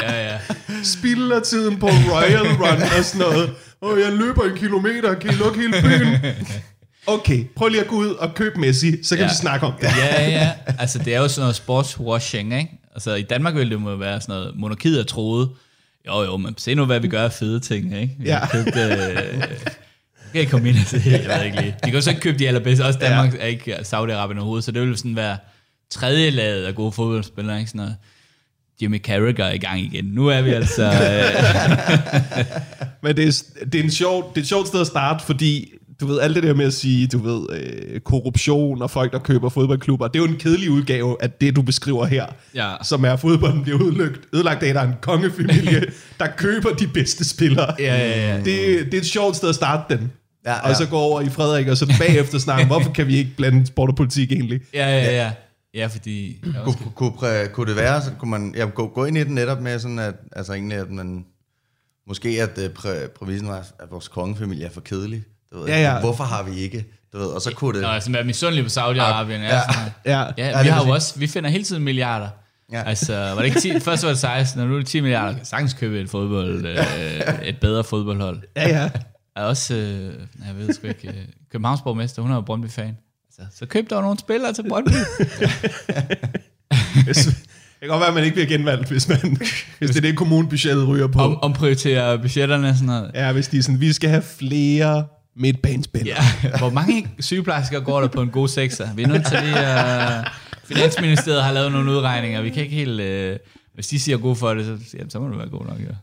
[SPEAKER 3] ja, ja.
[SPEAKER 1] spilder tiden på Royal Run og sådan noget. Åh, jeg løber en kilometer, kan I lukke hele byen? Okay, prøv lige at gå ud og købe Messi, så kan
[SPEAKER 3] Ja.
[SPEAKER 1] ja. vi snakke om det.
[SPEAKER 3] Ja, ja. Altså, det er jo sådan noget sportswashing, ikke? Altså, i Danmark ville det må være sådan noget, monarkiet er troet. Jo, jo, men se nu, hvad vi gør af fede ting, ikke? Vi har
[SPEAKER 1] Ja.
[SPEAKER 3] købt, øh, nu kan I komme ind og se, jeg ved ikke lige. De kan jo så ikke købe de allerbedste. Også Danmark ja. er ikke Saudi-Arabien overhovedet, så det ville sådan være tredje laget af gode fodboldspillere, ikke? Sådan noget. Jimmy Carragher er i gang igen. Nu er vi altså... Øh,
[SPEAKER 1] Men det er, det, er en sjov, det er et sjovt sted at starte, fordi du ved, alt det der med at sige, du ved, øh, korruption og folk, der køber fodboldklubber, det er jo en kedelig udgave af det, du beskriver her,
[SPEAKER 3] Ja.
[SPEAKER 1] som er, at fodbolden bliver udlagt, ødelagt af, at der er en kongefamilie, der køber de bedste spillere.
[SPEAKER 3] Ja, ja, ja.
[SPEAKER 1] Det, det er et sjovt sted at starte den.
[SPEAKER 4] Ja,
[SPEAKER 1] Og så
[SPEAKER 4] ja.
[SPEAKER 1] gå over i Frederik, og så bagefter snakke, hvorfor kan vi ikke blande sport og politik egentlig?
[SPEAKER 3] ja, ja, ja. Ja, fordi...
[SPEAKER 4] Kunne, kunne, kunne, præ- kunne det være, så kunne man ja, gå, gå ind i den netop med sådan, at, altså egentlig, at man, måske at øh, præ, prævisen var, at vores kongefamilie er for kedelig. Du ved,
[SPEAKER 1] Ja, ja.
[SPEAKER 4] Hvorfor har vi ikke? Du ved, og så kunne det...
[SPEAKER 3] Nå, sådan være misundelig på Saudi-Arabien. Ja, sådan,
[SPEAKER 1] Ja.
[SPEAKER 3] Ja,
[SPEAKER 4] Ja,
[SPEAKER 3] vi
[SPEAKER 4] lige
[SPEAKER 3] har jo
[SPEAKER 4] præcis.
[SPEAKER 3] også, vi finder hele tiden milliarder. Ja.
[SPEAKER 4] Ja.
[SPEAKER 3] Altså, var det ikke 10, først var det 16, og nu er det 10 milliarder. Kan sagtens købe et fodbold, øh, et bedre fodboldhold.
[SPEAKER 1] Ja, ja.
[SPEAKER 3] Er også, øh, nej, jeg ved sgu ikke, øh, Københavns borgmester, hun er jo Brøndby-fan. Altså, så køb dog nogle spillere til Brøndby.
[SPEAKER 1] Det kan godt være, at man ikke bliver genvalgt, hvis, man, hvis det er det, kommunebudgettet ryger på.
[SPEAKER 3] Om, omprioritere budgetterne og sådan noget.
[SPEAKER 1] Ja, hvis de er sådan, vi skal have flere med et bandspil.
[SPEAKER 3] Ja, hvor mange sygeplejersker går der på en god sekser? Vi er nødt til lige at... Finansministeriet har lavet nogle udregninger. Vi kan ikke helt... Øh, hvis de siger god for det, så, jamen, så må det være god nok. Ja.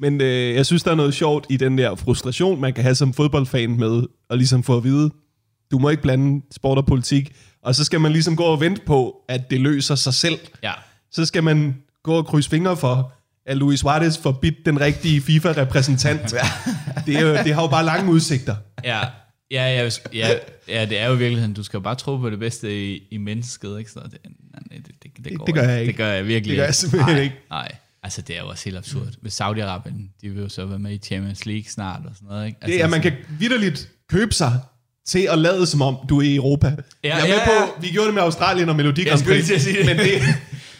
[SPEAKER 1] Men øh, jeg synes, der er noget sjovt i den der frustration, man kan have som fodboldfan med, og ligesom få at vide, du må ikke blande sport og politik, og så skal man ligesom gå og vente på, at det løser sig selv.
[SPEAKER 3] ja.
[SPEAKER 1] Så skal man gå og krydse fingre for, at Luis Suarez får bidt den rigtige FIFA-repræsentant. Det, er jo, det har jo bare lange udsigter.
[SPEAKER 3] Ja, ja, ja, hvis, ja, ja, det er jo i virkeligheden, du skal jo bare tro på det bedste i, i mennesket, ikke? Så det, nej, nej, det, det, det, går
[SPEAKER 1] det gør jeg ikke.
[SPEAKER 3] Det gør jeg virkelig
[SPEAKER 1] Det gør jeg simpelthen
[SPEAKER 3] nej,
[SPEAKER 1] ikke.
[SPEAKER 3] Nej, altså det er jo også helt absurd. Hvis Saudi-Arabien, de vil jo så være med i Champions League snart og sådan noget, ikke? Altså,
[SPEAKER 1] Det er, at man kan vidderligt købe sig til at lade som om, du er i Europa. Ja, jeg er med
[SPEAKER 3] ja, ja.
[SPEAKER 1] på, vi gjorde det med Australien og Melodi Grand
[SPEAKER 3] skulle
[SPEAKER 1] Prix,
[SPEAKER 3] lige til at sige det.
[SPEAKER 1] men det,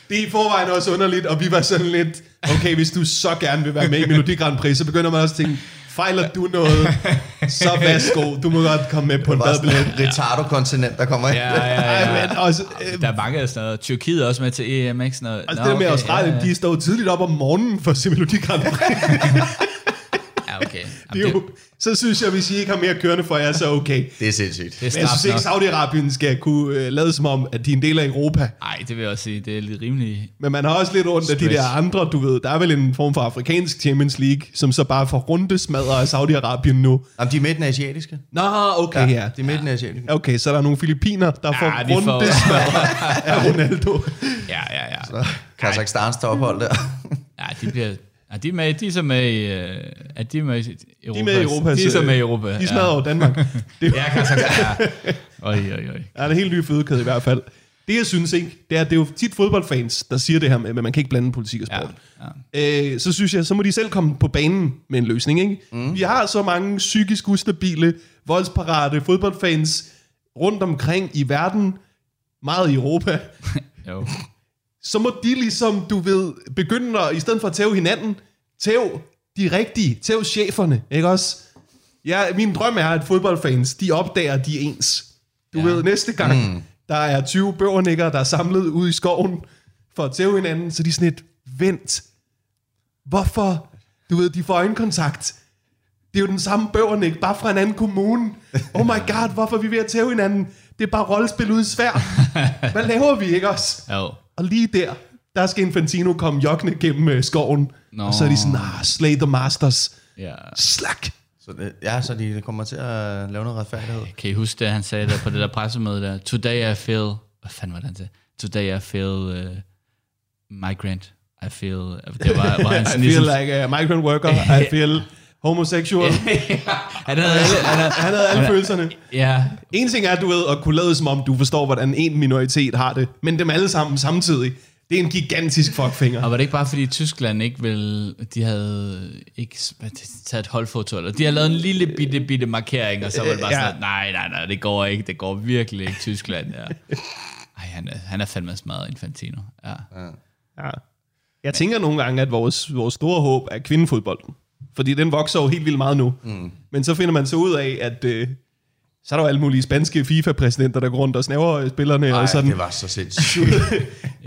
[SPEAKER 1] det er i forvejen også underligt, og vi var sådan lidt, okay, hvis du så gerne vil være med i Melodi Grand Prix, så begynder man også at tænke, fejler du noget, så værsgo, du må godt komme med på en
[SPEAKER 4] Bare sådan
[SPEAKER 1] badbillet.
[SPEAKER 4] et retardo-kontinent, der kommer ind.
[SPEAKER 3] Ja, ja, ja.
[SPEAKER 1] Ej, men også, øh,
[SPEAKER 3] Der er mange af sådan noget. Tyrkiet er også med til EM, ikke? Sådan noget.
[SPEAKER 1] også
[SPEAKER 3] Nå,
[SPEAKER 1] det der med
[SPEAKER 3] okay,
[SPEAKER 1] Australien,
[SPEAKER 3] ja,
[SPEAKER 1] de står tidligt op om morgenen for at se Melodi Grand Prix.
[SPEAKER 3] Ja, okay.
[SPEAKER 1] Det er
[SPEAKER 3] Jamen,
[SPEAKER 1] jo, så synes jeg, hvis I ikke har mere kørende for jer, så okay.
[SPEAKER 4] Det er sindssygt.
[SPEAKER 3] det er
[SPEAKER 1] Men jeg
[SPEAKER 3] snart
[SPEAKER 1] synes ikke,
[SPEAKER 3] nok.
[SPEAKER 1] Saudi-Arabien skal kunne øh, lade som om, at de er en del af Europa.
[SPEAKER 3] Ej, det vil jeg også sige. Det er lidt rimeligt.
[SPEAKER 1] Men man har også lidt ondt af de
[SPEAKER 3] Stress.
[SPEAKER 1] der andre, du ved. Der er vel en form for afrikansk Champions League, som så bare får rundesmadret af Saudi-Arabien nu.
[SPEAKER 4] Jamen, de er midten asiatiske.
[SPEAKER 1] Nå, okay, ja.
[SPEAKER 4] De er midten asiatiske.
[SPEAKER 1] Okay, så er der nogle filipiner, der ja, får
[SPEAKER 3] de får-
[SPEAKER 1] rundesmadret af Ronaldo.
[SPEAKER 3] Ja, ja, ja.
[SPEAKER 4] Kazakhstans tophold der.
[SPEAKER 3] Ja, de bliver... Ja, de er med, de er så med i... øh, Er de med i Europa?
[SPEAKER 1] De er med i Europa.
[SPEAKER 3] De er så med i Europa.
[SPEAKER 1] De smadrer jo Danmark. Det er,
[SPEAKER 3] Ja, ja Kazakhstan. Ja. Oj, oj, oj.
[SPEAKER 1] der er en helt ny fødekæde i hvert fald. Det, jeg synes ikke, det er, det er jo tit fodboldfans, der siger det her med, at man kan ikke blande politik og
[SPEAKER 3] Ja,
[SPEAKER 1] sport.
[SPEAKER 3] ja.
[SPEAKER 1] øh, så synes jeg, så må de selv komme på banen med en løsning. Ikke? Mm. Vi har så mange psykisk ustabile, voldsparate fodboldfans rundt omkring i verden, meget i Europa.
[SPEAKER 3] Jo.
[SPEAKER 1] Så må de ligesom, du ved, begynde at, i stedet for at tæve hinanden, tæv de rigtige, tæv cheferne, ikke også? Ja, min drøm er, at fodboldfans, de opdager, at de er ens. Du ja. ved, næste gang, mm. der er 20 bøvernikker, der er samlet ude i skoven for at tæve hinanden, så de er sådan lidt, vent, hvorfor? Du ved, de får øjenkontakt. Det er jo den samme bøvernik, bare fra en anden kommune. Oh my god, hvorfor er vi ved at tæve hinanden? Det er bare rollespil uden svær. Hvad laver vi, ikke også?
[SPEAKER 3] Jo.
[SPEAKER 1] Og lige der, der skal Infantino komme jokkende gennem øh, skoven. No.
[SPEAKER 3] Nå.
[SPEAKER 1] Og så er de sådan, ah, slay the masters.
[SPEAKER 3] Ja.
[SPEAKER 1] Slak!
[SPEAKER 4] Så det, ja, så de kommer til at lave noget retfærdighed.
[SPEAKER 3] Kan I huske det, han sagde der på det der pressemøde der? Today I feel... Hvad fanden var det, han sagde? Today I feel uh, migrant. I feel... Det var, var han
[SPEAKER 1] I
[SPEAKER 3] sådan
[SPEAKER 1] feel
[SPEAKER 3] ligesom...
[SPEAKER 1] like a migrant worker. I feel homosexual.
[SPEAKER 3] Han havde alle... Han havde,
[SPEAKER 1] Han havde alle følelserne.
[SPEAKER 3] ja,
[SPEAKER 1] En ting er, du ved, at kunne lade som om, du forstår, hvordan en minoritet har det, men dem alle sammen samtidig. Det er en gigantisk fuckfinger.
[SPEAKER 3] Og var det ikke bare fordi Tyskland ikke vil, de havde ikke s- hvad, de- taget et holdfoto, eller de har lavet en lille bitte, bitte markering, og så var det bare
[SPEAKER 1] Øh, ja.
[SPEAKER 3] sådan, nej, nej, nej, det går ikke, det går virkelig ikke, Tyskland, ja. Ej, han er, han er fandme smadret, Infantino. Ja.
[SPEAKER 1] Ja. Jeg tænker nogle gange, at vores, vores store håb er kvindefodbolden. Fordi den vokser jo helt vildt meget nu. Mm. Men så finder man så ud af, at øh, så er der jo alle mulige spanske FIFA-præsidenter, der går rundt og snæver øh, spillerne. Ej, og sådan.
[SPEAKER 4] det var så sindssygt.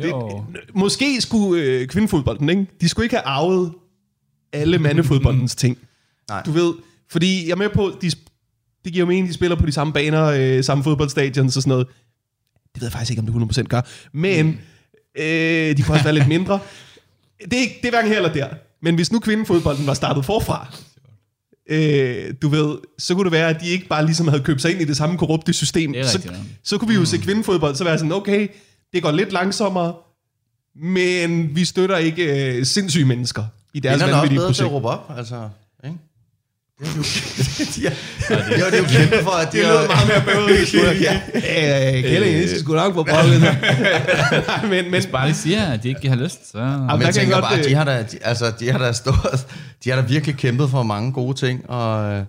[SPEAKER 3] Jo.
[SPEAKER 1] Måske skulle øh, kvindefodbolden, ikke? de skulle ikke have arvet alle mandefodboldens ting.
[SPEAKER 4] Mm. Nej.
[SPEAKER 1] Du ved, fordi jeg er med på, de, sp- det giver jo mening, de spiller på de samme baner, øh, samme fodboldstadions og sådan noget. Det ved jeg faktisk ikke, om det 100% gør. Men øh, de kunne også være lidt mindre. Det er, ikke, det er hverken her eller der. Men hvis nu kvindefodbolden var startet forfra, øh, du ved, så kunne det være, at de ikke bare ligesom havde købt sig ind i det samme korrupte system.
[SPEAKER 3] Det er
[SPEAKER 1] så,
[SPEAKER 3] rigtigt, ja.
[SPEAKER 1] så kunne vi jo se kvindefodbold, så være sådan, okay, det går lidt langsommere, men vi støtter ikke øh, sindssyge mennesker i deres
[SPEAKER 4] Kvinderne er også
[SPEAKER 1] vanvittige
[SPEAKER 4] bedre til
[SPEAKER 1] projekt.
[SPEAKER 4] at råbe op, altså. Ikke? Det er jo- det er jo kæmpe for, at de
[SPEAKER 1] Det
[SPEAKER 4] har-
[SPEAKER 1] lød meget mere bøvet. ja. Øh, Kjell, I skal sgu nok på bolden. Nej, men, men,
[SPEAKER 3] Bare lige siger, at de ikke har lyst, så...
[SPEAKER 1] Jamen,
[SPEAKER 4] Men
[SPEAKER 1] der
[SPEAKER 4] jeg
[SPEAKER 1] kan
[SPEAKER 4] tænker
[SPEAKER 1] jeg
[SPEAKER 4] bare,
[SPEAKER 1] godt,
[SPEAKER 4] de
[SPEAKER 1] øh,
[SPEAKER 4] har, da, de, altså, de har da stået, de har da virkelig kæmpet for mange gode ting og, øh,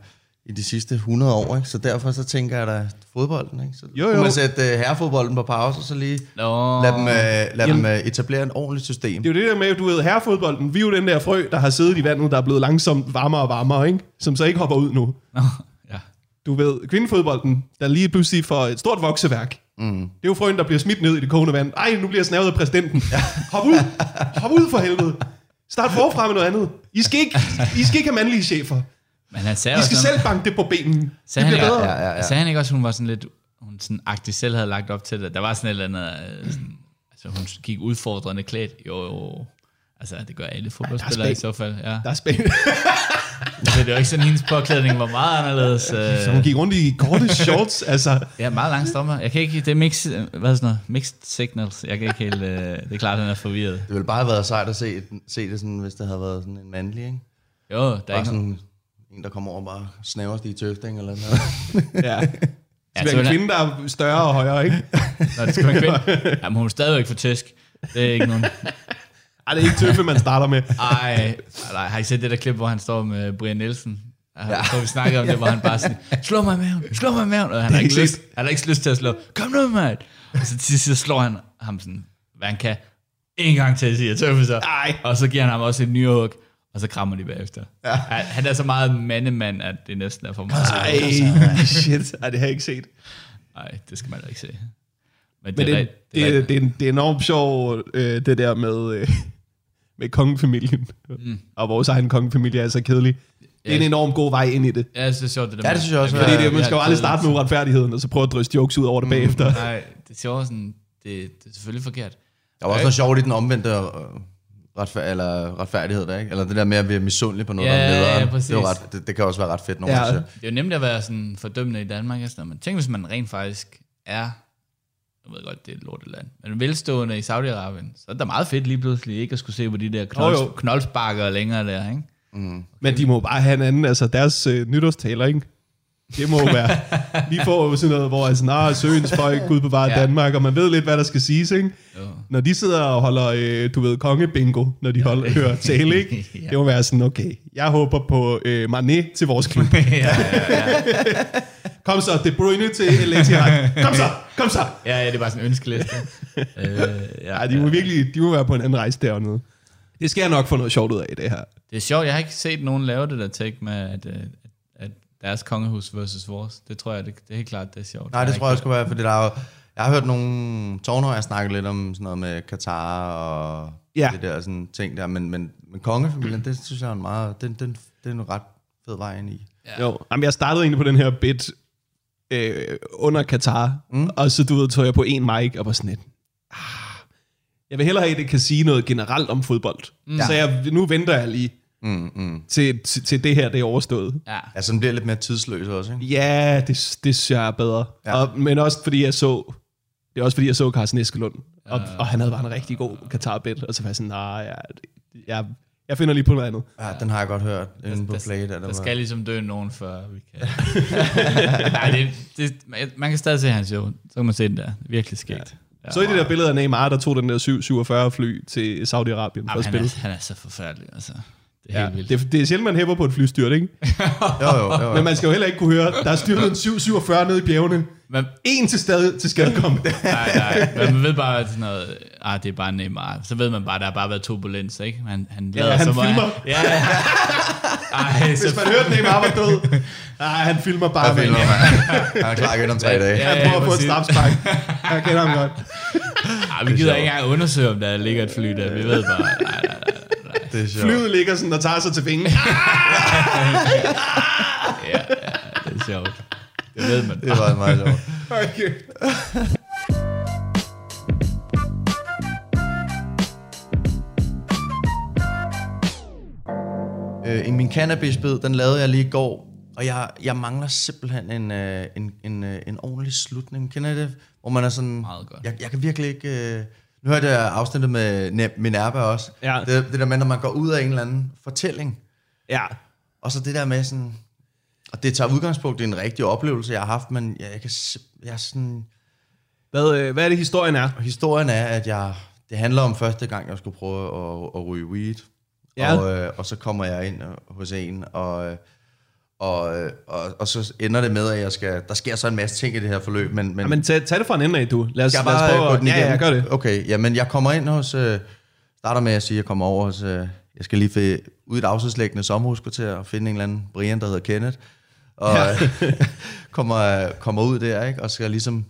[SPEAKER 4] i de sidste 100 år, ikke? så derfor så tænker jeg da fodbolden. Ikke? Så
[SPEAKER 1] Jo,
[SPEAKER 4] kunne
[SPEAKER 1] jo.
[SPEAKER 4] man sætte øh, herrefodbolden på pause, og så lige
[SPEAKER 3] Nå.
[SPEAKER 4] lade dem, øh, lade dem øh, etablere en ordentlig system.
[SPEAKER 1] det er jo det der med, at du ved, herrefodbolden, vi er jo den der frø, der har siddet i vandet, der er blevet langsomt varmere og varmere, ikke? som så ikke hopper ud nu.
[SPEAKER 3] Nå, ja.
[SPEAKER 1] Du ved, kvindefodbolden, der lige pludselig får et stort vokseværk. Mm. Det er jo frøen, der bliver smidt ned i det kogende vand. Ej, nu bliver jeg snavet af præsidenten. Hop ud! Hop ud for helvede! Start forfra med noget andet. I skal ikke, I skal ikke have mandlige chefer.
[SPEAKER 3] Men han sagde
[SPEAKER 1] I
[SPEAKER 3] også
[SPEAKER 1] skal
[SPEAKER 3] noget-
[SPEAKER 1] selv banke det på benen.
[SPEAKER 3] Sagde
[SPEAKER 1] det
[SPEAKER 3] han,
[SPEAKER 1] bliver
[SPEAKER 3] ikke,
[SPEAKER 1] bedre.
[SPEAKER 3] ja, ja, ja. sagde han ikke også, hun var sådan lidt, hun sådan agtig selv havde lagt op til det. Der var sådan et eller andet, øh, sådan, altså hun gik udfordrende klædt. Jo, jo. Altså, det gør alle fodboldspillere i
[SPEAKER 1] spæ-
[SPEAKER 3] så fald. Ja.
[SPEAKER 1] Der er spændende.
[SPEAKER 3] Så det var ikke sådan, hendes påklædning var meget anderledes.
[SPEAKER 1] Så
[SPEAKER 3] Øh,
[SPEAKER 1] hun gik rundt i korte shorts, altså.
[SPEAKER 3] ja, meget lange strømmer. Jeg kan ikke, det er mix, hvad er sådan noget, mixed signals. Jeg kan ikke helt, øh, det er klart, han er forvirret.
[SPEAKER 4] Det ville bare have været sejt at se, et, se det sådan, hvis det havde været sådan en mandlig, ikke?
[SPEAKER 3] Jo, der er
[SPEAKER 4] Bare
[SPEAKER 3] ikke sådan,
[SPEAKER 4] sådan en, der kommer over og bare snaver sig i tøfting eller noget.
[SPEAKER 1] Ja.
[SPEAKER 3] ja,
[SPEAKER 1] Det
[SPEAKER 3] så
[SPEAKER 1] er en
[SPEAKER 3] ville han-
[SPEAKER 1] kvinde, der er større og højere, ikke?
[SPEAKER 3] Nå, det skal være en kvinde. Jamen, hun er stadigvæk for tæsk. Det er ikke nogen...
[SPEAKER 1] Ej, det er ikke tøffe, man starter med.
[SPEAKER 3] Ej, nej, har I set det der klip, hvor han står med Brian Nielsen? Jeg ja. tror, vi snakkede om det, hvor han bare sådan, slå mig i maven, slå mig i maven, og han har
[SPEAKER 1] ikke
[SPEAKER 3] ikke, lyst,
[SPEAKER 1] set.
[SPEAKER 3] han har ikke lyst til at slå, kom nu, mand. Og så til sidst slår han ham sådan, hvad han kan, en gang til, siger tøffe så.
[SPEAKER 1] Ej.
[SPEAKER 3] Og så giver han ham også et nyhug, og så krammer de bagefter. Ja. Han, han er så meget mandemand, at det næsten er for meget.
[SPEAKER 1] Ej, shit. Ej, det har jeg ikke set.
[SPEAKER 3] Nej, det skal man da ikke se. Men,
[SPEAKER 1] Men
[SPEAKER 3] det,
[SPEAKER 1] det,
[SPEAKER 3] er
[SPEAKER 1] det,
[SPEAKER 3] rigt-
[SPEAKER 1] det, det,
[SPEAKER 3] det,
[SPEAKER 1] det, er en- det er enormt sjovt, øh, det der med, øh, med kongefamilien. Mm. Og vores egen kongefamilie er så kedelig. Det er en
[SPEAKER 3] Ja.
[SPEAKER 1] enormt god vej ind i det.
[SPEAKER 3] Ja, jeg synes, det er sjovt, det der
[SPEAKER 4] Ja, det
[SPEAKER 3] med-
[SPEAKER 4] synes jeg også,
[SPEAKER 3] at vi-
[SPEAKER 1] Fordi
[SPEAKER 4] Ja,
[SPEAKER 1] det, man
[SPEAKER 3] vi
[SPEAKER 1] skal jo
[SPEAKER 3] har
[SPEAKER 1] aldrig
[SPEAKER 3] givet-
[SPEAKER 1] starte med uretfærdigheden, og så prøve at drysse jokes ud over det bagefter.
[SPEAKER 3] Nej, det ser også sådan, det, det er selvfølgelig forkert.
[SPEAKER 4] Der var også noget sjovt i den omvendte øh, retfær- eller retfærdighed der, ikke? Eller det der med at være misundelig på noget,
[SPEAKER 3] Ja,
[SPEAKER 4] der er
[SPEAKER 3] ja,
[SPEAKER 4] nederen.
[SPEAKER 3] præcis.
[SPEAKER 4] det, er jo ret, det, det, kan også være ret fedt nogle
[SPEAKER 1] Ja.
[SPEAKER 4] gange. synes jeg.
[SPEAKER 3] Det er jo nemt at være sådan fordømmende i Danmark. og sådan noget, Men tænk, hvis man rent faktisk er, jeg ved godt, det er et lorteland, men velstående i Saudi-Arabien, så er der meget fedt lige pludselig ikke at skulle se på de der knolds,
[SPEAKER 1] Jo, jo.
[SPEAKER 3] knoldsbakker længere der, ikke?
[SPEAKER 1] Men de må jo bare have en anden, altså deres øh, nytårstaler, ikke? Det må jo være. Vi får jo sådan noget, hvor altså, nah, søens folk, Gud bevare ja.
[SPEAKER 3] Ja.
[SPEAKER 1] Danmark, og man ved lidt, hvad der skal siges, ikke? Når de sidder og holder, øh, du ved, kongebingo, når de holder, hører tale, ikke?
[SPEAKER 3] Ja.
[SPEAKER 1] Det må være sådan, okay, jeg håber på øh, Mané til vores klub. Kom så, De Bruyne til LA Kom så, kom så.
[SPEAKER 3] Ja, ja, det er bare sådan en ønskeliste. øh, ja,
[SPEAKER 1] Ej, de må virkelig, de må være på en anden rejse dernede. Det skal jeg nok få noget sjovt ud af, det her.
[SPEAKER 3] Det er sjovt, jeg har ikke set nogen lave det der take med, at, øh, at, at deres kongehus versus vores. Det tror jeg, det, det er helt klart, det er sjovt.
[SPEAKER 4] Nej, det
[SPEAKER 3] har
[SPEAKER 4] tror jeg også skulle være, fordi der er jo, jeg har hørt nogle tårnhøjer snakke lidt om sådan noget med Katar og
[SPEAKER 1] Ja.
[SPEAKER 4] ja. det der sådan ting der, men, men, men kongefamilien, det synes jeg er en meget, den, den, det er en ret fed vej ind i.
[SPEAKER 1] Ja. Jo, jamen, jeg startede egentlig på den her bit øh, under Katar, mm. og så du ved, tog jeg på en mic og var sådan lidt, ah, jeg vil hellere have, at det kan sige noget generelt om fodbold. Mm. Så jeg, nu venter jeg lige
[SPEAKER 4] Mm, mm.
[SPEAKER 1] til, til, til det her, det er overstået.
[SPEAKER 3] Ja.
[SPEAKER 4] Ja, så den bliver lidt mere tidsløs også, ikke?
[SPEAKER 1] Ja, det, det synes jeg er bedre. Ja.
[SPEAKER 4] Ja.
[SPEAKER 1] Og, men også fordi jeg så, det er også fordi jeg så Carsten Eskelund, og, og han havde bare en rigtig god Katar-bit, og så var jeg sådan, nej, jeg, jeg, jeg finder lige på noget andet.
[SPEAKER 4] Ja, den har jeg godt hørt inde på Play. Der, der,
[SPEAKER 3] Der
[SPEAKER 4] var-
[SPEAKER 3] skal ligesom dø nogen, før vi kan... Nej, det, det, man- man kan stadig se hans show. Så kan man se den der. Virkelig skægt. Ja.
[SPEAKER 1] Så i det der billede af Neymar, der tog den der 747 fly til Saudi-Arabien for at
[SPEAKER 3] han,
[SPEAKER 1] spille.
[SPEAKER 3] er, han er så forfærdelig, altså. Det er
[SPEAKER 1] Ja,
[SPEAKER 3] helt vildt.
[SPEAKER 1] det, det er sjældent, man hæpper på et flystyrt, ikke?
[SPEAKER 4] jo, jo, jo, jo.
[SPEAKER 1] Men man skal jo heller ikke kunne høre, der er styrtet en 747 nede i bjergene.
[SPEAKER 3] Men,
[SPEAKER 1] En til stade til skadekommende.
[SPEAKER 3] nej, nej, men man ved bare, at sådan noget, ah, det er bare Neymar. Så ved man bare, at der har bare været turbulens, ikke? Han, han lader
[SPEAKER 1] han
[SPEAKER 3] som om-
[SPEAKER 1] filmer.
[SPEAKER 3] Ja, ja. Ej, så
[SPEAKER 1] Hvis man hørte Neymar var død, nej, han filmer bare,
[SPEAKER 4] Jeg
[SPEAKER 1] med
[SPEAKER 4] filmer, mand. Jeg er klar igen om tre dage.
[SPEAKER 3] Ja,
[SPEAKER 1] Han
[SPEAKER 3] ja,
[SPEAKER 1] prøver at få et
[SPEAKER 3] præcis.
[SPEAKER 1] strafspark. Jeg kender ham godt.
[SPEAKER 3] Ej, vi gider ikke engang undersøge, om der ligger et fly der. Vi ved bare, nej, nej, nej.
[SPEAKER 4] Det er sjovt.
[SPEAKER 1] Flyet ligger sådan og tager sig til vingen. Ah,
[SPEAKER 3] det er sjovt. Det ved man.
[SPEAKER 4] Det var meget sjovt.
[SPEAKER 1] okay.
[SPEAKER 4] Øh, en- min cannabisbid, den lavede jeg lige i går, og jeg, jeg mangler simpelthen en, øh, en, en, øh, en ordentlig slutning. Kender I det? Hvor man er sådan...
[SPEAKER 3] Meget godt.
[SPEAKER 4] Jeg, jeg kan virkelig ikke... Øh, nu hørte jeg afsnittet med Ne- Minerva også.
[SPEAKER 1] Ja.
[SPEAKER 4] Det, det der med, når man går ud af en eller anden fortælling,
[SPEAKER 1] Ja.
[SPEAKER 4] og så det der med sådan... Og det tager udgangspunkt i en rigtig oplevelse, jeg har haft, men jeg, jeg kan... simp- Jeg er sådan,
[SPEAKER 1] Hvad, øh, hvad er det, historien er?
[SPEAKER 4] historien er, at jeg, det handler om første gang, jeg skulle prøve at, at ryge weed.
[SPEAKER 1] Ja.
[SPEAKER 4] Og, øh, og så kommer jeg ind øh, hos en, og, øh, og, øh, og, og så ender det med, at jeg skal... Der sker så en masse ting i det her forløb, men... men
[SPEAKER 1] Jamen, tag, tag det fra en ende af, du. Lad os,
[SPEAKER 4] skal jeg
[SPEAKER 1] lad os
[SPEAKER 4] bare
[SPEAKER 1] prøve
[SPEAKER 4] gå
[SPEAKER 1] at-
[SPEAKER 4] den
[SPEAKER 1] ja,
[SPEAKER 4] igennem?
[SPEAKER 1] ja, gør det.
[SPEAKER 4] Okay, jamen jeg kommer ind hos... Øh, starter med at sige, at jeg kommer over hos... Øh, jeg skal lige fi- ud i et afsidslæggende sommerhuskvarter og finde en eller anden Brian, der hedder Kenneth. Og ja. kommer, kommer ud der, ikke? Og skal ligesom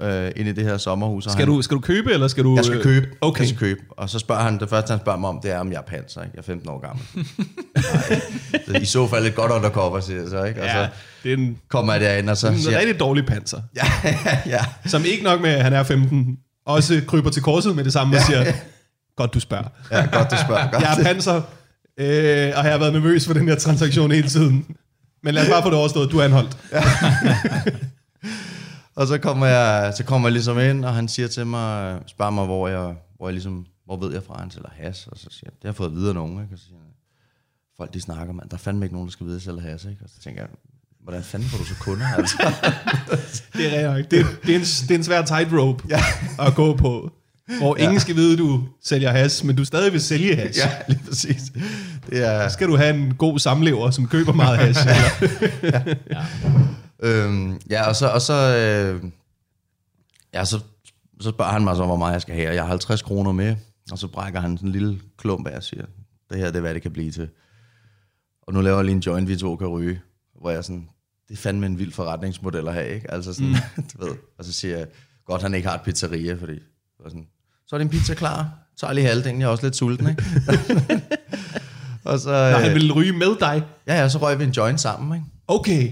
[SPEAKER 4] øh, inde i det her sommerhus. og
[SPEAKER 1] Skal
[SPEAKER 4] han,
[SPEAKER 1] du, skal du købe, eller skal du...
[SPEAKER 4] Jeg skal
[SPEAKER 1] øh,
[SPEAKER 4] købe.
[SPEAKER 1] Okay.
[SPEAKER 4] Jeg skal købe. Og så spørger han, det første han spørger mig om, det er, om jeg er panser. Ikke? Jeg er 15 år gammel. Nej. Så I så fald et godt undercover, siger jeg så. Ikke? Og
[SPEAKER 1] Ja,
[SPEAKER 4] så
[SPEAKER 1] det er en,
[SPEAKER 4] kommer jeg derind, og så
[SPEAKER 1] en
[SPEAKER 4] siger Altså, jeg,
[SPEAKER 1] rigtig dårlig panser.
[SPEAKER 4] ja, ja,
[SPEAKER 1] Som ikke nok med, at han er 15, også kryber til korset med det samme og siger, godt du spørger.
[SPEAKER 4] ja, godt du spørger. Godt.
[SPEAKER 1] Jeg er panser, øh, og jeg har været nervøs for den her transaktion hele tiden. Men lad os bare få det overstået, du er anholdt.
[SPEAKER 4] Og så kommer, jeg, så kommer jeg ligesom ind, og han siger til mig, spørger mig, hvor jeg, hvor jeg ligesom, hvor ved jeg fra, han sælger has, og så siger jeg, det har jeg fået videre nogen, ikke? Og så siger han, folk de snakker, mand, der er fandme ikke nogen, der skal vide, at jeg sælger has, ikke? Og så tænker jeg, hvordan fanden får du så kunder, altså?
[SPEAKER 1] Det er rigtigt. Det, det, er en, det er en svær tightrope ja. at gå på. Hvor ingen ja. skal vide, du sælger has, men du stadig vil sælge has. Ja.
[SPEAKER 4] ja, lige præcis. Det er,
[SPEAKER 1] Skal du have en god samlever, som køber meget has? Eller?
[SPEAKER 4] øhm, ja, og så, og så, øh, ja, så, så spørger han mig så, hvor meget jeg skal have, og jeg har 50 kroner med, og så brækker han sådan en lille klump af og siger, det her, det er, hvad det kan blive til. Og nu laver jeg lige en joint, vi to kan ryge, hvor jeg sådan, det er fandme en vild forretningsmodel at have, ikke? Altså sådan, mm. du ved, og så siger jeg, godt han ikke har et pizzeria, fordi, og sådan, så er din pizza klar, så er lige halvdelen, jeg er også lidt sulten, ikke? og så,
[SPEAKER 1] Nej, han
[SPEAKER 4] øh,
[SPEAKER 1] vil ryge med dig.
[SPEAKER 4] ja, ja, så røg vi en joint sammen, ikke?
[SPEAKER 1] Okay.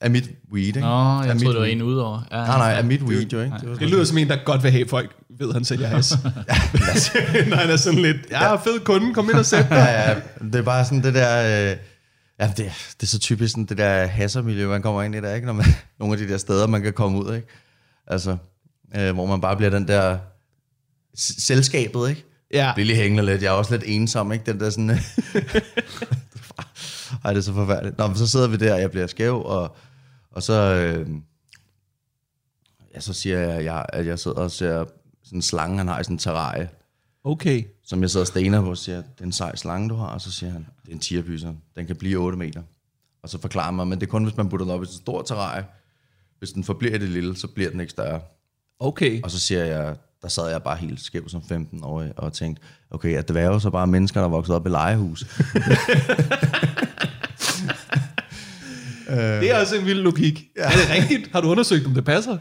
[SPEAKER 4] Af mit weed, ikke?
[SPEAKER 3] Nå,
[SPEAKER 4] Af
[SPEAKER 3] jeg
[SPEAKER 4] mit
[SPEAKER 3] troede, det var
[SPEAKER 4] weed.
[SPEAKER 3] en udover. Ja,
[SPEAKER 4] Nej, nej, af mit weed jo, ikke? Det var
[SPEAKER 1] Det
[SPEAKER 4] sådan-
[SPEAKER 1] lyder som en, der godt vil have, folk ved, han sælger has. Når han er sådan lidt, ja, fed kunde, kom ind og sæt dig.
[SPEAKER 4] ja, ja, det er bare sådan det der... Øh, ja, det, det er så typisk sådan det der hassermiljø, man kommer ind i der, ikke? Når man, nogle af de der steder, man kan komme ud, ikke? Altså, øh, hvor man bare bliver den der... s- Selskabet, ikke?
[SPEAKER 1] Ja.
[SPEAKER 4] Det lige hænger lidt. Jeg er også lidt ensom, ikke? Den der sådan... øh, Ej, det er så forfærdeligt. Nå, men så sidder vi der, og jeg bliver skæv, og, og så... Øh, ja, så siger jeg, at jeg, at jeg sidder og ser sådan en slange, han har i sådan en terrarie
[SPEAKER 1] Okay.
[SPEAKER 4] som jeg sidder og stener på, siger, jeg, det er en sej slange, du har, og så siger han, det er en tierbyser, den kan blive 8 meter. Og så forklarer han mig, men det er kun, hvis man putter den op i et stort terrarie. Hvis den forbliver i det lille, så bliver den ikke større.
[SPEAKER 1] Okay.
[SPEAKER 4] Og så siger jeg, der sad jeg bare helt skæv som 15-årig og tænkte, okay, at dværge så bare mennesker, der er vokset op i legehus.
[SPEAKER 1] Det er også en vild logik. Ja. Er det rigtigt? Har du undersøgt, om det passer?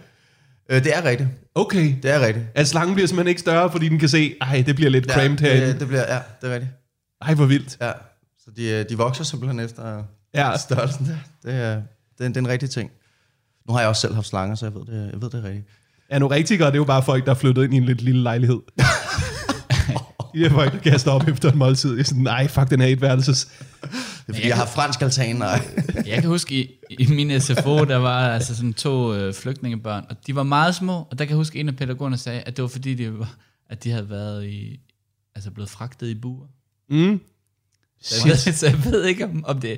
[SPEAKER 4] øh, det er rigtigt.
[SPEAKER 1] Okay.
[SPEAKER 4] Det er rigtigt.
[SPEAKER 1] At slangen bliver simpelthen ikke større, fordi den kan se, ej, det bliver lidt ja, cramped herinde.
[SPEAKER 4] det, det, bliver, ja, det er rigtigt.
[SPEAKER 1] Ej, hvor vildt.
[SPEAKER 4] Ja. Så de, øh, de vokser simpelthen efter
[SPEAKER 1] Ja.
[SPEAKER 4] ja. størrelsen. Det, det, er, det, er, det er en rigtig ting. Nu har jeg også selv haft slanger, så jeg ved det, jeg ved det er rigtigt.
[SPEAKER 1] Anorektikere, det er jo bare folk, der er flyttet ind i en lidt lille lejlighed. De er folk, der kaster op efter en måltid. Jeg er sådan, nej, fuck, den her etværelses.
[SPEAKER 4] Det er, fordi jeg, har fransk altan, og
[SPEAKER 3] Jeg kan huske, i, i min SFO, der var altså sådan to øh, flygtningebørn, og de var meget små, og der kan jeg huske, at en af pædagogerne sagde, at det var fordi, de, var, at de havde været i, altså blevet fragtet i buer.
[SPEAKER 1] Mm.
[SPEAKER 3] Så jeg, ved, så jeg ved ikke, om, om det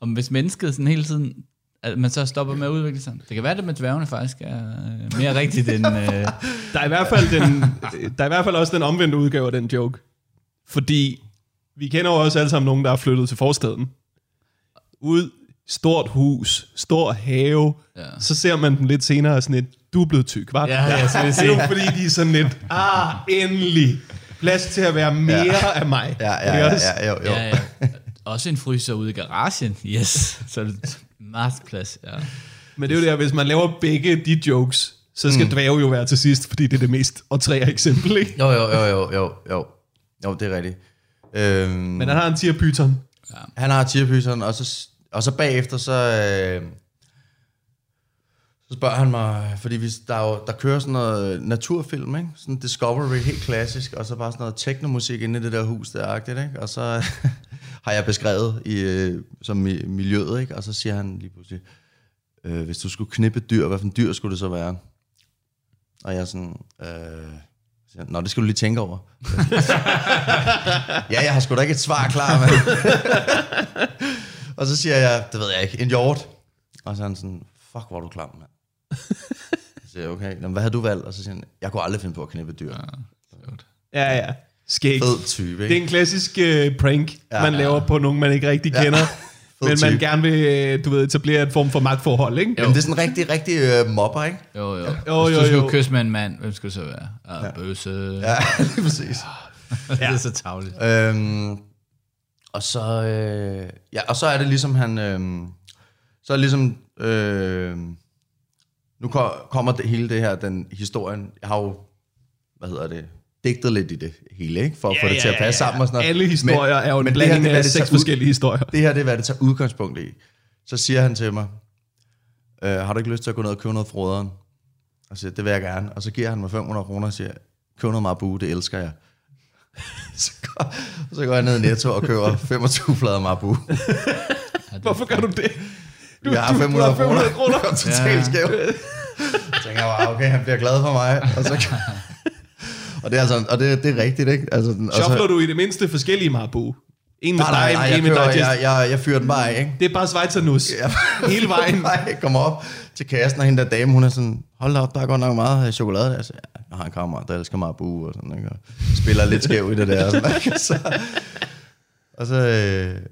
[SPEAKER 3] om hvis mennesket sådan hele tiden, at man så stopper med at udvikle sig. Det kan være, at det med dværgene faktisk er øh, mere rigtigt end... Øh,
[SPEAKER 1] Der er, i hvert fald den, der er i hvert fald også den omvendte udgave af den joke. Fordi vi kender jo også alle sammen nogen, der er flyttet til forstaden. Ud, stort hus, stor have. Ja. Så ser man den lidt senere og sådan lidt, du er blevet tyk, var?
[SPEAKER 3] Ja, ja, så vil jeg
[SPEAKER 1] det er jo fordi, de er sådan lidt, ah, endelig. Plads til at være mere ja. af mig.
[SPEAKER 4] Ja,
[SPEAKER 1] Det
[SPEAKER 4] ja,
[SPEAKER 1] er
[SPEAKER 4] ja,
[SPEAKER 1] også-
[SPEAKER 4] ja, jo, jo.
[SPEAKER 3] ja, ja. Også en fryser ude i garagen. Yes. Så er det meget plads. Ja.
[SPEAKER 1] Men det er jo det, at hvis man laver begge de jokes, så skal mm. dvæve jo være til sidst, fordi det er det mest åtrære eksempel, ikke?
[SPEAKER 4] Jo, jo, jo, jo, jo, jo. Jo, det er rigtigt. Øhm,
[SPEAKER 1] Men
[SPEAKER 4] Men
[SPEAKER 1] han har en tierpyton.
[SPEAKER 4] han har tierpyseren, og så, og så bagefter, så, øh, så spørger han mig, fordi vi, der, er jo, der kører sådan noget naturfilm, ikke? Sådan Discovery, helt klassisk, og så bare sådan noget teknomusik inde i det der hus der, agtigt, ikke? Og så har jeg beskrevet i, øh, som i miljøet, ikke? Og så siger han lige pludselig, øh, hvis du skulle knippe et dyr, hvad for en dyr skulle det så være? Og jeg er sådan, øh, siger, han, Nå, det skal du lige tænke over. ja, jeg har sgu da ikke et svar klar, mand. og så siger jeg, det ved jeg ikke, en hjort. Og så er han sådan, fuck, hvor er du klam, mand. Så siger jeg, okay, jamen, hvad har du valgt? Og så siger han, jeg kunne aldrig finde på at knippe et dyr.
[SPEAKER 1] Ja, ja. Skægt.
[SPEAKER 4] Fed type,
[SPEAKER 1] Det er
[SPEAKER 4] ikke?
[SPEAKER 1] en klassisk øh, prank, ja, man laver på nogen, man ikke rigtig kender. men
[SPEAKER 4] Fed
[SPEAKER 1] man
[SPEAKER 4] type.
[SPEAKER 1] gerne vil, øh, du ved, etablere et form for magtforhold, ikke?
[SPEAKER 4] Men det er sådan en rigtig, rigtig øh, mobber, ikke?
[SPEAKER 3] Jo, jo.
[SPEAKER 1] Jo,
[SPEAKER 3] Hvis
[SPEAKER 1] jo,
[SPEAKER 3] du
[SPEAKER 1] jo.
[SPEAKER 3] skulle kysse med en mand, hvem skulle det så være? Ah, ja. Bøse. Ja.
[SPEAKER 4] Ja, lige præcis.
[SPEAKER 3] det er så tavligt.
[SPEAKER 4] Øhm, og så øh, ja, og så er det ligesom han øhm, så er det ligesom øh, nu ko- kommer det, hele det her, den historien, jeg har jo, hvad hedder det, digtet lidt i det hele, ikke? For at få det til at passe sammen og sådan noget.
[SPEAKER 1] Alle historier er jo en
[SPEAKER 4] det her,
[SPEAKER 1] blanding
[SPEAKER 4] det er,
[SPEAKER 1] af
[SPEAKER 4] det
[SPEAKER 1] seks
[SPEAKER 4] tager ud-
[SPEAKER 1] forskellige historier.
[SPEAKER 4] Det her, det er, hvad det tager udgangspunkt i. Så siger han til mig, øh, har du ikke lyst til at gå ned og købe noget froderen? Og siger, jeg, det vil jeg gerne. Og så giver han mig 500 kroner og siger, køb noget marabu, det elsker jeg. så, går, så går jeg ned i Netto og køber 25 flader marabu.
[SPEAKER 1] Hvorfor gør du det? Du,
[SPEAKER 4] Jeg har 500 kroner. Og totalt
[SPEAKER 3] Ja.
[SPEAKER 4] skæv. Jeg tænker bare, okay, han bliver glad for mig. Og, så, og det er, altså, og det, det er rigtigt, ikke? Altså, den- og så-
[SPEAKER 1] Shuffler du i det mindste forskellige Marabu? En med
[SPEAKER 4] Nej, nej, nej,
[SPEAKER 1] dig,
[SPEAKER 4] jeg,
[SPEAKER 1] en med
[SPEAKER 4] kører,
[SPEAKER 1] dig.
[SPEAKER 4] jeg, jeg, jeg fyrer den bare af, ikke?
[SPEAKER 1] Det er bare svejsernus.
[SPEAKER 4] Ja.
[SPEAKER 1] Hele vejen.
[SPEAKER 4] Nej, jeg kommer op til kassen, og hende der dame, hun er sådan, hold da op, der er godt nok meget øh, chokolade. Jeg siger, ja, jeg har en kammerat, der elsker meget bu, og sådan, ikke? Og spiller lidt skæv i det der. og Sådan, ikke? så, og så, øh,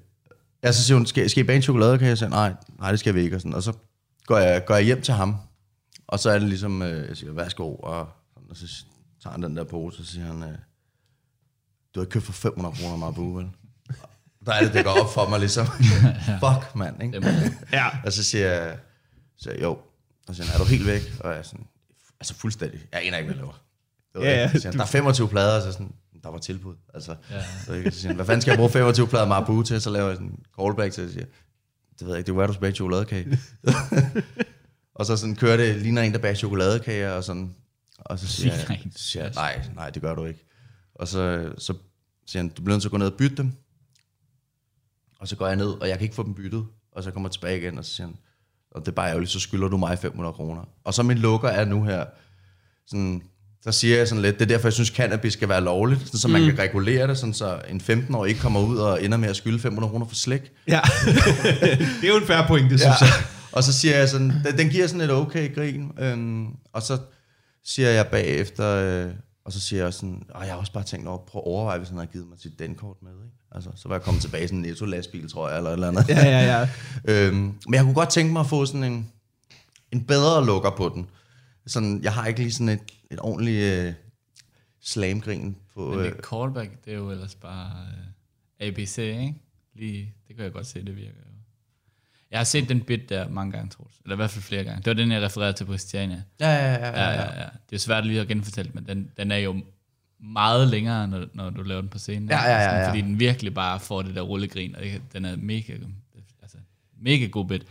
[SPEAKER 4] ja, så siger hun, skal, skal I bage en chokoladekage? Jeg siger, nej, nej, det skal vi ikke, og sådan. Og så går jeg, går jeg hjem til ham, og så er det ligesom, øh, jeg siger, værsgo, og, og så tager han den der pose, og så siger han, øh, du har ikke købt for 500 kroner Marabu, vel? Der er det, det går op for mig ligesom. Fuck, mand. Ikke?
[SPEAKER 1] Ja.
[SPEAKER 4] Og så siger jeg, så siger jeg, jo. Og så siger han, er du helt væk? Og jeg er sådan, altså fuldstændig. Jeg aner ikke, hvad jeg laver. Det ved
[SPEAKER 1] Ja,
[SPEAKER 4] jeg ikke.
[SPEAKER 1] ja,
[SPEAKER 4] Så siger han, der er 25 plader, og så sådan, der var tilbud. Altså, ja. ikke? Så siger han, hvad fanden skal jeg bruge 25 plader Marabu til? Så laver jeg sådan en callback til, og siger, det ved jeg ikke, det er where du bage chokoladekage. og så sådan kører det, ligner en, der bager chokoladekager, og sådan. Og så siger
[SPEAKER 3] Ligner
[SPEAKER 4] jeg,
[SPEAKER 3] en.
[SPEAKER 4] så siger jeg, nej, nej, det gør du ikke. Og så, så siger han, du bliver nødt til at gå ned og bytte dem. Og så går jeg ned, og jeg kan ikke få dem byttet. Og så kommer jeg tilbage igen, og så siger han, og det er bare ærgerligt, så skylder du mig 500 kroner. Og så min lukker er nu her, sådan, så siger jeg sådan lidt, det er derfor, jeg synes, cannabis skal være lovligt, sådan, så man
[SPEAKER 3] Mm.
[SPEAKER 4] kan regulere det, sådan, så en 15-årig ikke kommer ud og ender med at skylde 500 kroner for slik.
[SPEAKER 1] ja. det er jo en færre point, det synes jeg.
[SPEAKER 4] Og så siger jeg sådan, den, den giver sådan et okay grin, øhm, og så siger jeg bagefter, øh, og så siger jeg sådan, og jeg har også bare tænkt over, prøv at overveje, hvis han har givet mig sit dankort med, ikke? Altså, så var jeg kommet tilbage i sådan en netto-lastbil, tror jeg, eller et eller andet.
[SPEAKER 1] Ja, ja, ja.
[SPEAKER 4] Øhm, men jeg kunne godt tænke mig at få sådan en, en bedre lukker på den. Sådan, jeg har ikke lige sådan et, et ordentligt øh, slamgrin på...
[SPEAKER 3] Men
[SPEAKER 4] Øh,
[SPEAKER 3] det callback, det er jo ellers bare øh, ABC, ikke? Lige, det kan jeg godt se, det virker jo. Jeg har set den bit der mange gange, tror Eller i hvert fald flere gange. Det var den, jeg refererede til på Christiania.
[SPEAKER 4] ja, ja, ja, ja,
[SPEAKER 3] Ja,
[SPEAKER 4] ja.
[SPEAKER 3] ja, ja. Det er svært lige at genfortælle, men den, den er jo meget længere, når, når du laver den på scenen.
[SPEAKER 4] Ja, ja, ja,
[SPEAKER 3] Sådan,
[SPEAKER 4] ja.
[SPEAKER 3] Fordi den virkelig bare får det der rullegrin, og det, kan- den er mega, altså, mega god bit.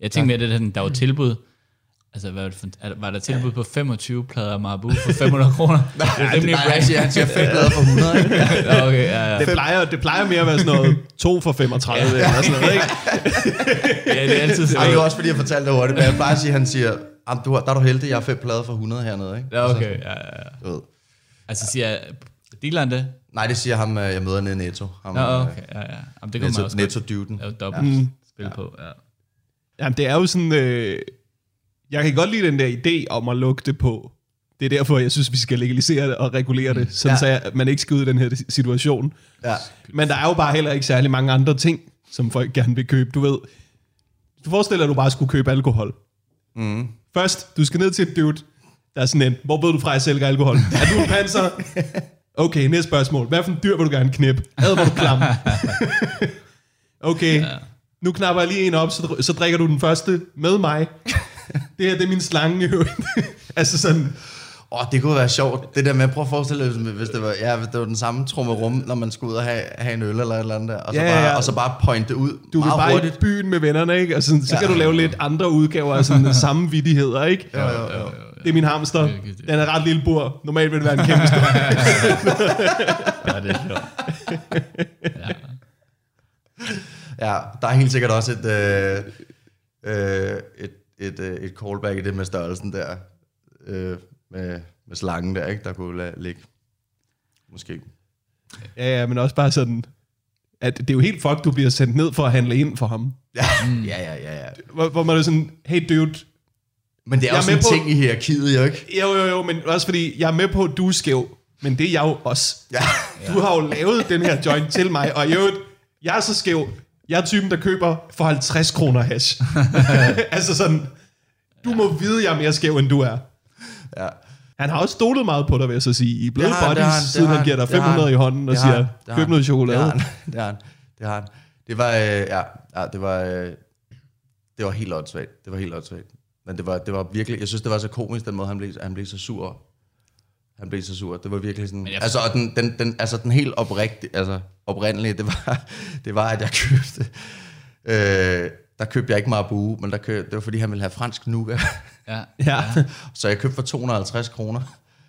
[SPEAKER 3] Jeg tænkte mere, det der, sådan, der var
[SPEAKER 4] Mm.
[SPEAKER 3] tilbud, altså hvad var, det for, en- er der- var der tilbud på 25 plader Marabu for 500 kroner? det er
[SPEAKER 4] Nej,
[SPEAKER 3] rimelig
[SPEAKER 4] han siger, han siger fem glade for 100, ikke?
[SPEAKER 3] Ja, okay, ja, ja.
[SPEAKER 1] Det plejer, det plejer mere at være sådan noget 2 for 35 eller sådan noget, ikke?
[SPEAKER 3] ja, det er altid sådan
[SPEAKER 4] Ej, det er
[SPEAKER 3] noget.
[SPEAKER 4] også fordi, jeg fortalte det hurtigt, men jeg plejer at sige, han siger, "Am, du har, der er du heldig, jeg har fem plader for 100 hernede, ikke?
[SPEAKER 3] Ja, okay, ja, ja. ja.
[SPEAKER 4] Du ved.
[SPEAKER 3] Altså siger jeg, dealeren det?
[SPEAKER 4] Nej, det siger ham, øh, jeg møder nede i Netto. Ham,
[SPEAKER 3] Nå,
[SPEAKER 4] øh,
[SPEAKER 3] okay, ja, ja. Jamen, det kunne man også
[SPEAKER 4] Netto,
[SPEAKER 3] godt
[SPEAKER 4] Netto-dyvden.
[SPEAKER 3] lave dobbelt spil på, ja.
[SPEAKER 1] Jamen, det er jo sådan... Øh, jeg kan godt lide den der idé om at lukke det på. Det er derfor, jeg synes, vi skal legalisere det og regulere det, sådan ja. så man ikke skal ud i den her situation.
[SPEAKER 4] Ja.
[SPEAKER 1] Men der er jo bare heller ikke særlig mange andre ting, som folk gerne vil købe. Du ved, du forestiller dig, at du bare skulle købe alkohol. Mm. Først, du skal ned til et dude, der er sådan en, hvor ved du fra, at jeg sælger alkohol? Er du en panser? Okay, næste spørgsmål. Hvad for en dyr vil du gerne knippe? Ad, hvor du klam. Okay, ja. nu knapper jeg lige en op, så, dr- så drikker du den første med mig. Det her, det er min slange i øvrigt. altså sådan,
[SPEAKER 4] Åh, oh, det kunne være sjovt. Det der med, prøv at forestille dig, hvis det var, ja, hvis det var den samme trummerum, når man skulle ud og have, have en øl eller et eller andet der, og så,
[SPEAKER 1] Ja,
[SPEAKER 4] bare,
[SPEAKER 1] ja.
[SPEAKER 4] Og så bare pointe det ud
[SPEAKER 1] du vil
[SPEAKER 4] meget
[SPEAKER 1] bare
[SPEAKER 4] hurtigt.
[SPEAKER 1] i byen med vennerne, ikke? Og sådan, så kan du lave lidt andre udgaver af sådan samme vidigheder, ikke? Ja, ja, ja. Det er min hamster. Den er ret lille bur. Normalt vil det være en kæmpe stor.
[SPEAKER 3] Ja, det er sjovt.
[SPEAKER 4] Ja, der er helt sikkert også et, øh, øh, et, et, øh, et callback i det med størrelsen der, øh, med, med slangen der, ikke? der kunne la- ligge. Måske.
[SPEAKER 1] Mm. Ja, ja, men også bare sådan, at det er jo helt fuck, du bliver sendt ned for at handle ind for ham.
[SPEAKER 4] Ja, ja, ja, ja. ja.
[SPEAKER 1] Hvor, hvor man er sådan, hey dude,
[SPEAKER 4] Men det er
[SPEAKER 1] Jeg er
[SPEAKER 4] også
[SPEAKER 1] med
[SPEAKER 4] en
[SPEAKER 1] på-
[SPEAKER 4] ting i hierarkiet, jo ikke?
[SPEAKER 1] jo jo jo, men også fordi, jeg er med på, at du er skæv, men det er jeg jo også.
[SPEAKER 4] Ja.
[SPEAKER 1] Du har jo lavet den her joint til mig, og i øvrigt, jeg er så skæv. Jeg er typen, der køber for 50 kroner hash. altså sådan, du må vide, jeg er mere skæv, end du er.
[SPEAKER 4] ja.
[SPEAKER 1] Han har også stolet meget på dig, vil jeg så sige. I er blevet
[SPEAKER 4] Det har han, det
[SPEAKER 1] buddies,
[SPEAKER 4] har han, det
[SPEAKER 1] siden
[SPEAKER 4] har
[SPEAKER 1] han giver dig
[SPEAKER 4] det har
[SPEAKER 1] 500 i hånden og
[SPEAKER 4] det har han,
[SPEAKER 1] siger,
[SPEAKER 4] det har
[SPEAKER 1] køb
[SPEAKER 4] han,
[SPEAKER 1] noget chokolade.
[SPEAKER 4] Det har han, det har han, det har han. Det var, øh, ja, ja, det var, øh, det var helt åndssvagt. Det var helt åndssvagt. Men det var, det var virkelig, jeg synes, det var så komisk, den måde, han blev, han blev så sur. Han blev så sur. Det var virkelig sådan...
[SPEAKER 3] jeg-
[SPEAKER 4] Altså, og den, den, den, altså, den helt oprigtige, altså, oprindelige, det var, det var at jeg købte... Øh, der købte jeg ikke Marabu, men der købte, det var, fordi han ville have fransk nougat.
[SPEAKER 3] Ja.
[SPEAKER 1] Ja. ja.
[SPEAKER 4] Så jeg købte for 250 kroner.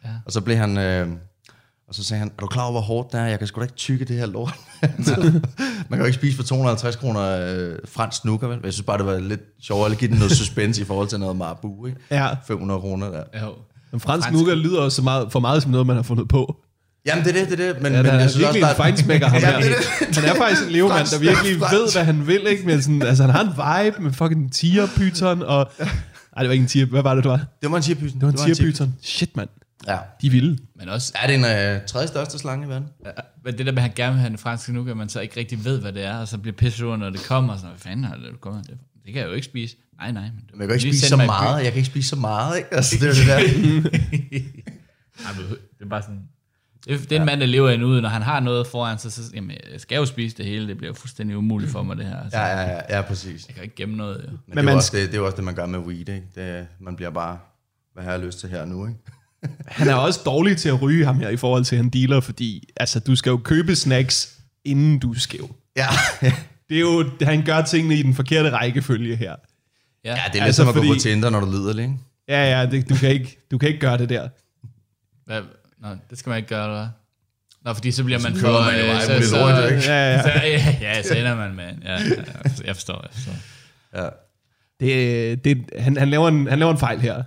[SPEAKER 4] Ja. Og så blev han... Øh, og så sagde han, er du klar over, hvor hårdt det er? Jeg kan sgu da ikke tykke det her lort. Man kan jo ikke spise for 250 kroner øh, fransk nukker, vel? Jeg synes bare, det var lidt sjovere at give den noget suspense i forhold til noget marabu, ikke?
[SPEAKER 1] Ja.
[SPEAKER 4] 500 kroner der.
[SPEAKER 3] Jo.
[SPEAKER 1] Men fransk nougat lyder også så meget, for meget som noget, man har fundet på.
[SPEAKER 4] Jamen, det er det, det er det. Men,
[SPEAKER 1] Ja,
[SPEAKER 4] men
[SPEAKER 1] der er
[SPEAKER 4] jeg synes
[SPEAKER 1] virkelig
[SPEAKER 4] også,
[SPEAKER 1] en fejnsmækker, ham
[SPEAKER 4] Ja,
[SPEAKER 1] her.
[SPEAKER 4] det er det.
[SPEAKER 1] Han er faktisk en levemand, der
[SPEAKER 4] Fransk,
[SPEAKER 1] virkelig
[SPEAKER 4] fransk.
[SPEAKER 1] ved, hvad han vil, ikke? Men sådan, altså, han har en vibe med fucking tigerpyton og... Nej, det var ikke en tiger. Hvad var det, det var?
[SPEAKER 4] Det var en tierpyton.
[SPEAKER 1] Det var en tigerpyton. Shit, mand.
[SPEAKER 4] Ja.
[SPEAKER 1] De er vilde.
[SPEAKER 3] Men også,
[SPEAKER 4] Er det en øh, tredje største slange i verden?
[SPEAKER 3] Men det der med, at han gerne vil have den franske nukke, at man så ikke rigtig ved, hvad det er, og så bliver pisse sur, når det kommer, og sådan, hvad fanden har det, du kommer det, det kan jeg jo ikke spise. Nej, nej. Men,
[SPEAKER 4] Men jeg kan ikke spise så meget. Jeg kan ikke spise så meget, ikke? Altså, det er jo det der.
[SPEAKER 3] Nej, men det er bare sådan... Det, det er en mand, der lever endnu, når han har noget foran sig, så jamen, jeg skal jo spise det hele, det bliver jo fuldstændig umuligt for mig, det her. Altså,
[SPEAKER 4] Ja, ja, ja, ja, præcis.
[SPEAKER 3] Jeg kan jo ikke gemme noget, jo.
[SPEAKER 4] Men,
[SPEAKER 1] Men
[SPEAKER 4] det, er
[SPEAKER 1] man
[SPEAKER 4] jo også det, det er jo også det, man gør med weed, ikke? Det, man bliver bare, hvad har jeg lyst til her og nu, ikke?
[SPEAKER 1] Han er også dårlig til at ryge ham her i forhold til, at han dealer, fordi altså, du skal jo købe snacks, inden du er skæv.
[SPEAKER 4] Ja,
[SPEAKER 1] Det er jo, han gør tingene i den forkerte rækkefølge her.
[SPEAKER 3] Ja,
[SPEAKER 4] ja det er
[SPEAKER 1] Altså,
[SPEAKER 4] altså, ligesom at fordi... gå
[SPEAKER 1] fordi-
[SPEAKER 4] på Tinder, når du lider lidt, ikke?
[SPEAKER 1] Ja, ja, det, du, kan ikke, du kan ikke gøre det der.
[SPEAKER 3] Hvad? Nå, det skal man ikke gøre, eller hvad? Nå, fordi så bliver man for...
[SPEAKER 4] kører man jo
[SPEAKER 3] øh,
[SPEAKER 4] vej
[SPEAKER 3] så-
[SPEAKER 4] med
[SPEAKER 3] så-
[SPEAKER 4] lortet, ikke?
[SPEAKER 1] Ja, ja.
[SPEAKER 3] Så, ja, ja, så ender man med... Ja, ja, jeg forstår, jeg forstår.
[SPEAKER 1] Det, det, han, han, laver en, han laver en fejl her.
[SPEAKER 4] Er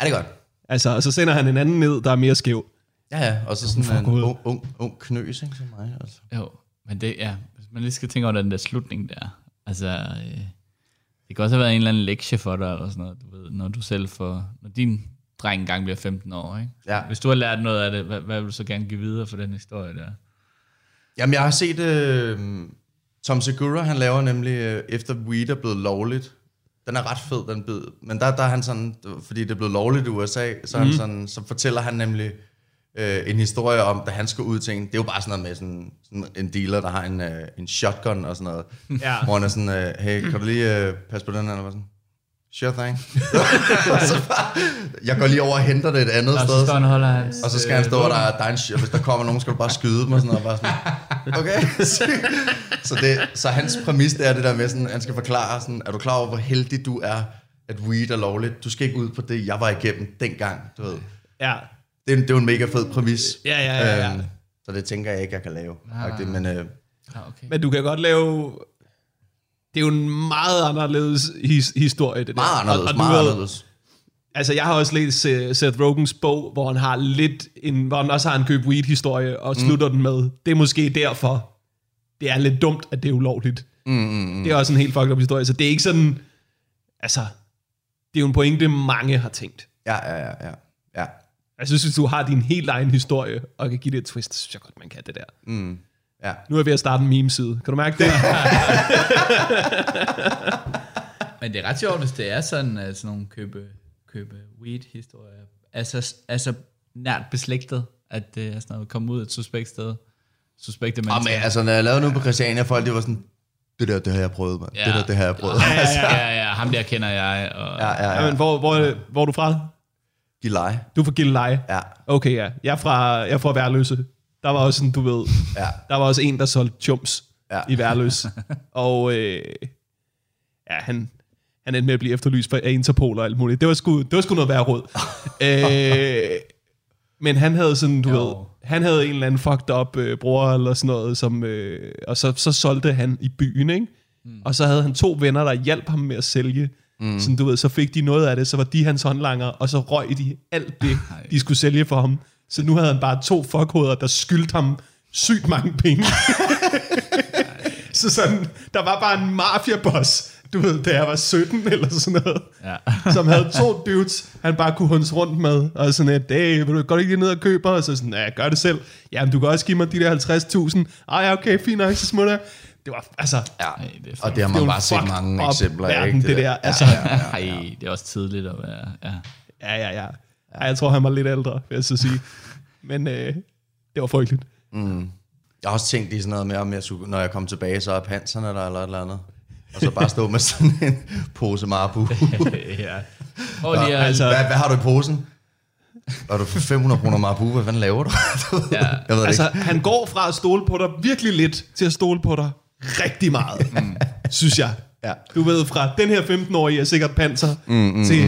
[SPEAKER 4] det er godt?
[SPEAKER 1] Altså, og så sender han en anden ned, der er mere skæv.
[SPEAKER 4] Ja, ja, og så sådan en
[SPEAKER 1] Gud.
[SPEAKER 4] ung, ung, ung knøs, ikke, som mig, altså.
[SPEAKER 3] Jo, men det, ja, hvis man lige skal tænke over den der slutning der. Altså, øh, det kan også have været en eller anden lektie for dig, eller sådan noget, du ved, når du selv får, når din dreng engang bliver 15 år, ikke?
[SPEAKER 4] Ja.
[SPEAKER 3] Hvis du har lært noget af det, hvad, hvad vil du så gerne give videre for den historie der?
[SPEAKER 4] Jamen, jeg har set øh, Tom Segura, han laver nemlig, øh, efter weed er blevet lovligt, den er ret fed, den bid, men der, der er han sådan, fordi det er blevet lovligt i USA, så, er
[SPEAKER 3] Mhm.
[SPEAKER 4] han sådan, så fortæller han nemlig øh, en historie om, da han skulle ud til en, det er jo bare sådan noget med sådan, sådan en dealer, der har en, øh, en shotgun og sådan noget,
[SPEAKER 1] Ja.
[SPEAKER 4] hvor han er sådan, øh, hey, kan du lige øh, passe på den her, eller hvad sådan? Sure thing. og så bare, jeg går lige over og henter det et andet
[SPEAKER 3] Og
[SPEAKER 4] sted.
[SPEAKER 3] så står han og holder hans...
[SPEAKER 4] Og så skal han stå, og der, er- der er en sh- og hvis der kommer nogen, skal du bare skyde dem og sådan noget. Bare sådan, okay. så, det, så hans præmis, det er det der med, sådan, han skal forklare, sådan, er du klar over, hvor heldig du er, at weed er lovligt? Du skal ikke ud på det, jeg var igennem dengang, du ved.
[SPEAKER 1] Ja.
[SPEAKER 4] Det er, en- det er jo en mega fed præmis.
[SPEAKER 1] Ja, ja, ja, ja.
[SPEAKER 4] Øhm, så det tænker jeg ikke, jeg kan lave. Ah. Men øh,
[SPEAKER 3] Ah, okay.
[SPEAKER 1] Men du kan godt lave... Det er jo en meget anderledes his, historie, det der.
[SPEAKER 4] meget
[SPEAKER 1] Og- og
[SPEAKER 4] anderledes,
[SPEAKER 1] du
[SPEAKER 4] meget
[SPEAKER 1] ved-
[SPEAKER 4] anderledes.
[SPEAKER 1] Altså, jeg har også læst øh, Seth Rogans bog, hvor han har lidt en, hvor han også har en køb weed-historie,
[SPEAKER 4] Mm.
[SPEAKER 1] og slutter den med, det er måske derfor, det er lidt dumt, at det er ulovligt. Mm, mm, mm. Det er også en helt fucked up historie, så det er ikke sådan, altså, det er jo en pointe, mange har tænkt.
[SPEAKER 4] Ja, ja, ja, ja. ja.
[SPEAKER 1] Jeg synes, hvis du har din helt egen historie, og kan give det et twist, så synes jeg godt, man kan det der. Mm.
[SPEAKER 4] Ja.
[SPEAKER 1] Nu er jeg ved at starte en meme-side. Kan du mærke det?
[SPEAKER 3] Men det er ret sjovt, hvis det er sådan, at sådan nogle købe, købe weed-historier er så, er så nært beslægtet, at det er sådan noget, at komme ud af et suspekt sted. Suspekte
[SPEAKER 4] Og
[SPEAKER 3] mennesker.
[SPEAKER 4] men, altså, når jeg lavede noget på Christiania, folk det var sådan, det der, det har jeg prøvet, mand. Ja. Det der, det har jeg prøvet.
[SPEAKER 3] Ja, ja, ja, ja, ham der kender jeg. Og,
[SPEAKER 4] altså. Ja, ja,
[SPEAKER 1] ja,
[SPEAKER 4] ja.
[SPEAKER 1] men hvor, hvor, hvor er du fra?
[SPEAKER 4] Giv leje.
[SPEAKER 1] Du er fra Gilleleje.
[SPEAKER 4] Ja,
[SPEAKER 1] Okay, ja. Jeg er fra, jeg er fra Værløse. Der var også sådan, du ved,
[SPEAKER 4] ja.
[SPEAKER 1] der var også en, der solgte chums ja.
[SPEAKER 4] Ja.
[SPEAKER 1] i Værløs. og øh, ja, han, han endte med at blive efterlyst for- af Interpol og alt muligt. Det var sgu, det var sgu noget værre råd. øh, men han havde sådan, du
[SPEAKER 3] Jo.
[SPEAKER 1] ved, han havde en eller anden fucked up øh, bror eller sådan noget, som, øh, og så, så solgte han i byen, ikke? Mm. Og så havde han to venner, der hjalp ham med at sælge. Mm. Sådan, du ved, så fik de noget af det, så var de hans håndlanger, og så røg de alt det,
[SPEAKER 3] Ej.
[SPEAKER 1] de skulle sælge for ham. Så nu havde han bare to fuckhoveder, der skyldte ham sygt mange penge. Så sådan, der var bare en mafiaboss, du ved, da jeg var 17 eller sådan noget,
[SPEAKER 3] Ja.
[SPEAKER 1] som havde to dudes, han bare kunne hunds rundt med, og sådan et, hey, vil du godt ikke lige ned og købe? Og så sådan, ja, jeg gør det selv. Jamen, du kan også give mig de der 50.000. Ej, ja, okay, fint nok, så smutter jeg. Det var, altså,
[SPEAKER 4] ja.
[SPEAKER 3] Ej, det er
[SPEAKER 4] og det har
[SPEAKER 1] det
[SPEAKER 4] man
[SPEAKER 1] var
[SPEAKER 4] bare set mange eksempler af.
[SPEAKER 1] verden,
[SPEAKER 4] ikke?
[SPEAKER 1] det, det der. Altså,
[SPEAKER 3] Ej, det er også tidligt at være... Ja.
[SPEAKER 1] ja, ja, ja. Ej, jeg tror, han var lidt ældre, vil jeg så sige. Men øh, det var frygteligt.
[SPEAKER 4] Jeg har også tænkt i sådan noget med, om jeg skulle, når jeg kom tilbage, så er panserne der eller et eller andet. og så bare stå med sådan en pose Marabu.
[SPEAKER 3] ja. Og lige at,
[SPEAKER 4] altså,
[SPEAKER 3] altså,
[SPEAKER 4] hvad, hvad har du i posen? Har du for 500 kroner Marabu? Hvad fanden laver du? ja, jeg ved det
[SPEAKER 1] Altså,
[SPEAKER 4] altså, ikke.
[SPEAKER 1] han går fra at stole på dig virkelig lidt, til at stole på dig rigtig meget, mm. synes jeg.
[SPEAKER 4] Ja.
[SPEAKER 1] Du ved, fra den her 15-årige er sikkert panser, mm, mm, til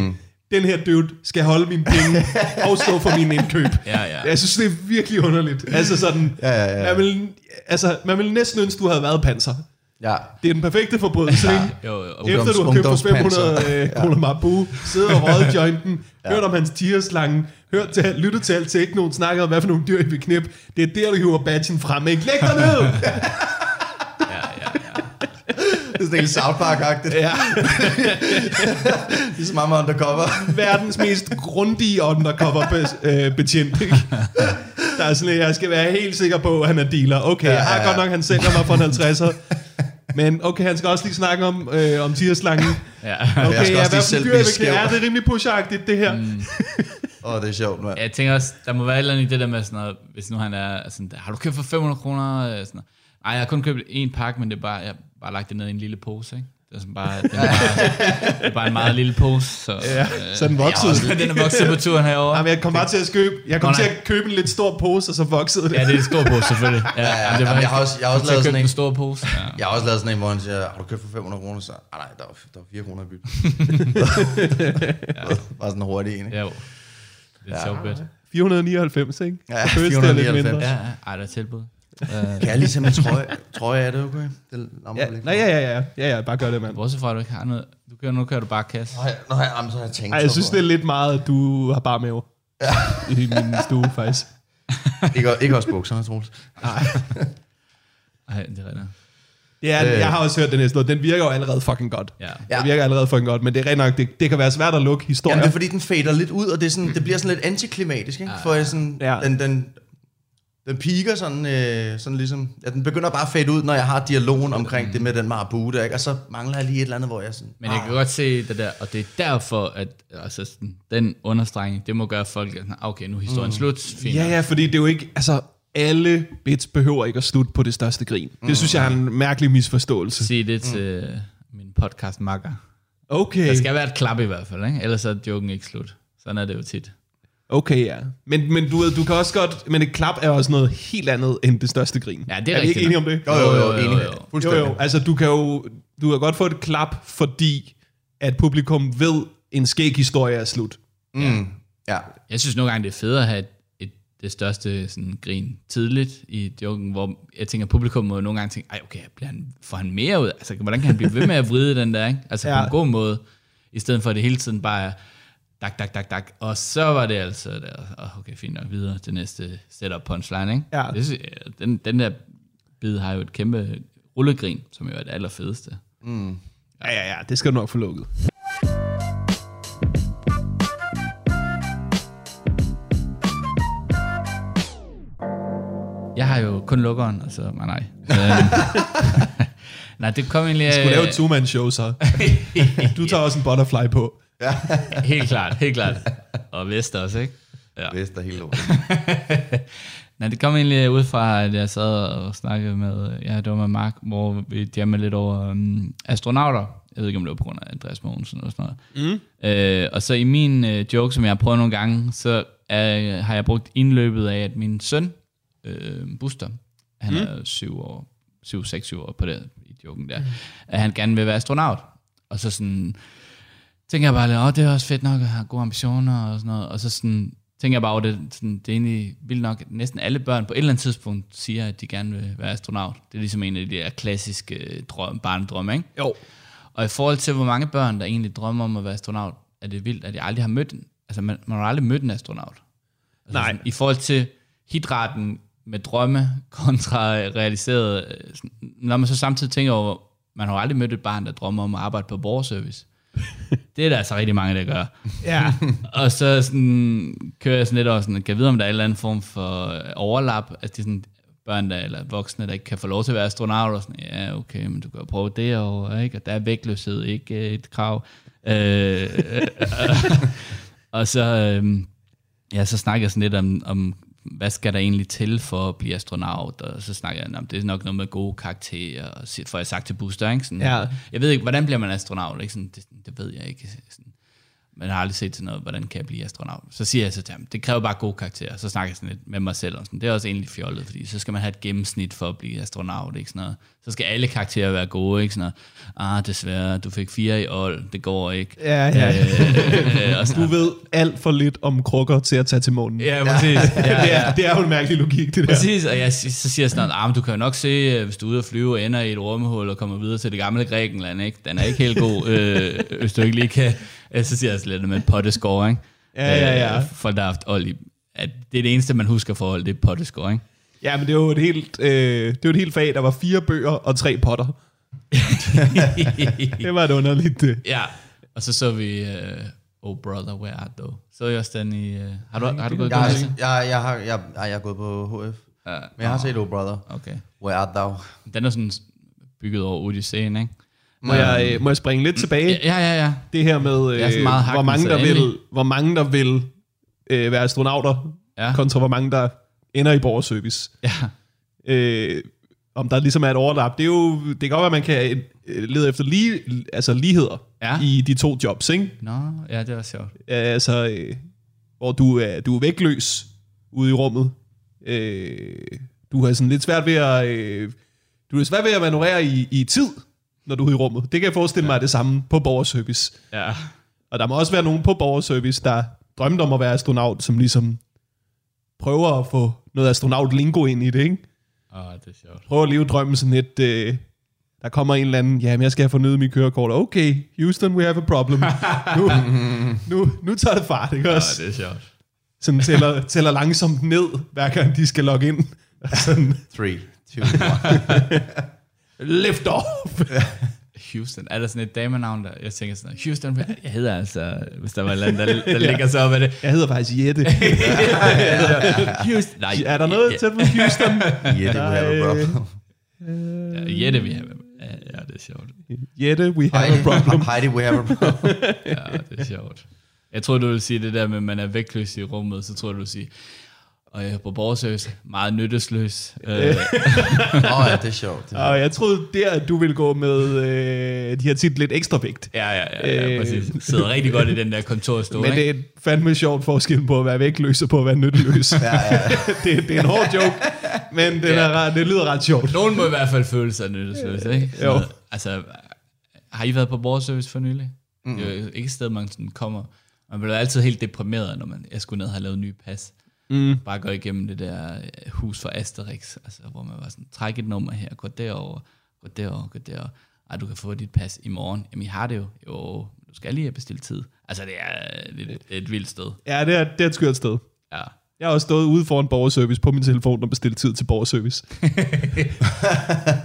[SPEAKER 1] den her dude skal holde mine penge og stå for mine indkøb.
[SPEAKER 3] Ja, ja.
[SPEAKER 1] Jeg synes, det er virkelig underligt. Altså sådan, ja, ja, ja. Man, vil, altså, man vil næsten ønske, du havde været panser.
[SPEAKER 4] Ja.
[SPEAKER 1] Det er den perfekte forbrydelse, ja.
[SPEAKER 3] jo, jo.
[SPEAKER 1] Efter du har købt for
[SPEAKER 4] Ungdomspanser.
[SPEAKER 1] 500 øh, kroner Mabu, sidder og røget jointen, ja. hørt om hans tierslange, hørt til, lyttet til alt teknoen, snakket om, hvad for nogle dyr I vil knip. Det er der, du hiver badgen frem, ikke? Læg dig ned!
[SPEAKER 3] ja, ja, ja.
[SPEAKER 4] Det er sådan helt South Park-agtigt.
[SPEAKER 1] ja,
[SPEAKER 4] Ligesom Mama Undercover.
[SPEAKER 1] verdens mest grundige undercover be- øh, betjent, ikke? Der er sådan, at jeg skal være helt sikker på, at han er dealer. Okay, ja, ja, ja. jeg har godt nok, han sælger mig for en 50'er. Men okay, han skal også lige snakke om, øh, om tierslangen.
[SPEAKER 3] ja.
[SPEAKER 1] Okay, jeg
[SPEAKER 4] også
[SPEAKER 1] skal
[SPEAKER 4] lige
[SPEAKER 1] ja, hvad for
[SPEAKER 4] selv
[SPEAKER 1] nogle dyr, jeg vil
[SPEAKER 4] blive
[SPEAKER 1] knip?
[SPEAKER 4] skæv.
[SPEAKER 1] Ja, det er rimelig pushagtigt, det her. Mm.
[SPEAKER 4] Åh, oh, det er sjovt, mand.
[SPEAKER 3] Jeg tænker også, der må være et eller andet i det der med sådan noget, hvis nu han er sådan, har du købt for 500 kroner? Øh, Sådan noget. Ej, jeg har kun købt en pakke, men det er bare, jeg har bare lagt det ned i en lille pose, ikke? Det er, sådan bare, det er, bare, det er bare en meget lille pose, så, Mm, øh, ja,
[SPEAKER 1] Så den voksede.
[SPEAKER 3] den er vokset på turen herovre.
[SPEAKER 1] Jamen, jeg kom bare til at købe, jeg kom
[SPEAKER 3] Nå,
[SPEAKER 1] til
[SPEAKER 3] nej.
[SPEAKER 1] at købe en lidt stor pose, og så voksede det.
[SPEAKER 3] Ja, det er en stor pose, selvfølgelig. Ja, ja, ja, det
[SPEAKER 4] Jamen, jeg har også- jeg har også lavet sådan
[SPEAKER 3] en
[SPEAKER 4] en.
[SPEAKER 3] stor pose. Ja.
[SPEAKER 4] Jeg har også lavet sådan en, hvor han siger, har du købt for 500 kroner? Så, "Ah, nej, der var, der var 4 kroner i bytte. Bare sådan hurtigt en, ikke?
[SPEAKER 3] ja jo. Det er ja. sjovt.
[SPEAKER 1] 499, ikke?
[SPEAKER 4] Ja,
[SPEAKER 1] Det føles, det er lidt
[SPEAKER 4] 499.
[SPEAKER 1] mindre.
[SPEAKER 3] Ja, ja. Ej, der er tilbud. Uh,
[SPEAKER 4] Kan jeg lige tage min trøje, trøje af det, okay? Det lammer
[SPEAKER 1] Ja,
[SPEAKER 4] lidt.
[SPEAKER 1] nej, ja, ja, ja, ja, ja, bare gør det, mand.
[SPEAKER 3] bortset fra, at du ikke har noget. Du kører, nu kører du bare kasse.
[SPEAKER 4] Nå, jeg- Nå, jeg, jamen, så har jeg tænkt.
[SPEAKER 1] Ej, jeg synes, det er lidt meget, at du har bare mave. Ja. I min stue, faktisk.
[SPEAKER 4] Ikke, ikke også bukserne, Troels.
[SPEAKER 3] Ej, det er rigtigt.
[SPEAKER 1] Ja, øh. jeg har også hørt den her Den virker jo allerede fucking godt.
[SPEAKER 3] Ja.
[SPEAKER 1] Den virker allerede fucking godt, men det er rent nok, det, det kan være svært at lukke historier.
[SPEAKER 4] Jamen, det er fordi, den fader lidt ud, og det, er sådan, det bliver sådan lidt antiklimatisk,
[SPEAKER 3] Ah.
[SPEAKER 4] ikke? For jeg sådan,
[SPEAKER 1] Ja.
[SPEAKER 4] ja. den, den, den piker sådan, øh, sådan ligesom... Ja, den begynder bare at fade ud, når jeg har dialogen omkring det med den marabu der, ikke? Og så mangler jeg lige et eller andet, hvor jeg sådan...
[SPEAKER 3] Men jeg kan godt se det der, og det er derfor, at altså, sådan, den understregning, det må gøre folk, at sådan, "Ah, okay, nu er historien mm. slut, fint.
[SPEAKER 1] Ja, ja, fordi det er jo ikke, altså alle bits behøver ikke at slutte på det største grin.
[SPEAKER 3] Mm.
[SPEAKER 1] Det synes jeg er en mærkelig misforståelse.
[SPEAKER 3] Sig det til mm. min podcast makker.
[SPEAKER 1] Okay,
[SPEAKER 3] Der skal være et klap i hvert fald, ikke? ellers er joken ikke slut. Sådan er det jo tit.
[SPEAKER 1] okay ja. Men, men du, ved, du kan også godt, men et klap er også noget helt andet end det største grin.
[SPEAKER 3] Ja, det er
[SPEAKER 1] er vi
[SPEAKER 3] rigtigt
[SPEAKER 1] ikke enige om
[SPEAKER 3] nok.
[SPEAKER 1] det?
[SPEAKER 4] Jo, jo,
[SPEAKER 3] jo,
[SPEAKER 4] jo, enig.
[SPEAKER 3] jo.
[SPEAKER 1] Jo,
[SPEAKER 4] Fuldstændig.
[SPEAKER 1] jo, altså du kan jo du kan godt få et klap, fordi at publikum ved, en skæg historie er slut.
[SPEAKER 4] Ja.
[SPEAKER 3] Jeg synes nogle gange, det er federe at have et, et, det største sådan, grin tidligt i joken, hvor jeg tænker, at publikum må nogle gange tænke, ej okay, bliver han, får han mere ud? Altså, hvordan kan han blive ved med at vride den der, ikke? Altså ja.
[SPEAKER 1] Ja.
[SPEAKER 3] på en god måde, i stedet for at det hele tiden bare er, dak, dak, dak, dak, og så var det altså der, "Åh, okay, fint nok, videre til næste setup punchline, ikke?
[SPEAKER 1] Ja.
[SPEAKER 3] Det synes, jeg- den, den der bid har jo et kæmpe rullegrin, som jo er det allerfedeste.
[SPEAKER 1] Ja, ja, ja, det skal du nok få lukket.
[SPEAKER 3] Jeg har jo kun lukkeren, og så, nej, nej. Øhm, nej, det kom egentlig...
[SPEAKER 1] Du lave et two-man-show så. Du tager også en butterfly på.
[SPEAKER 3] Helt klart, helt klart. Og vest også, ikke? Ja.
[SPEAKER 4] Vester hele året.
[SPEAKER 3] Nej, det kom egentlig ud fra, at jeg sad og snakkede med, ja, det var med Mark, hvor vi jammede lidt over um, astronauter. Jeg ved ikke, om det var på grund af Andreas Mogensen eller sådan noget. Mm. Øh, og så i min øh, joke, som jeg har prøvet nogle gange, så er, har jeg brugt indløbet af, at min søn, øh, Buster, han mm. er syv år, syv, seks, syv år på det, i joken der, mm. at han gerne vil være astronaut. Og så sådan, tænker jeg bare lidt, åh, det er også fedt nok at have gode ambitioner og sådan noget. Og så sådan, tænker jeg bare over det, sådan, det er egentlig vildt nok, at næsten alle børn på et eller andet tidspunkt siger, at de gerne vil være astronaut. Det er ligesom en af de der klassiske øh, drøm, barndrømme, ikke?
[SPEAKER 1] Jo.
[SPEAKER 3] Og i forhold til, hvor mange børn, der egentlig drømmer om at være astronaut, er det vildt, at jeg aldrig har mødt en. Altså, man, man har aldrig mødt en astronaut. Altså,
[SPEAKER 1] Nej.
[SPEAKER 3] Sådan, I forhold til hidraten med drømme kontra realiseret, øh, sådan, når man så samtidig tænker over, man har jo aldrig mødt et barn, der drømmer om at arbejde på borgerservice. Det er der altså rigtig mange, der gør.
[SPEAKER 1] Ja.
[SPEAKER 3] Og så sådan, kører jeg sådan lidt over, sådan, kan jeg vide, om der er en eller anden form for øh, overlap, at de sådan, børn der, eller voksne, der ikke kan få lov til at være astronauter, og sådan, ja, okay, men du kan jo prøve det og, ikke? og der er vægtløshed ikke øh, et krav. Øh, øhm, øh, og så, øh, ja, så snakker jeg sådan lidt om, om hvad skal der egentlig til for at blive astronaut? Og så snakker jeg om, det er nok noget med gode karakterer, og så får jeg sagt til Booster, ikke? Sådan,
[SPEAKER 1] Ja.
[SPEAKER 3] Jeg ved ikke, hvordan bliver man astronaut? Ikke? Sådan, det, det ved jeg ikke. Sådan, man har aldrig set til noget, hvordan kan jeg blive astronaut? Så siger jeg så til ham, det kræver bare gode karakterer. Så snakker jeg sådan lidt med mig selv om sådan, det er også egentlig fjollet, fordi så skal man have et gennemsnit for at blive astronaut, ikke sådan noget. Så skal alle karakterer være gode, ikke sådan noget. Ah, desværre, du fik fire i old, det går ikke.
[SPEAKER 1] Ja, ja.
[SPEAKER 3] Øh, og sådan,
[SPEAKER 1] Du ved alt for lidt om krukker til at tage til månen.
[SPEAKER 3] ja, præcis. Ja,
[SPEAKER 1] Det,
[SPEAKER 3] ja.
[SPEAKER 1] er, det er jo en mærkelig logik, det der.
[SPEAKER 3] Præcis, og jeg, så siger jeg sådan, at ah, men du kan jo nok se, øh, hvis du er ude at flyve og ender i et rumhul og kommer videre til det gamle Grækenland, ikke? den er ikke helt god, øh, hvis du ikke lige kan. Øh, Så siger jeg sådan lidt med pottescore, ikke?
[SPEAKER 1] Ja, ja, ja.
[SPEAKER 3] Øh, folk, der har haft old i, at det er det eneste, man husker for hold, det er pottescore, ikke?
[SPEAKER 1] Ja, men det var et helt, øh, det var et helt fag, der var fire bøger og tre potter. Det var et underligt... Øh.
[SPEAKER 3] ja, og så så vi, øh, oh brother, where art thou? Så jeg også den i, øh, har du, har du gået i
[SPEAKER 4] Jeg,
[SPEAKER 3] gymnasiet?
[SPEAKER 4] jeg, jeg, jeg, har, jeg, ej, jeg er gået på HF.
[SPEAKER 3] Ja.
[SPEAKER 4] Men jeg har set Oh Brother.
[SPEAKER 3] Okay.
[SPEAKER 4] Where art thou?
[SPEAKER 3] Den er sådan bygget over Odysseen, ikke?
[SPEAKER 1] Må, jeg, øh, må jeg springe lidt tilbage?
[SPEAKER 3] Ja, ja, ja.
[SPEAKER 1] Det her med,
[SPEAKER 3] er sådan
[SPEAKER 1] øh,
[SPEAKER 3] meget
[SPEAKER 1] hvor,
[SPEAKER 3] hakken,
[SPEAKER 1] mange
[SPEAKER 3] så
[SPEAKER 1] der vil,
[SPEAKER 3] endelig.
[SPEAKER 1] hvor mange der vil øh, være astronauter, ja.
[SPEAKER 3] Ja.
[SPEAKER 1] kontra hvor mange der ender i borgerservice.
[SPEAKER 3] ja.
[SPEAKER 1] øh, om der ligesom er et overlap. Det, er jo, det kan godt være, at man kan øh, lede efter lige, altså ligheder ja.
[SPEAKER 3] Ja.
[SPEAKER 1] i de to jobs, ikke?
[SPEAKER 3] Nå, ja, det var sjovt.
[SPEAKER 1] Altså, øh, hvor du er, du er vægtløs ude i rummet. Øh, du har sådan lidt svært ved at... Øh, du har svært ved at manøvrere i, i tid, når du er ude i rummet. Det kan jeg forestille mig er det samme på borgerservice.
[SPEAKER 3] Ja.
[SPEAKER 1] Og der må også være nogen på borgerservice, der drømte om at være astronaut, som ligesom prøver at få noget astronaut-lingo ind i det, ikke?
[SPEAKER 3] Åh, oh, det er sjovt.
[SPEAKER 1] prøver at leve drømmen sådan lidt, øh, der kommer en eller anden, jamen jeg skal have fornyet min kørekort. Okay, Houston, we have a problem. Nu, nu, nu tager det fart, ikke
[SPEAKER 3] Åh,
[SPEAKER 1] også?
[SPEAKER 3] det er sjovt.
[SPEAKER 1] Sådan tæller, tæller langsomt ned, hver gang de skal logge ind. Sådan,
[SPEAKER 4] 3, 2, 1.
[SPEAKER 1] lift off!
[SPEAKER 3] Houston, er der sådan et damenavn, der... Jeg tænker sådan, Houston, jeg hedder altså... Hvis der var et eller andet, der, der ligger så op af det.
[SPEAKER 1] Jeg hedder faktisk Jette.
[SPEAKER 3] Houston, nej.
[SPEAKER 1] Er der noget tæt på Houston?
[SPEAKER 4] Yeah, det have a problem.
[SPEAKER 3] Ja, Jette, vi har... Ja, ja, det er sjovt.
[SPEAKER 1] Jette, we have a problem.
[SPEAKER 4] Heidi, Heidi, we have a problem.
[SPEAKER 3] Ja, det er sjovt. Jeg tror du ville sige det der med, at man er vægtløs i rummet, så tror du ville sige, og jeg er på borgerservice, meget nyttesløs. Øh,
[SPEAKER 4] Åh oh, ja, det er sjovt. Det er-
[SPEAKER 1] Og jeg troede der, at du ville gå med øh, de her tit lidt ekstra vægt.
[SPEAKER 3] ja, ja, ja,
[SPEAKER 1] Øh.
[SPEAKER 3] ja, præcis. Sidder rigtig godt i den der kontorstol,
[SPEAKER 1] Men det
[SPEAKER 3] ikke?
[SPEAKER 1] er fandme sjovt forskel på at være vægtløs og på at være nytteløs. ja, ja. det, det er en hård joke, men den er,
[SPEAKER 3] Ja.
[SPEAKER 1] ret- det lyder ret sjovt.
[SPEAKER 3] Nogen må i hvert fald føle sig nyttesløs, ikke?
[SPEAKER 1] Jo.
[SPEAKER 3] Så, Altså, har I været på borgerservice for nylig? Mm. Det er jo ikke et sted, man sådan kommer. Man bliver altid helt deprimeret, når man, jeg skulle ned og have lavet nye pas. Mm. Bare gå igennem det der øh, hus for Asterix, altså, hvor man var sådan, træk et nummer her, gå derover, gå derover, gå derover. Ej, du kan få dit pas i morgen. Jamen, I har det jo. Jo, men du skal lige have bestilt tid. Altså, det er, det, det er et vildt sted.
[SPEAKER 1] Ja, det er, det er et skørt sted.
[SPEAKER 3] Ja.
[SPEAKER 1] Jeg har også stået ude foran borgerservice på min telefon og bestilt tid til borgerservice.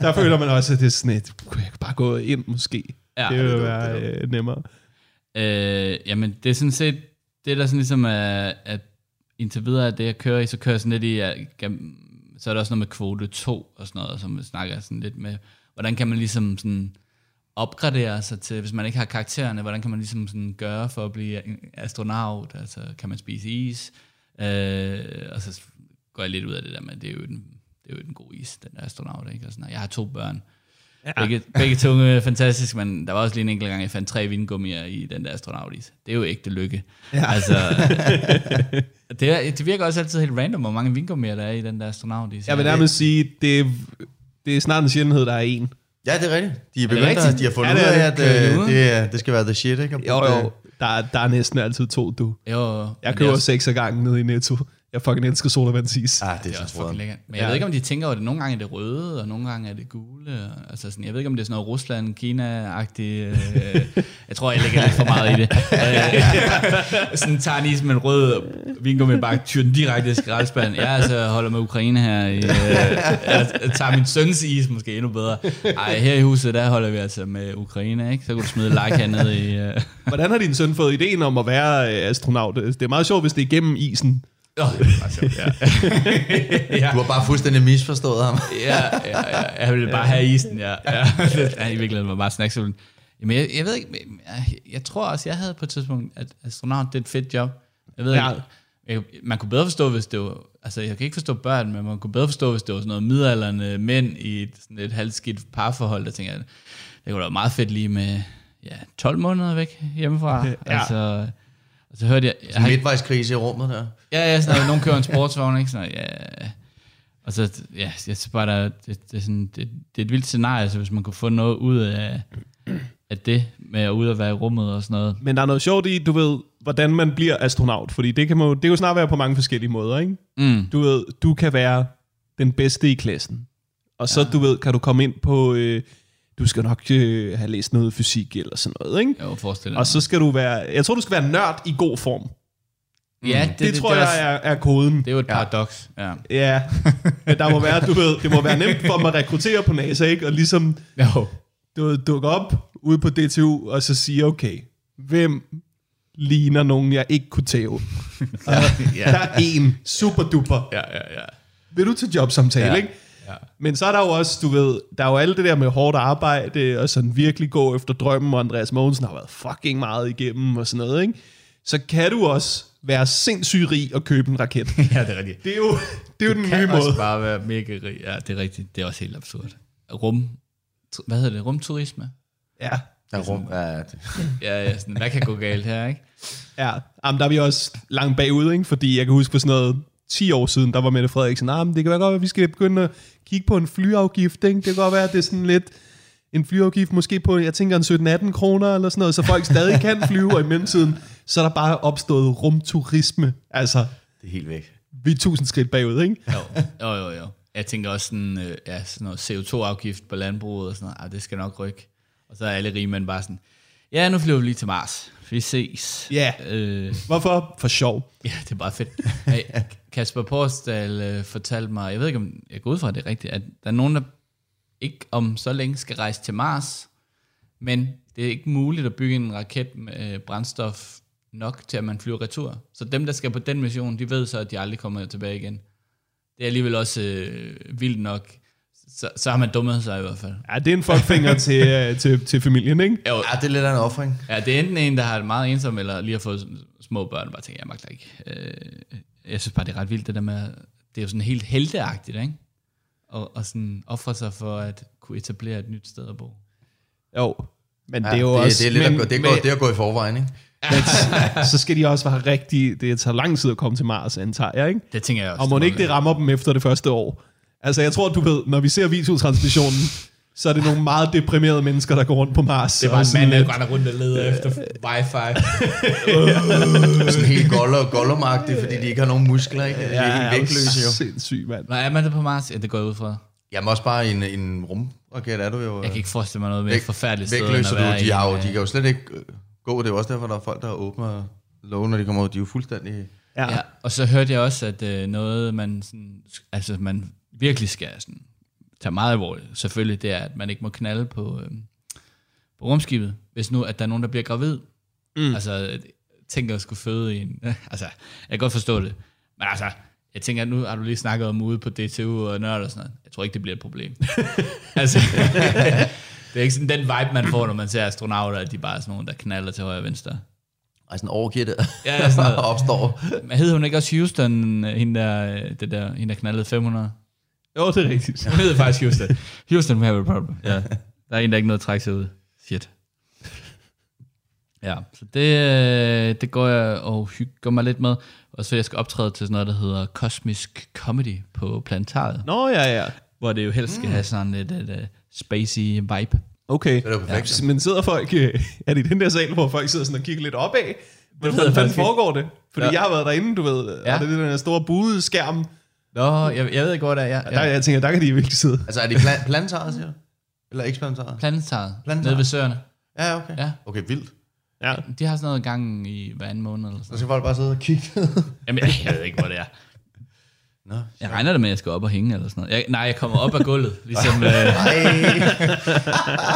[SPEAKER 1] der føler man også, at det er sådan et, kunne jeg bare gå ind måske?
[SPEAKER 3] Ja,
[SPEAKER 1] det
[SPEAKER 3] det
[SPEAKER 1] ville
[SPEAKER 3] er
[SPEAKER 1] være øh, nemmere.
[SPEAKER 3] Øh, jamen, det er sådan set, det der sådan ligesom er, at indtil videre er det, jeg kører i, så kører jeg sådan lidt i, at, gam- så er der også noget med kvote 2 og sådan noget, som vi snakker sådan lidt med, hvordan kan man ligesom sådan opgradere sig til, hvis man ikke har karaktererne, hvordan kan man ligesom sådan gøre for at blive en astronaut, altså kan man spise is, øh, og så går jeg lidt ud af det der med, det er jo den, det er jo den gode is, den der astronaut, ikke? Og sådan, noget. jeg har to børn, Ja. Begge, begge tunge er fantastisk, men der var også lige en enkelt gang, jeg fandt tre vingummier i den der astronautis. Det er jo ægte lykke. Ja. Altså, det, er, det virker også altid helt random, hvor mange vingummier der er i den der astronautis.
[SPEAKER 1] Jeg vil nærmest sige, det er, det er snart en sjældenhed, der er en.
[SPEAKER 4] Ja, det er rigtigt. De er begyndt at,
[SPEAKER 3] rigtigt?
[SPEAKER 4] de har fundet
[SPEAKER 1] Ja, det
[SPEAKER 4] ud
[SPEAKER 1] er
[SPEAKER 4] af,
[SPEAKER 1] det.
[SPEAKER 4] at
[SPEAKER 3] Kører de
[SPEAKER 4] øh,
[SPEAKER 3] ud?
[SPEAKER 4] det, er- det skal være the shit, ikke? Og det-
[SPEAKER 1] Øh, Der, der er næsten altid to, du.
[SPEAKER 3] jo,
[SPEAKER 1] Jeg
[SPEAKER 3] men
[SPEAKER 1] køber
[SPEAKER 3] det er også,
[SPEAKER 1] seks af gangen ned i Netto. Jeg fucking elsker sodavandsis.
[SPEAKER 4] Ah, det
[SPEAKER 3] det
[SPEAKER 4] er
[SPEAKER 3] er
[SPEAKER 4] så
[SPEAKER 3] også fucking
[SPEAKER 4] frøden.
[SPEAKER 3] lækkert. Men jeg
[SPEAKER 1] Ja.
[SPEAKER 3] ved ikke, om de tænker over det. Nogle gange er det røde, og nogle gange er det gule. og- Altså sådan, jeg ved ikke, om det er sådan noget Rusland, Kina-agtigt. Øh, jeg tror, jeg lægger lidt for meget i det. Øh, sådan tager en is med en rød vingummi, bare tyrer den direkte i skraldespanden. Jeg altså holder med Ukraine her. I, øh, jeg tager min søns is måske endnu bedre. Ej, her i huset, der holder vi altså med Ukraine, ikke? Så kunne du smide like hernede i... Øh.
[SPEAKER 1] Hvordan har din søn fået ideen om at være øh, astronaut? Det er meget sjovt, hvis det er gennem isen.
[SPEAKER 3] Oh, det er bare sjovt, ja.
[SPEAKER 4] Du har bare fuldstændig misforstået ham.
[SPEAKER 3] ja, ja, ja, jeg ville bare have isen, ja. ja. ja I virkeligheden var bare snakselen. Jamen, jeg, jeg ved ikke, men jeg, jeg tror også, jeg havde på et tidspunkt, at astronaut, det er et fedt job. Jeg ved
[SPEAKER 1] Ja.
[SPEAKER 3] ja. ikke, Jeg, man kunne bedre forstå, hvis det var... Altså, jeg kan ikke forstå børn, men man kunne bedre forstå, hvis det var sådan noget midalderne mænd i et, sådan et halvskidt parforhold, der tænker, jeg, det kunne da være meget fedt lige med ja, 12 måneder væk hjemmefra. ja. altså, og så hørte jeg... jeg har ikke-
[SPEAKER 4] Midtvejskrise i rummet der.
[SPEAKER 3] Ja, ja, sådan noget. Nogen kører en sportsvogn, ikke? Sådan noget, ja. Og så, ja, jeg synes bare, der, er- det, det, er sådan, det, det er et vildt scenarie, så hvis man kunne få noget ud af, af det, med at ud og være i rummet og sådan noget.
[SPEAKER 1] Men der er noget sjovt i, du ved, hvordan man bliver astronaut. Fordi det kan, må, det kan jo snart være på mange forskellige måder, ikke? Mm. Du ved, du kan være den bedste i klassen. Og så, ja. du ved, kan du komme ind på... Øh, du skal nok øh, have læst noget fysik eller sådan noget, ikke?
[SPEAKER 3] Jeg kunne forestille mig.
[SPEAKER 1] Og så skal du være... Jeg tror, du skal være nørd i god form. Det,
[SPEAKER 3] ja, det,
[SPEAKER 1] det, det tror det,
[SPEAKER 3] er
[SPEAKER 1] jeg
[SPEAKER 3] også-
[SPEAKER 1] er, er koden.
[SPEAKER 3] Det er jo et paradoks. Ja.
[SPEAKER 1] Ja, men der må være, du ved, det må være nemt for dem at rekruttere på NASA, ikke? Og ligesom
[SPEAKER 3] Jo.
[SPEAKER 1] du ved, dukke op ude på DTU, og så sige, okay, hvem ligner nogen, jeg ikke kunne tæve? ja, ja. Der er en super duper.
[SPEAKER 3] Ja, ja, ja.
[SPEAKER 1] Vil du til jobsamtale,
[SPEAKER 3] Ja.
[SPEAKER 1] ikke? Men så er der jo også, du ved, der er jo alt det der med hårdt arbejde, og sådan virkelig gå efter drømmen, og Andreas Mogensen har været fucking meget igennem, og sådan noget, ikke? Så kan du også være sindssygt rig og købe en raket.
[SPEAKER 3] Ja, det er rigtigt.
[SPEAKER 1] Det er jo, det er jo den nye
[SPEAKER 3] kan også
[SPEAKER 1] måde.
[SPEAKER 3] bare være mega rig. Ja, det er rigtigt. Det er også helt absurd. Rum, tr- hvad hedder det? Rumturisme?
[SPEAKER 1] Ja.
[SPEAKER 4] Der er rum. Ja, det.
[SPEAKER 3] Ja, ja, sådan, hvad kan gå galt her, ikke?
[SPEAKER 1] Ja, Jamen, der er vi også langt bagud, ikke? fordi jeg kan huske for sådan noget 10 år siden, der var Mette Frederiksen, nah, men det kan være godt, at vi skal begynde at kigge på en flyafgift. Ikke? Det kan godt være, at det er sådan lidt en flyafgift, måske på, jeg tænker en 17-18 kroner eller sådan noget, så folk stadig kan flyve, og i mellemtiden, så er der bare opstået rumturisme. Altså,
[SPEAKER 4] det er helt væk.
[SPEAKER 1] vi er tusind skridt bagud, ikke?
[SPEAKER 3] Jo, jo, jo. jo. Jeg tænker også sådan, øh, ja, sådan noget CO2-afgift på landbruget og sådan noget. Ah, det skal nok rykke. Og så er alle rige mænd bare sådan, ja, nu flyver vi lige til Mars. Vi ses.
[SPEAKER 1] Ja.
[SPEAKER 3] Øh,
[SPEAKER 1] Hvorfor? For sjov.
[SPEAKER 3] ja, det er bare fedt. Hey, Kasper Porsdal øh, fortalte mig, jeg ved ikke, om jeg går ud fra at det er rigtigt, at der er nogen, der ikke om så længe skal rejse til Mars, men det er ikke muligt at bygge en raket med øh, brændstof nok til, at man flyver retur. Så dem, der skal på den mission, de ved så, at de aldrig kommer tilbage igen. Det er alligevel også øh, vildt nok. Så, så har man dummet sig i hvert fald.
[SPEAKER 1] Ja, det er en fuckfinger til, øh, til, til familien, ikke?
[SPEAKER 3] Jo,
[SPEAKER 4] Ja, det er lidt af en offring.
[SPEAKER 3] ja, det er enten en, der har det meget ensom, eller lige har fået sm- små børn, og bare tænker, jeg magter ikke. Øh, jeg synes bare, det er ret vildt, det der med, det er jo sådan helt helteagtigt, ikke? Og, og sådan ofre sig for at kunne etablere et nyt sted at bo.
[SPEAKER 1] Jo, men
[SPEAKER 4] Ja,
[SPEAKER 1] det er jo
[SPEAKER 4] det,
[SPEAKER 1] også...
[SPEAKER 4] det, er lidt
[SPEAKER 1] men,
[SPEAKER 4] at, gå- det, er
[SPEAKER 1] men-
[SPEAKER 4] gået, det er at gå i forvejen, ikke?
[SPEAKER 1] så skal de også være rigtig... Det tager lang tid at komme til Mars, antager jeg, ikke?
[SPEAKER 3] Det tænker jeg også.
[SPEAKER 1] Og må ikke det rammer dem efter det første år? Altså, jeg tror, du ved, når vi ser videotransmissionen, så er det nogle meget deprimerede mennesker, der går rundt på Mars.
[SPEAKER 3] Det var
[SPEAKER 1] og
[SPEAKER 3] en
[SPEAKER 1] sådan
[SPEAKER 3] mand, der
[SPEAKER 1] lidt-
[SPEAKER 3] render rundt og leder efter wifi.
[SPEAKER 4] Sådan helt goller, gollermagtigt, fordi de ikke har nogen muskler, ikke? De er
[SPEAKER 1] Ja,
[SPEAKER 4] helt
[SPEAKER 1] ja,
[SPEAKER 4] vægtløse, jo.
[SPEAKER 1] Sindssyg, mand.
[SPEAKER 3] Nå, er man der på Mars? Ja, det går jeg ud fra.
[SPEAKER 4] Jamen også bare i en, en rumraket er du jo. øh,
[SPEAKER 3] Jeg kan ikke forestille mig noget mere forfærdeligt sted, end
[SPEAKER 4] vægtløse,
[SPEAKER 3] at være
[SPEAKER 4] du, de, har jo,
[SPEAKER 3] i en,
[SPEAKER 4] de kan jo slet ikke øh, gå. Det er jo også derfor, der er folk, der åbner lågen, når de kommer ud. De er jo fuldstændig...
[SPEAKER 1] Ja.
[SPEAKER 3] Ja, og så hørte jeg også, at øh, noget, man, sådan, altså, man virkelig skal sådan, tage meget alvorligt, selvfølgelig, det er, at man ikke må knalde på, øh, på rumskibet, hvis nu, at der er nogen, der bliver gravid. Mm. Altså, tænk at skulle føde i en... altså, jeg kan godt forstå det. Men altså, jeg tænker, at nu har du lige snakket om ude på DTU og nørd og sådan noget. Jeg tror ikke, det bliver et problem. altså, det er ikke sådan den vibe, man får, når man ser astronauter, at de bare er sådan nogen, der knaller til højre og venstre.
[SPEAKER 4] Ej, sådan overgiver det.
[SPEAKER 3] Ja, ja, sådan noget.
[SPEAKER 4] opstår.
[SPEAKER 3] Men hed hun ikke også Houston, øh, hende der, øh, det der, hende der knaldede 500?
[SPEAKER 1] Jo, det er rigtigt.
[SPEAKER 3] Hun hed faktisk Houston. Houston, we have a problem. Ja. Der er en, der ikke noget at trække sig ud. Shit. Ja, så det, øh, det går jeg og hygger mig lidt med. Og så jeg skal optræde til sådan noget, der hedder Kosmisk Comedy på Planetariet,
[SPEAKER 1] Nå, ja, ja.
[SPEAKER 3] hvor det jo helst skal have sådan lidt et, uh, spacey vibe.
[SPEAKER 1] Okay.
[SPEAKER 4] Det er jo perfekt.
[SPEAKER 1] Men sidder folk... øh, Er det i den der sal, hvor folk sidder sådan og kigger lidt opad? Hvordan
[SPEAKER 3] jeg
[SPEAKER 1] fanden
[SPEAKER 3] faktisk ikke.
[SPEAKER 1] foregår det? Fordi
[SPEAKER 3] Ja.
[SPEAKER 1] ja. jeg har været derinde, du ved, ja.
[SPEAKER 3] Ja.
[SPEAKER 1] og det er den der store buede skærm.
[SPEAKER 3] Nå, jeg, jeg ved ikke, hvor det er. Jeg,
[SPEAKER 1] Der,
[SPEAKER 3] jeg,
[SPEAKER 1] jeg tænker, der kan de virkelig sidde.
[SPEAKER 4] Altså, er det plan- planetaret, siger du? Eller ikke planetaret?
[SPEAKER 3] Planetariet,
[SPEAKER 4] Planetariet.
[SPEAKER 3] nede ved Søerne.
[SPEAKER 4] Ja, okay.
[SPEAKER 3] Ja.
[SPEAKER 4] Okay, vildt.
[SPEAKER 1] Ja.
[SPEAKER 3] De har sådan noget gang i hver anden måned eller
[SPEAKER 4] Så
[SPEAKER 3] sådan
[SPEAKER 4] skal folk bare sidde og kigge.
[SPEAKER 3] Jamen, jeg, jeg ved ikke, hvor det er.
[SPEAKER 4] Nå.
[SPEAKER 3] Jeg regner det med, at jeg skal op og hænge eller sådan noget. Jeg, nej, jeg kommer op af gulvet, ligesom... Øh,
[SPEAKER 4] Ej,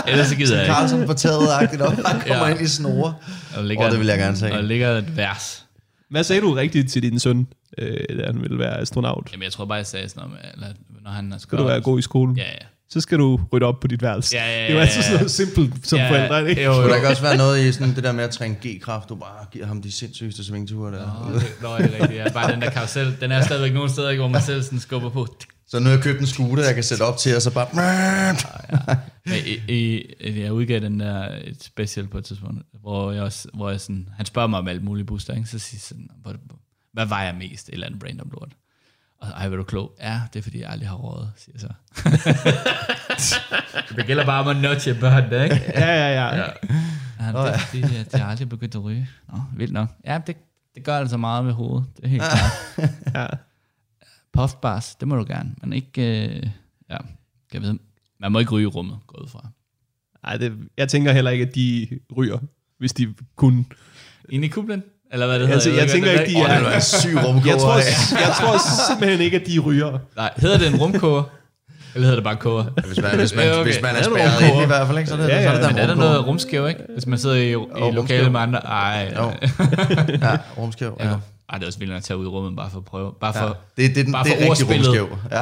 [SPEAKER 3] ellers så gider jeg ikke.
[SPEAKER 4] Carlson på taget-agtigt op. Han kommer
[SPEAKER 3] Ja.
[SPEAKER 4] ja. ind i snore.
[SPEAKER 3] Og
[SPEAKER 4] Åh, det vil jeg gerne se.
[SPEAKER 3] Og ligger et vers.
[SPEAKER 1] Hvad sagde du rigtigt til din søn, øh, da han ville være astronaut?
[SPEAKER 3] Jamen, jeg tror bare, jeg sagde sådan noget med, eller, når han er
[SPEAKER 1] Skal du være god i skolen?
[SPEAKER 3] Ja, ja.
[SPEAKER 1] så skal du rydde op på dit værelse.
[SPEAKER 3] Ja, ja,
[SPEAKER 1] det er jo
[SPEAKER 3] ja,
[SPEAKER 1] altid
[SPEAKER 3] ja.
[SPEAKER 1] sådan noget simpelt som
[SPEAKER 3] Ja,
[SPEAKER 1] forældre, ikke?
[SPEAKER 3] jo,
[SPEAKER 4] Kunne
[SPEAKER 3] jo.
[SPEAKER 4] der ikke også være noget i sådan det der med at træne G-kraft, du bare giver ham de sindssygeste svingture der?
[SPEAKER 3] Nå, det- Nå, det er rigtigt. Ja. Bare den der karusel, den er stadigvæk nogle steder, ikke, hvor man selv sådan skubber på.
[SPEAKER 4] Så nu har jeg købt en scooter, jeg kan sætte op til, og så bare...
[SPEAKER 3] Men i, i, jeg udgav den der et special på et tidspunkt, hvor jeg, også, hvor jeg sådan, han spørger mig om alt muligt booster, ikke? så siger jeg sådan, "Hvor- hvad vejer mest? Et eller andet random lort. Og ej, var du klog? Ja, det er fordi, jeg aldrig har råd, siger jeg så. det gælder bare om at nudge børnene, ikke?
[SPEAKER 1] Ja, ja, ja. ja.
[SPEAKER 3] Ja, det er fordi, at jeg aldrig begyndt at ryge. Nå, vildt nok. Ja, det, det gør altså meget med hovedet. Det er helt klart.
[SPEAKER 1] Ja.
[SPEAKER 3] Puffbars, det må du gerne. Men ikke... Øh, ja, jeg ved, man må ikke ryge i rummet, gå ud fra.
[SPEAKER 1] Ej, det, jeg tænker heller ikke, at de ryger, hvis de kunne.
[SPEAKER 3] Ind i kublen? Eller hvad det hedder?
[SPEAKER 1] Altså,
[SPEAKER 3] ved
[SPEAKER 1] jeg
[SPEAKER 3] hvad
[SPEAKER 1] tænker
[SPEAKER 3] den
[SPEAKER 1] ikke, de
[SPEAKER 3] der-
[SPEAKER 1] er...
[SPEAKER 4] Det er syg rumkoger.
[SPEAKER 1] Jeg tror, jeg tror simpelthen ikke, at de ryger.
[SPEAKER 3] Nej, hedder det en rumkoger? Eller hedder det bare koger?
[SPEAKER 4] Hvis man, hvis man,
[SPEAKER 3] Ja, okay.
[SPEAKER 4] hvis man er
[SPEAKER 3] Ja, det er
[SPEAKER 4] spærret
[SPEAKER 3] rumkoger.
[SPEAKER 4] ind i hvert fald, ikke? Så er det,
[SPEAKER 1] Ja,
[SPEAKER 4] ja,
[SPEAKER 1] ja,
[SPEAKER 4] ja, så er det
[SPEAKER 3] Men
[SPEAKER 4] der
[SPEAKER 3] er der
[SPEAKER 4] rumkoger.
[SPEAKER 3] noget rumskæv, ikke? Hvis man sidder i, i
[SPEAKER 4] rumskæv.
[SPEAKER 3] lokalet med andre. Ej,
[SPEAKER 4] Jo.
[SPEAKER 3] ja.
[SPEAKER 4] Ja, rumskæv. Ja.
[SPEAKER 3] Ej, det er også vildt nok at tage ud i rummet, bare for at prøve. Bare for,
[SPEAKER 4] Det, det, det,
[SPEAKER 3] bare
[SPEAKER 4] det
[SPEAKER 3] for
[SPEAKER 4] er rigtig
[SPEAKER 3] ordspillet.
[SPEAKER 4] rumskæv. Ja.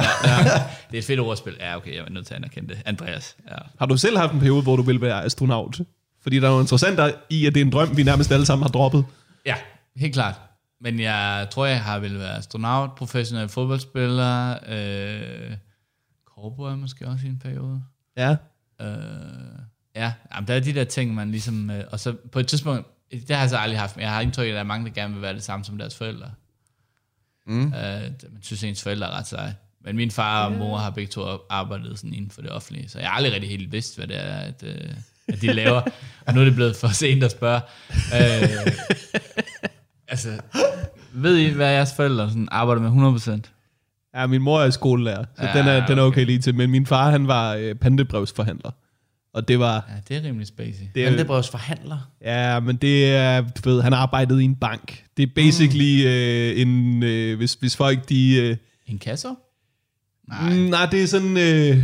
[SPEAKER 3] Det er et fedt ordspil. Ja, okay, jeg er nødt til at anerkende det. Andreas. Ja.
[SPEAKER 1] Har du selv haft en periode, hvor du ville være astronaut? Fordi der er jo interessant i, at det er en drøm, vi nærmest alle sammen har droppet.
[SPEAKER 3] Ja, helt klart. Men jeg tror, jeg har vel været astronaut, professionel fodboldspiller, øh, cowboy måske også i en periode.
[SPEAKER 1] Ja.
[SPEAKER 3] Øh, ja, jamen, der er de der ting, man ligesom... Øh, og så på et tidspunkt, det har jeg så aldrig haft, men jeg har indtryk af, at der er mange, der gerne vil være det samme som deres forældre. Mm. Øh, man synes, at ens forældre er ret seje. Men min far og mor har begge to arbejdet sådan inden for det offentlige, så jeg har aldrig rigtig helt vidst, hvad det er, at, øh, at de laver. og nu er det blevet for sent at spørge. Øh, altså, ved I, hvad jeres forældre sådan, arbejder med 100%?
[SPEAKER 1] Ja, min mor er skolelærer, så ja, den, er, den er okay lige til. Men min far, han var øh, pantebrevsforhandler. Og det var...
[SPEAKER 3] Ja, det er rimelig spacey. Det,
[SPEAKER 1] Det,
[SPEAKER 4] Men det er bare også forhandler.
[SPEAKER 1] ja, men det er... Du ved, han arbejdede i en bank. Det er basically mm. øh, en... Øh, hvis, hvis folk, de... Øh,
[SPEAKER 3] en kasse?
[SPEAKER 1] nej. nej, det er sådan... Øh,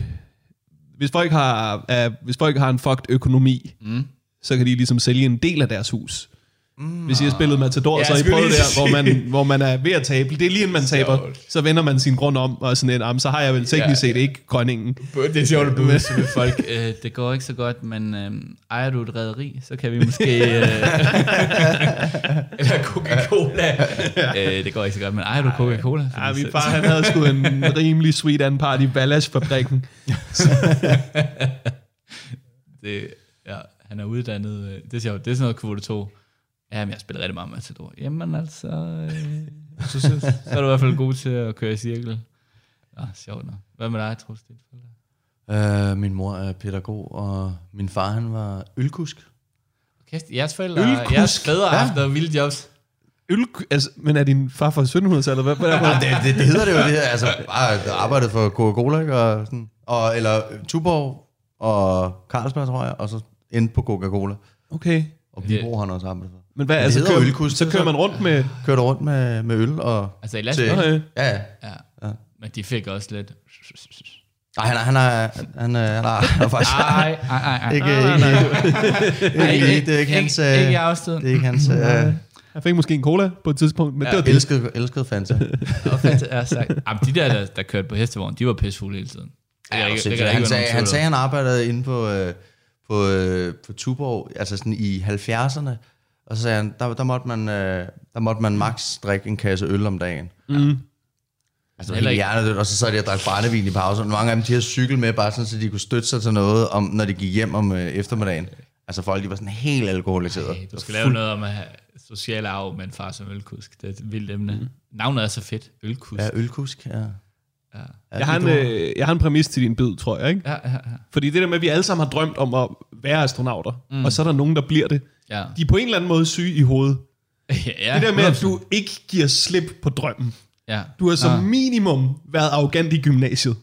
[SPEAKER 1] hvis, folk har, øh, hvis folk har en fucked økonomi, mm. så kan de ligesom sælge en del af deres hus. Mm. Hvis I har spillet Matador,
[SPEAKER 3] Ja,
[SPEAKER 1] ja, så har I
[SPEAKER 3] skulle
[SPEAKER 1] prøvet
[SPEAKER 3] lige
[SPEAKER 1] der, hvor man, hvor man er ved at tabe. Det er lige inden man taber, så vender man sin grund om, og er sådan en, "Ah, men så har jeg vel teknisk set ikke grønningen.
[SPEAKER 3] Det er sjovt at bevise med folk. Øh, det går ikke så godt, men øh, ejer du et rederi, så kan vi måske... Øh, eller Coca-Cola. øh, det går ikke så godt, men ejer du Coca-Cola?
[SPEAKER 1] Ja, min far han havde sgu en rimelig sweet anpart i Ballash-fabrikken.
[SPEAKER 3] Det, ja, han er uddannet... Øh, det er sjovt, det er sådan noget kvote 2. Ja, men jeg spiller rigtig meget Matador. Jamen altså... Øh, så, så, så er du i hvert fald god til at køre i cirkel. Ja, sjovt nok. Hvad med dig, Troels?
[SPEAKER 4] Øh, min mor er pædagog, og min far han var ølkusk.
[SPEAKER 3] Kæft, jeres forældre,
[SPEAKER 1] Ølkusk.
[SPEAKER 3] jeres fædre har
[SPEAKER 4] Ja.
[SPEAKER 3] haft noget vilde jobs.
[SPEAKER 1] Øl, altså, men er din far fra 1700-tallet? Hvad, hvad er
[SPEAKER 4] Ja,
[SPEAKER 1] det?
[SPEAKER 4] Ah, det, det, det hedder det jo, det her. Altså, bare arbejdet for Coca-Cola, ikke? Og sådan, og, eller Tuborg og Carlsberg, tror jeg, og så endte på Coca-Cola.
[SPEAKER 1] Okay.
[SPEAKER 4] Og Vibro har han også arbejdet for.
[SPEAKER 1] Men hvad,
[SPEAKER 4] Det
[SPEAKER 1] altså,
[SPEAKER 4] hedder
[SPEAKER 1] kører,
[SPEAKER 4] ølkusk,
[SPEAKER 1] så kører man rundt med...
[SPEAKER 4] Kørte rundt med, med øl og...
[SPEAKER 3] Altså i
[SPEAKER 4] til-
[SPEAKER 3] lastbil.
[SPEAKER 1] Okay.
[SPEAKER 4] Ja, ja.
[SPEAKER 3] Ja. ja. Men de fik også lidt...
[SPEAKER 4] Nej, han, er- han, er, han, er, han, er, han er faktisk...
[SPEAKER 3] Ej, ej, ej, ej.
[SPEAKER 4] Ikke, ikke, ikke, ikke, det er ikke hans... øh,
[SPEAKER 3] Ah, Ikke, ikke i
[SPEAKER 4] Det
[SPEAKER 3] afstød.
[SPEAKER 4] er ikke hans... øh,
[SPEAKER 1] Jeg fik måske en cola på et tidspunkt, men ja, det var det.
[SPEAKER 4] Elskede, elskede Fanta.
[SPEAKER 3] Jamen, de der, der, der kørte på hestevogn, de var pissefulde hele tiden. Det kan der ikke- det kan der ikke
[SPEAKER 4] han,
[SPEAKER 3] være
[SPEAKER 4] sagde,
[SPEAKER 3] nogen
[SPEAKER 4] han
[SPEAKER 3] tvivl
[SPEAKER 4] sagde,
[SPEAKER 3] om.
[SPEAKER 4] han arbejdede inde på, øh, på, øh, på Tuborg, altså sådan i 70'erne, og så sagde han, der, der, måtte man, øh, der måtte man max drikke en kasse øl om dagen. Mm.
[SPEAKER 3] Heller
[SPEAKER 4] Altså, Heller
[SPEAKER 3] ikke-
[SPEAKER 4] hjernedødt, og så sad de og drak brændevin i pausen. Mange af dem, de havde cykel med, bare sådan, så de kunne støtte sig til noget, om, når de gik hjem om øh, eftermiddagen. Altså folk, de var sådan helt alkoholiseret.
[SPEAKER 3] Ej, Du skal lave noget om at have social arv med en far som ølkusk. Det er et vildt emne. Navnet er så fedt. Ølkusk.
[SPEAKER 4] Ja,
[SPEAKER 3] Ja,
[SPEAKER 4] ølkusk, ja. ja.
[SPEAKER 1] Jeg har, en, øh, jeg har en præmis til din bid, tror jeg. Ikke?
[SPEAKER 3] ja, ja.
[SPEAKER 1] Fordi det der med, at vi alle sammen har drømt om at være astronauter, mm. og så er der nogen, der bliver det.
[SPEAKER 3] ja.
[SPEAKER 1] De er på en eller anden måde syge i hovedet.
[SPEAKER 3] ja,
[SPEAKER 1] Det der med, at du ikke giver slip på drømmen.
[SPEAKER 3] Ja.
[SPEAKER 1] Du har som
[SPEAKER 3] Ah.
[SPEAKER 1] minimum været arrogant i gymnasiet.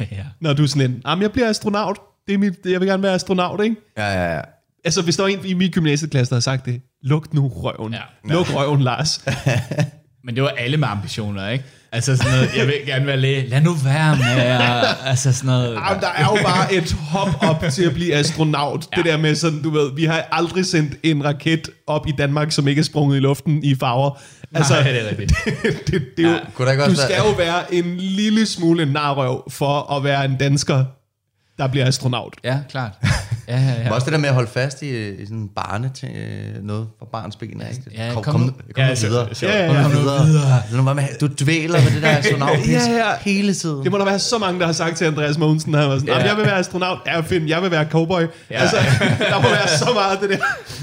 [SPEAKER 3] ja.
[SPEAKER 1] Når du er sådan en, "Jamen, jeg bliver astronaut. Det er mit, jeg vil gerne være astronaut, ikke?
[SPEAKER 4] Ja, ja, ja.
[SPEAKER 1] Altså, hvis der var en i min gymnasieklasse, der havde sagt det, luk nu røven.
[SPEAKER 3] Ja.
[SPEAKER 1] Ja. Luk røven, Lars.
[SPEAKER 3] Men det var alle med ambitioner, ikke? Altså sådan noget, jeg vil gerne være læge. Lad nu være med, at- altså sådan noget.
[SPEAKER 1] Jamen, der er jo bare et hop op til at blive astronaut. Ja. Det der med sådan, du ved, vi har aldrig sendt en raket op i Danmark, som ikke er sprunget i luften i farver. Altså,
[SPEAKER 3] Nej, det er rigtigt.
[SPEAKER 1] det, det, det er jo,
[SPEAKER 4] Kunne der ikke
[SPEAKER 1] du
[SPEAKER 4] også
[SPEAKER 1] skal
[SPEAKER 4] være-
[SPEAKER 1] jo være en lille smule narrøv for at være en dansker. der bliver astronaut.
[SPEAKER 3] Ja, klart. Ja, ja,
[SPEAKER 4] Men
[SPEAKER 3] ja.
[SPEAKER 4] også det der med at holde fast i, i sådan en barne til øh, noget fra barns ben. af.
[SPEAKER 3] ja,
[SPEAKER 4] kom,
[SPEAKER 3] kom
[SPEAKER 4] kom,
[SPEAKER 3] nu.
[SPEAKER 4] kom, kom
[SPEAKER 1] Ja,
[SPEAKER 4] nu
[SPEAKER 1] så-
[SPEAKER 4] videre.
[SPEAKER 1] ja, ja,
[SPEAKER 4] Kom
[SPEAKER 1] ja.
[SPEAKER 4] nu videre. Lad nu være med- Du dvæler ved det der astronaut
[SPEAKER 1] Ja, ja.
[SPEAKER 4] hele tiden.
[SPEAKER 1] Det må der være så mange, der har sagt til Andreas Mogensen, han var sådan, "Jamen, jeg vil være astronaut, ja, Finn, jeg vil være cowboy. Ja. Altså, der må være så meget af det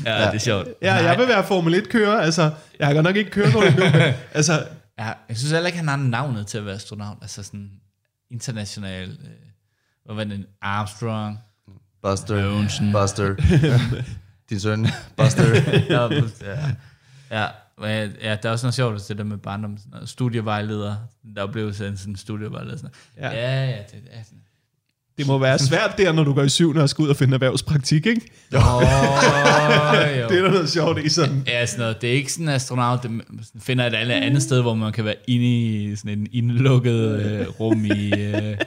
[SPEAKER 1] der.
[SPEAKER 3] ja, det er sjovt.
[SPEAKER 1] Ja, jeg vil være Formel 1-kører, altså, jeg har godt nok ikke kørekort endnu, men, altså,
[SPEAKER 3] Ja, jeg synes heller ikke, han har navnet til at være astronaut. Altså sådan international... Øh, hvad var det? Armstrong.
[SPEAKER 4] Buster. Buster. Din søn. Buster.
[SPEAKER 3] Ja, ja. ja. men jeg- ja, der er også noget sjovt det der med barndom. sådan noget Studievejleder. Der blev sendt sådan en studievejleder. Sådan. Ja. ja, ja, det er sådan.
[SPEAKER 1] det må være svært der, når du går i syvende og skal ud og finde erhvervspraktik, ikke?
[SPEAKER 3] Åh, jo.
[SPEAKER 1] Det er der noget sjovt i sådan.
[SPEAKER 3] Ja, sådan noget. Det er ikke sådan en astronaut, det sådan finder et alle andet sted, hvor man kan være inde i sådan en indlukket øh, rum i... Øh,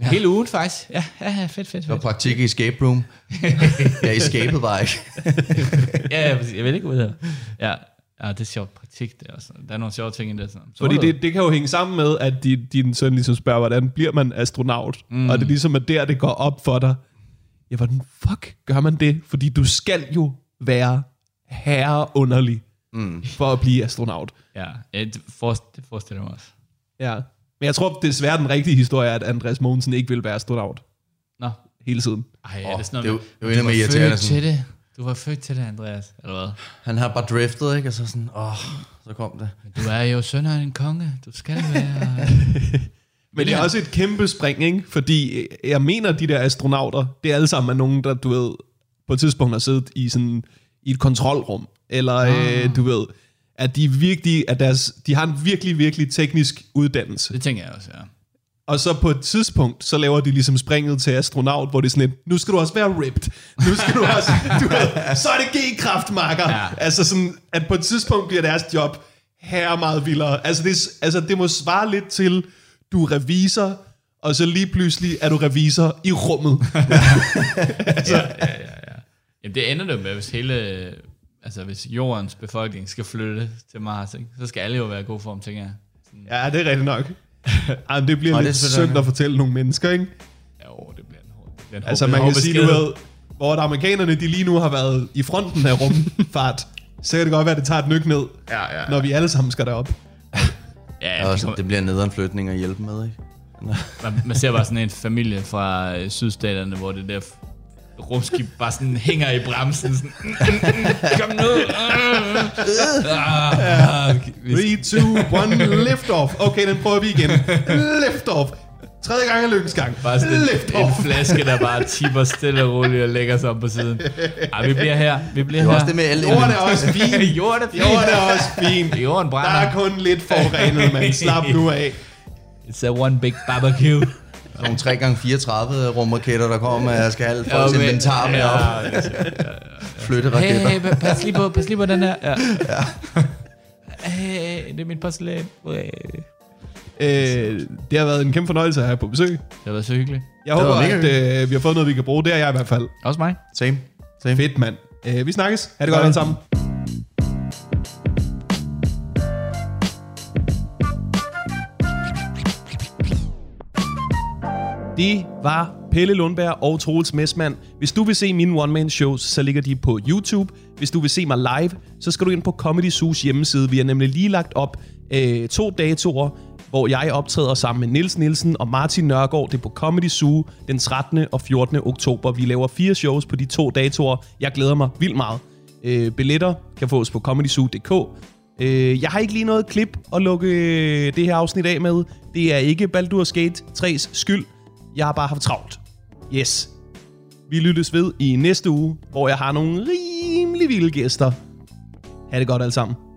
[SPEAKER 3] ja. Hele ugen faktisk. Ja, ja, ja fedt, fedt,
[SPEAKER 4] Og
[SPEAKER 3] fedt.
[SPEAKER 4] praktik i escape room. Jeg escapede bare ikke.
[SPEAKER 3] Ja, ja, præcis. jeg ved ikke, hvad det er. Ja. ja, det er sjovt praktik. Det er også. Der er nogle sjove ting i det. Sådan. Så
[SPEAKER 1] Fordi
[SPEAKER 3] var der-
[SPEAKER 1] det, det kan jo hænge sammen med, at din, din søn ligesom spørger, hvordan bliver man astronaut? Mm. Og det er ligesom at der, det går op for dig. Ja, hvordan fuck gør man det? Fordi du skal jo være herreunderlig mm. for at blive astronaut.
[SPEAKER 3] Ja, ja det, forest, det forestiller jeg mig også.
[SPEAKER 1] Ja. Men jeg tror desværre, den rigtige historie er, at Andreas Mogensen ikke vil være astronaut
[SPEAKER 3] Nå,
[SPEAKER 1] hele tiden.
[SPEAKER 3] Ej, er det sådan
[SPEAKER 4] det er
[SPEAKER 3] noget
[SPEAKER 4] jo-
[SPEAKER 3] med,
[SPEAKER 4] det er jo
[SPEAKER 3] du var
[SPEAKER 4] endnu mere
[SPEAKER 3] født
[SPEAKER 4] irriterende,
[SPEAKER 3] til det. Du var født til det, Andreas. Eller hvad?
[SPEAKER 4] Han har bare driftet, ikke? Og så sådan, åh, så kom det.
[SPEAKER 3] Du er jo søn af en konge. Du skal være...
[SPEAKER 1] Men det er også et kæmpe spring, ikke? Fordi øh, jeg mener, de der astronauter, det er alle sammen er nogen, der, du ved, på et tidspunkt har siddet i, sådan, i et kontrolrum, eller øh, du ved, at de virkelig, at deres, de har en virkelig, virkelig teknisk uddannelse.
[SPEAKER 3] Det tænker jeg også, ja.
[SPEAKER 1] Og så på et tidspunkt, så laver de ligesom springet til astronaut, hvor det er sådan et, nu skal du også være ripped. Nu skal du også, du ved, så er det G-kraft, makker. Ja.
[SPEAKER 3] Ja.
[SPEAKER 1] Altså sådan, at på et tidspunkt bliver deres job her meget vildere. Altså det, er s- altså det må svare lidt til, du er revisor, og så lige pludselig er du revisor i rummet.
[SPEAKER 3] Jamen, det ender det jo med, hvis hele... Altså, hvis jordens befolkning skal flytte til Mars, ikke? så skal alle jo være i god form, tænker jeg.
[SPEAKER 1] Ja, det er rigtigt nok. Ej, men det bliver
[SPEAKER 4] Nå,
[SPEAKER 1] Nå, lidt
[SPEAKER 4] det er selvfølgelig
[SPEAKER 1] synd at fortælle nogle mennesker, ikke?
[SPEAKER 3] Jo, det bliver en hård... Det bliver en
[SPEAKER 1] Altså
[SPEAKER 3] hård,
[SPEAKER 1] man
[SPEAKER 3] hård
[SPEAKER 1] kan sige, du
[SPEAKER 3] besked.
[SPEAKER 1] ved, hvor at amerikanerne de lige nu har været i fronten af rumfart, så kan det godt være, at det tager et nyk ned,
[SPEAKER 3] Ja, ja, ja.
[SPEAKER 1] når vi alle sammen skal derop.
[SPEAKER 3] Ja,
[SPEAKER 4] Ja,
[SPEAKER 3] de
[SPEAKER 4] også,
[SPEAKER 3] kommer-
[SPEAKER 4] det bliver nederen flytning at hjælpe med, ikke?
[SPEAKER 3] Man, man ser bare sådan en familie fra øh, sydstaterne, hvor det der f- rumskib bare sådan hænger i bremsen. Sådan, "Mm, mm, mm, kom nu! Mm, mm." Ah, ah, hvis-
[SPEAKER 1] 3, 2, 1, lift off. Okay, den prøver vi igen. Lift off. Tredje gang er lykkens gang.
[SPEAKER 3] Bare sådan
[SPEAKER 1] Lift
[SPEAKER 3] en, en
[SPEAKER 1] off.
[SPEAKER 3] flaske, der bare tipper stille og roligt og lægger sig om på siden. Ej, vi bliver her. Vi bliver
[SPEAKER 4] Det
[SPEAKER 3] her.
[SPEAKER 4] var også det med alle
[SPEAKER 1] Jorden er også fin.
[SPEAKER 3] Jorden er
[SPEAKER 1] Jorden er
[SPEAKER 3] fint.
[SPEAKER 1] også fin.
[SPEAKER 3] Jorden
[SPEAKER 1] Der er
[SPEAKER 3] brænder.
[SPEAKER 1] kun lidt forurenet, man. Slap nu af.
[SPEAKER 3] It's a one big barbecue.
[SPEAKER 4] Nogle 3x34 rumraketter, der kommer, og jeg skal have folks
[SPEAKER 3] Okay.
[SPEAKER 4] inventar med op. Flytte
[SPEAKER 3] Hey,
[SPEAKER 4] raketter.
[SPEAKER 3] hey, hey, pas lige på, pas lige på den her. Ja. Hey, det er mit porcelæn. Hey.
[SPEAKER 1] Øh, det har været en kæmpe fornøjelse at have på besøg.
[SPEAKER 3] Det har været så hyggeligt.
[SPEAKER 1] Jeg håber,
[SPEAKER 4] mega
[SPEAKER 1] at øh, vi har fået noget, vi kan bruge. Det er jeg i hvert fald.
[SPEAKER 3] Også mig.
[SPEAKER 4] Same. Same.
[SPEAKER 1] Fedt, mand. Øh, vi snakkes. Ha' det godt alle sammen. Det var Pelle Lundberg og Troels Messmann. Hvis du vil se mine one-man-shows, så ligger de på YouTube. Hvis du vil se mig live, så skal du ind på Comedy Zoo's hjemmeside. Vi har nemlig lige lagt op øh, to datoer, hvor jeg optræder sammen med Nils Nielsen og Martin Nørgaard. Det er på Comedy Zoo den 13. og 14. oktober. Vi laver fire shows på de to datoer. Jeg glæder mig vildt meget. Øh, billetter kan fås på comedyzoo.dk. Øh, jeg har ikke lige noget klip at lukke øh, det her afsnit af med. Det er ikke Baldur's Gate 3's skyld. Jeg har bare haft travlt. Yes. Vi lyttes ved i næste uge, hvor jeg har nogle rimelig vilde gæster. Ha' det godt alle sammen.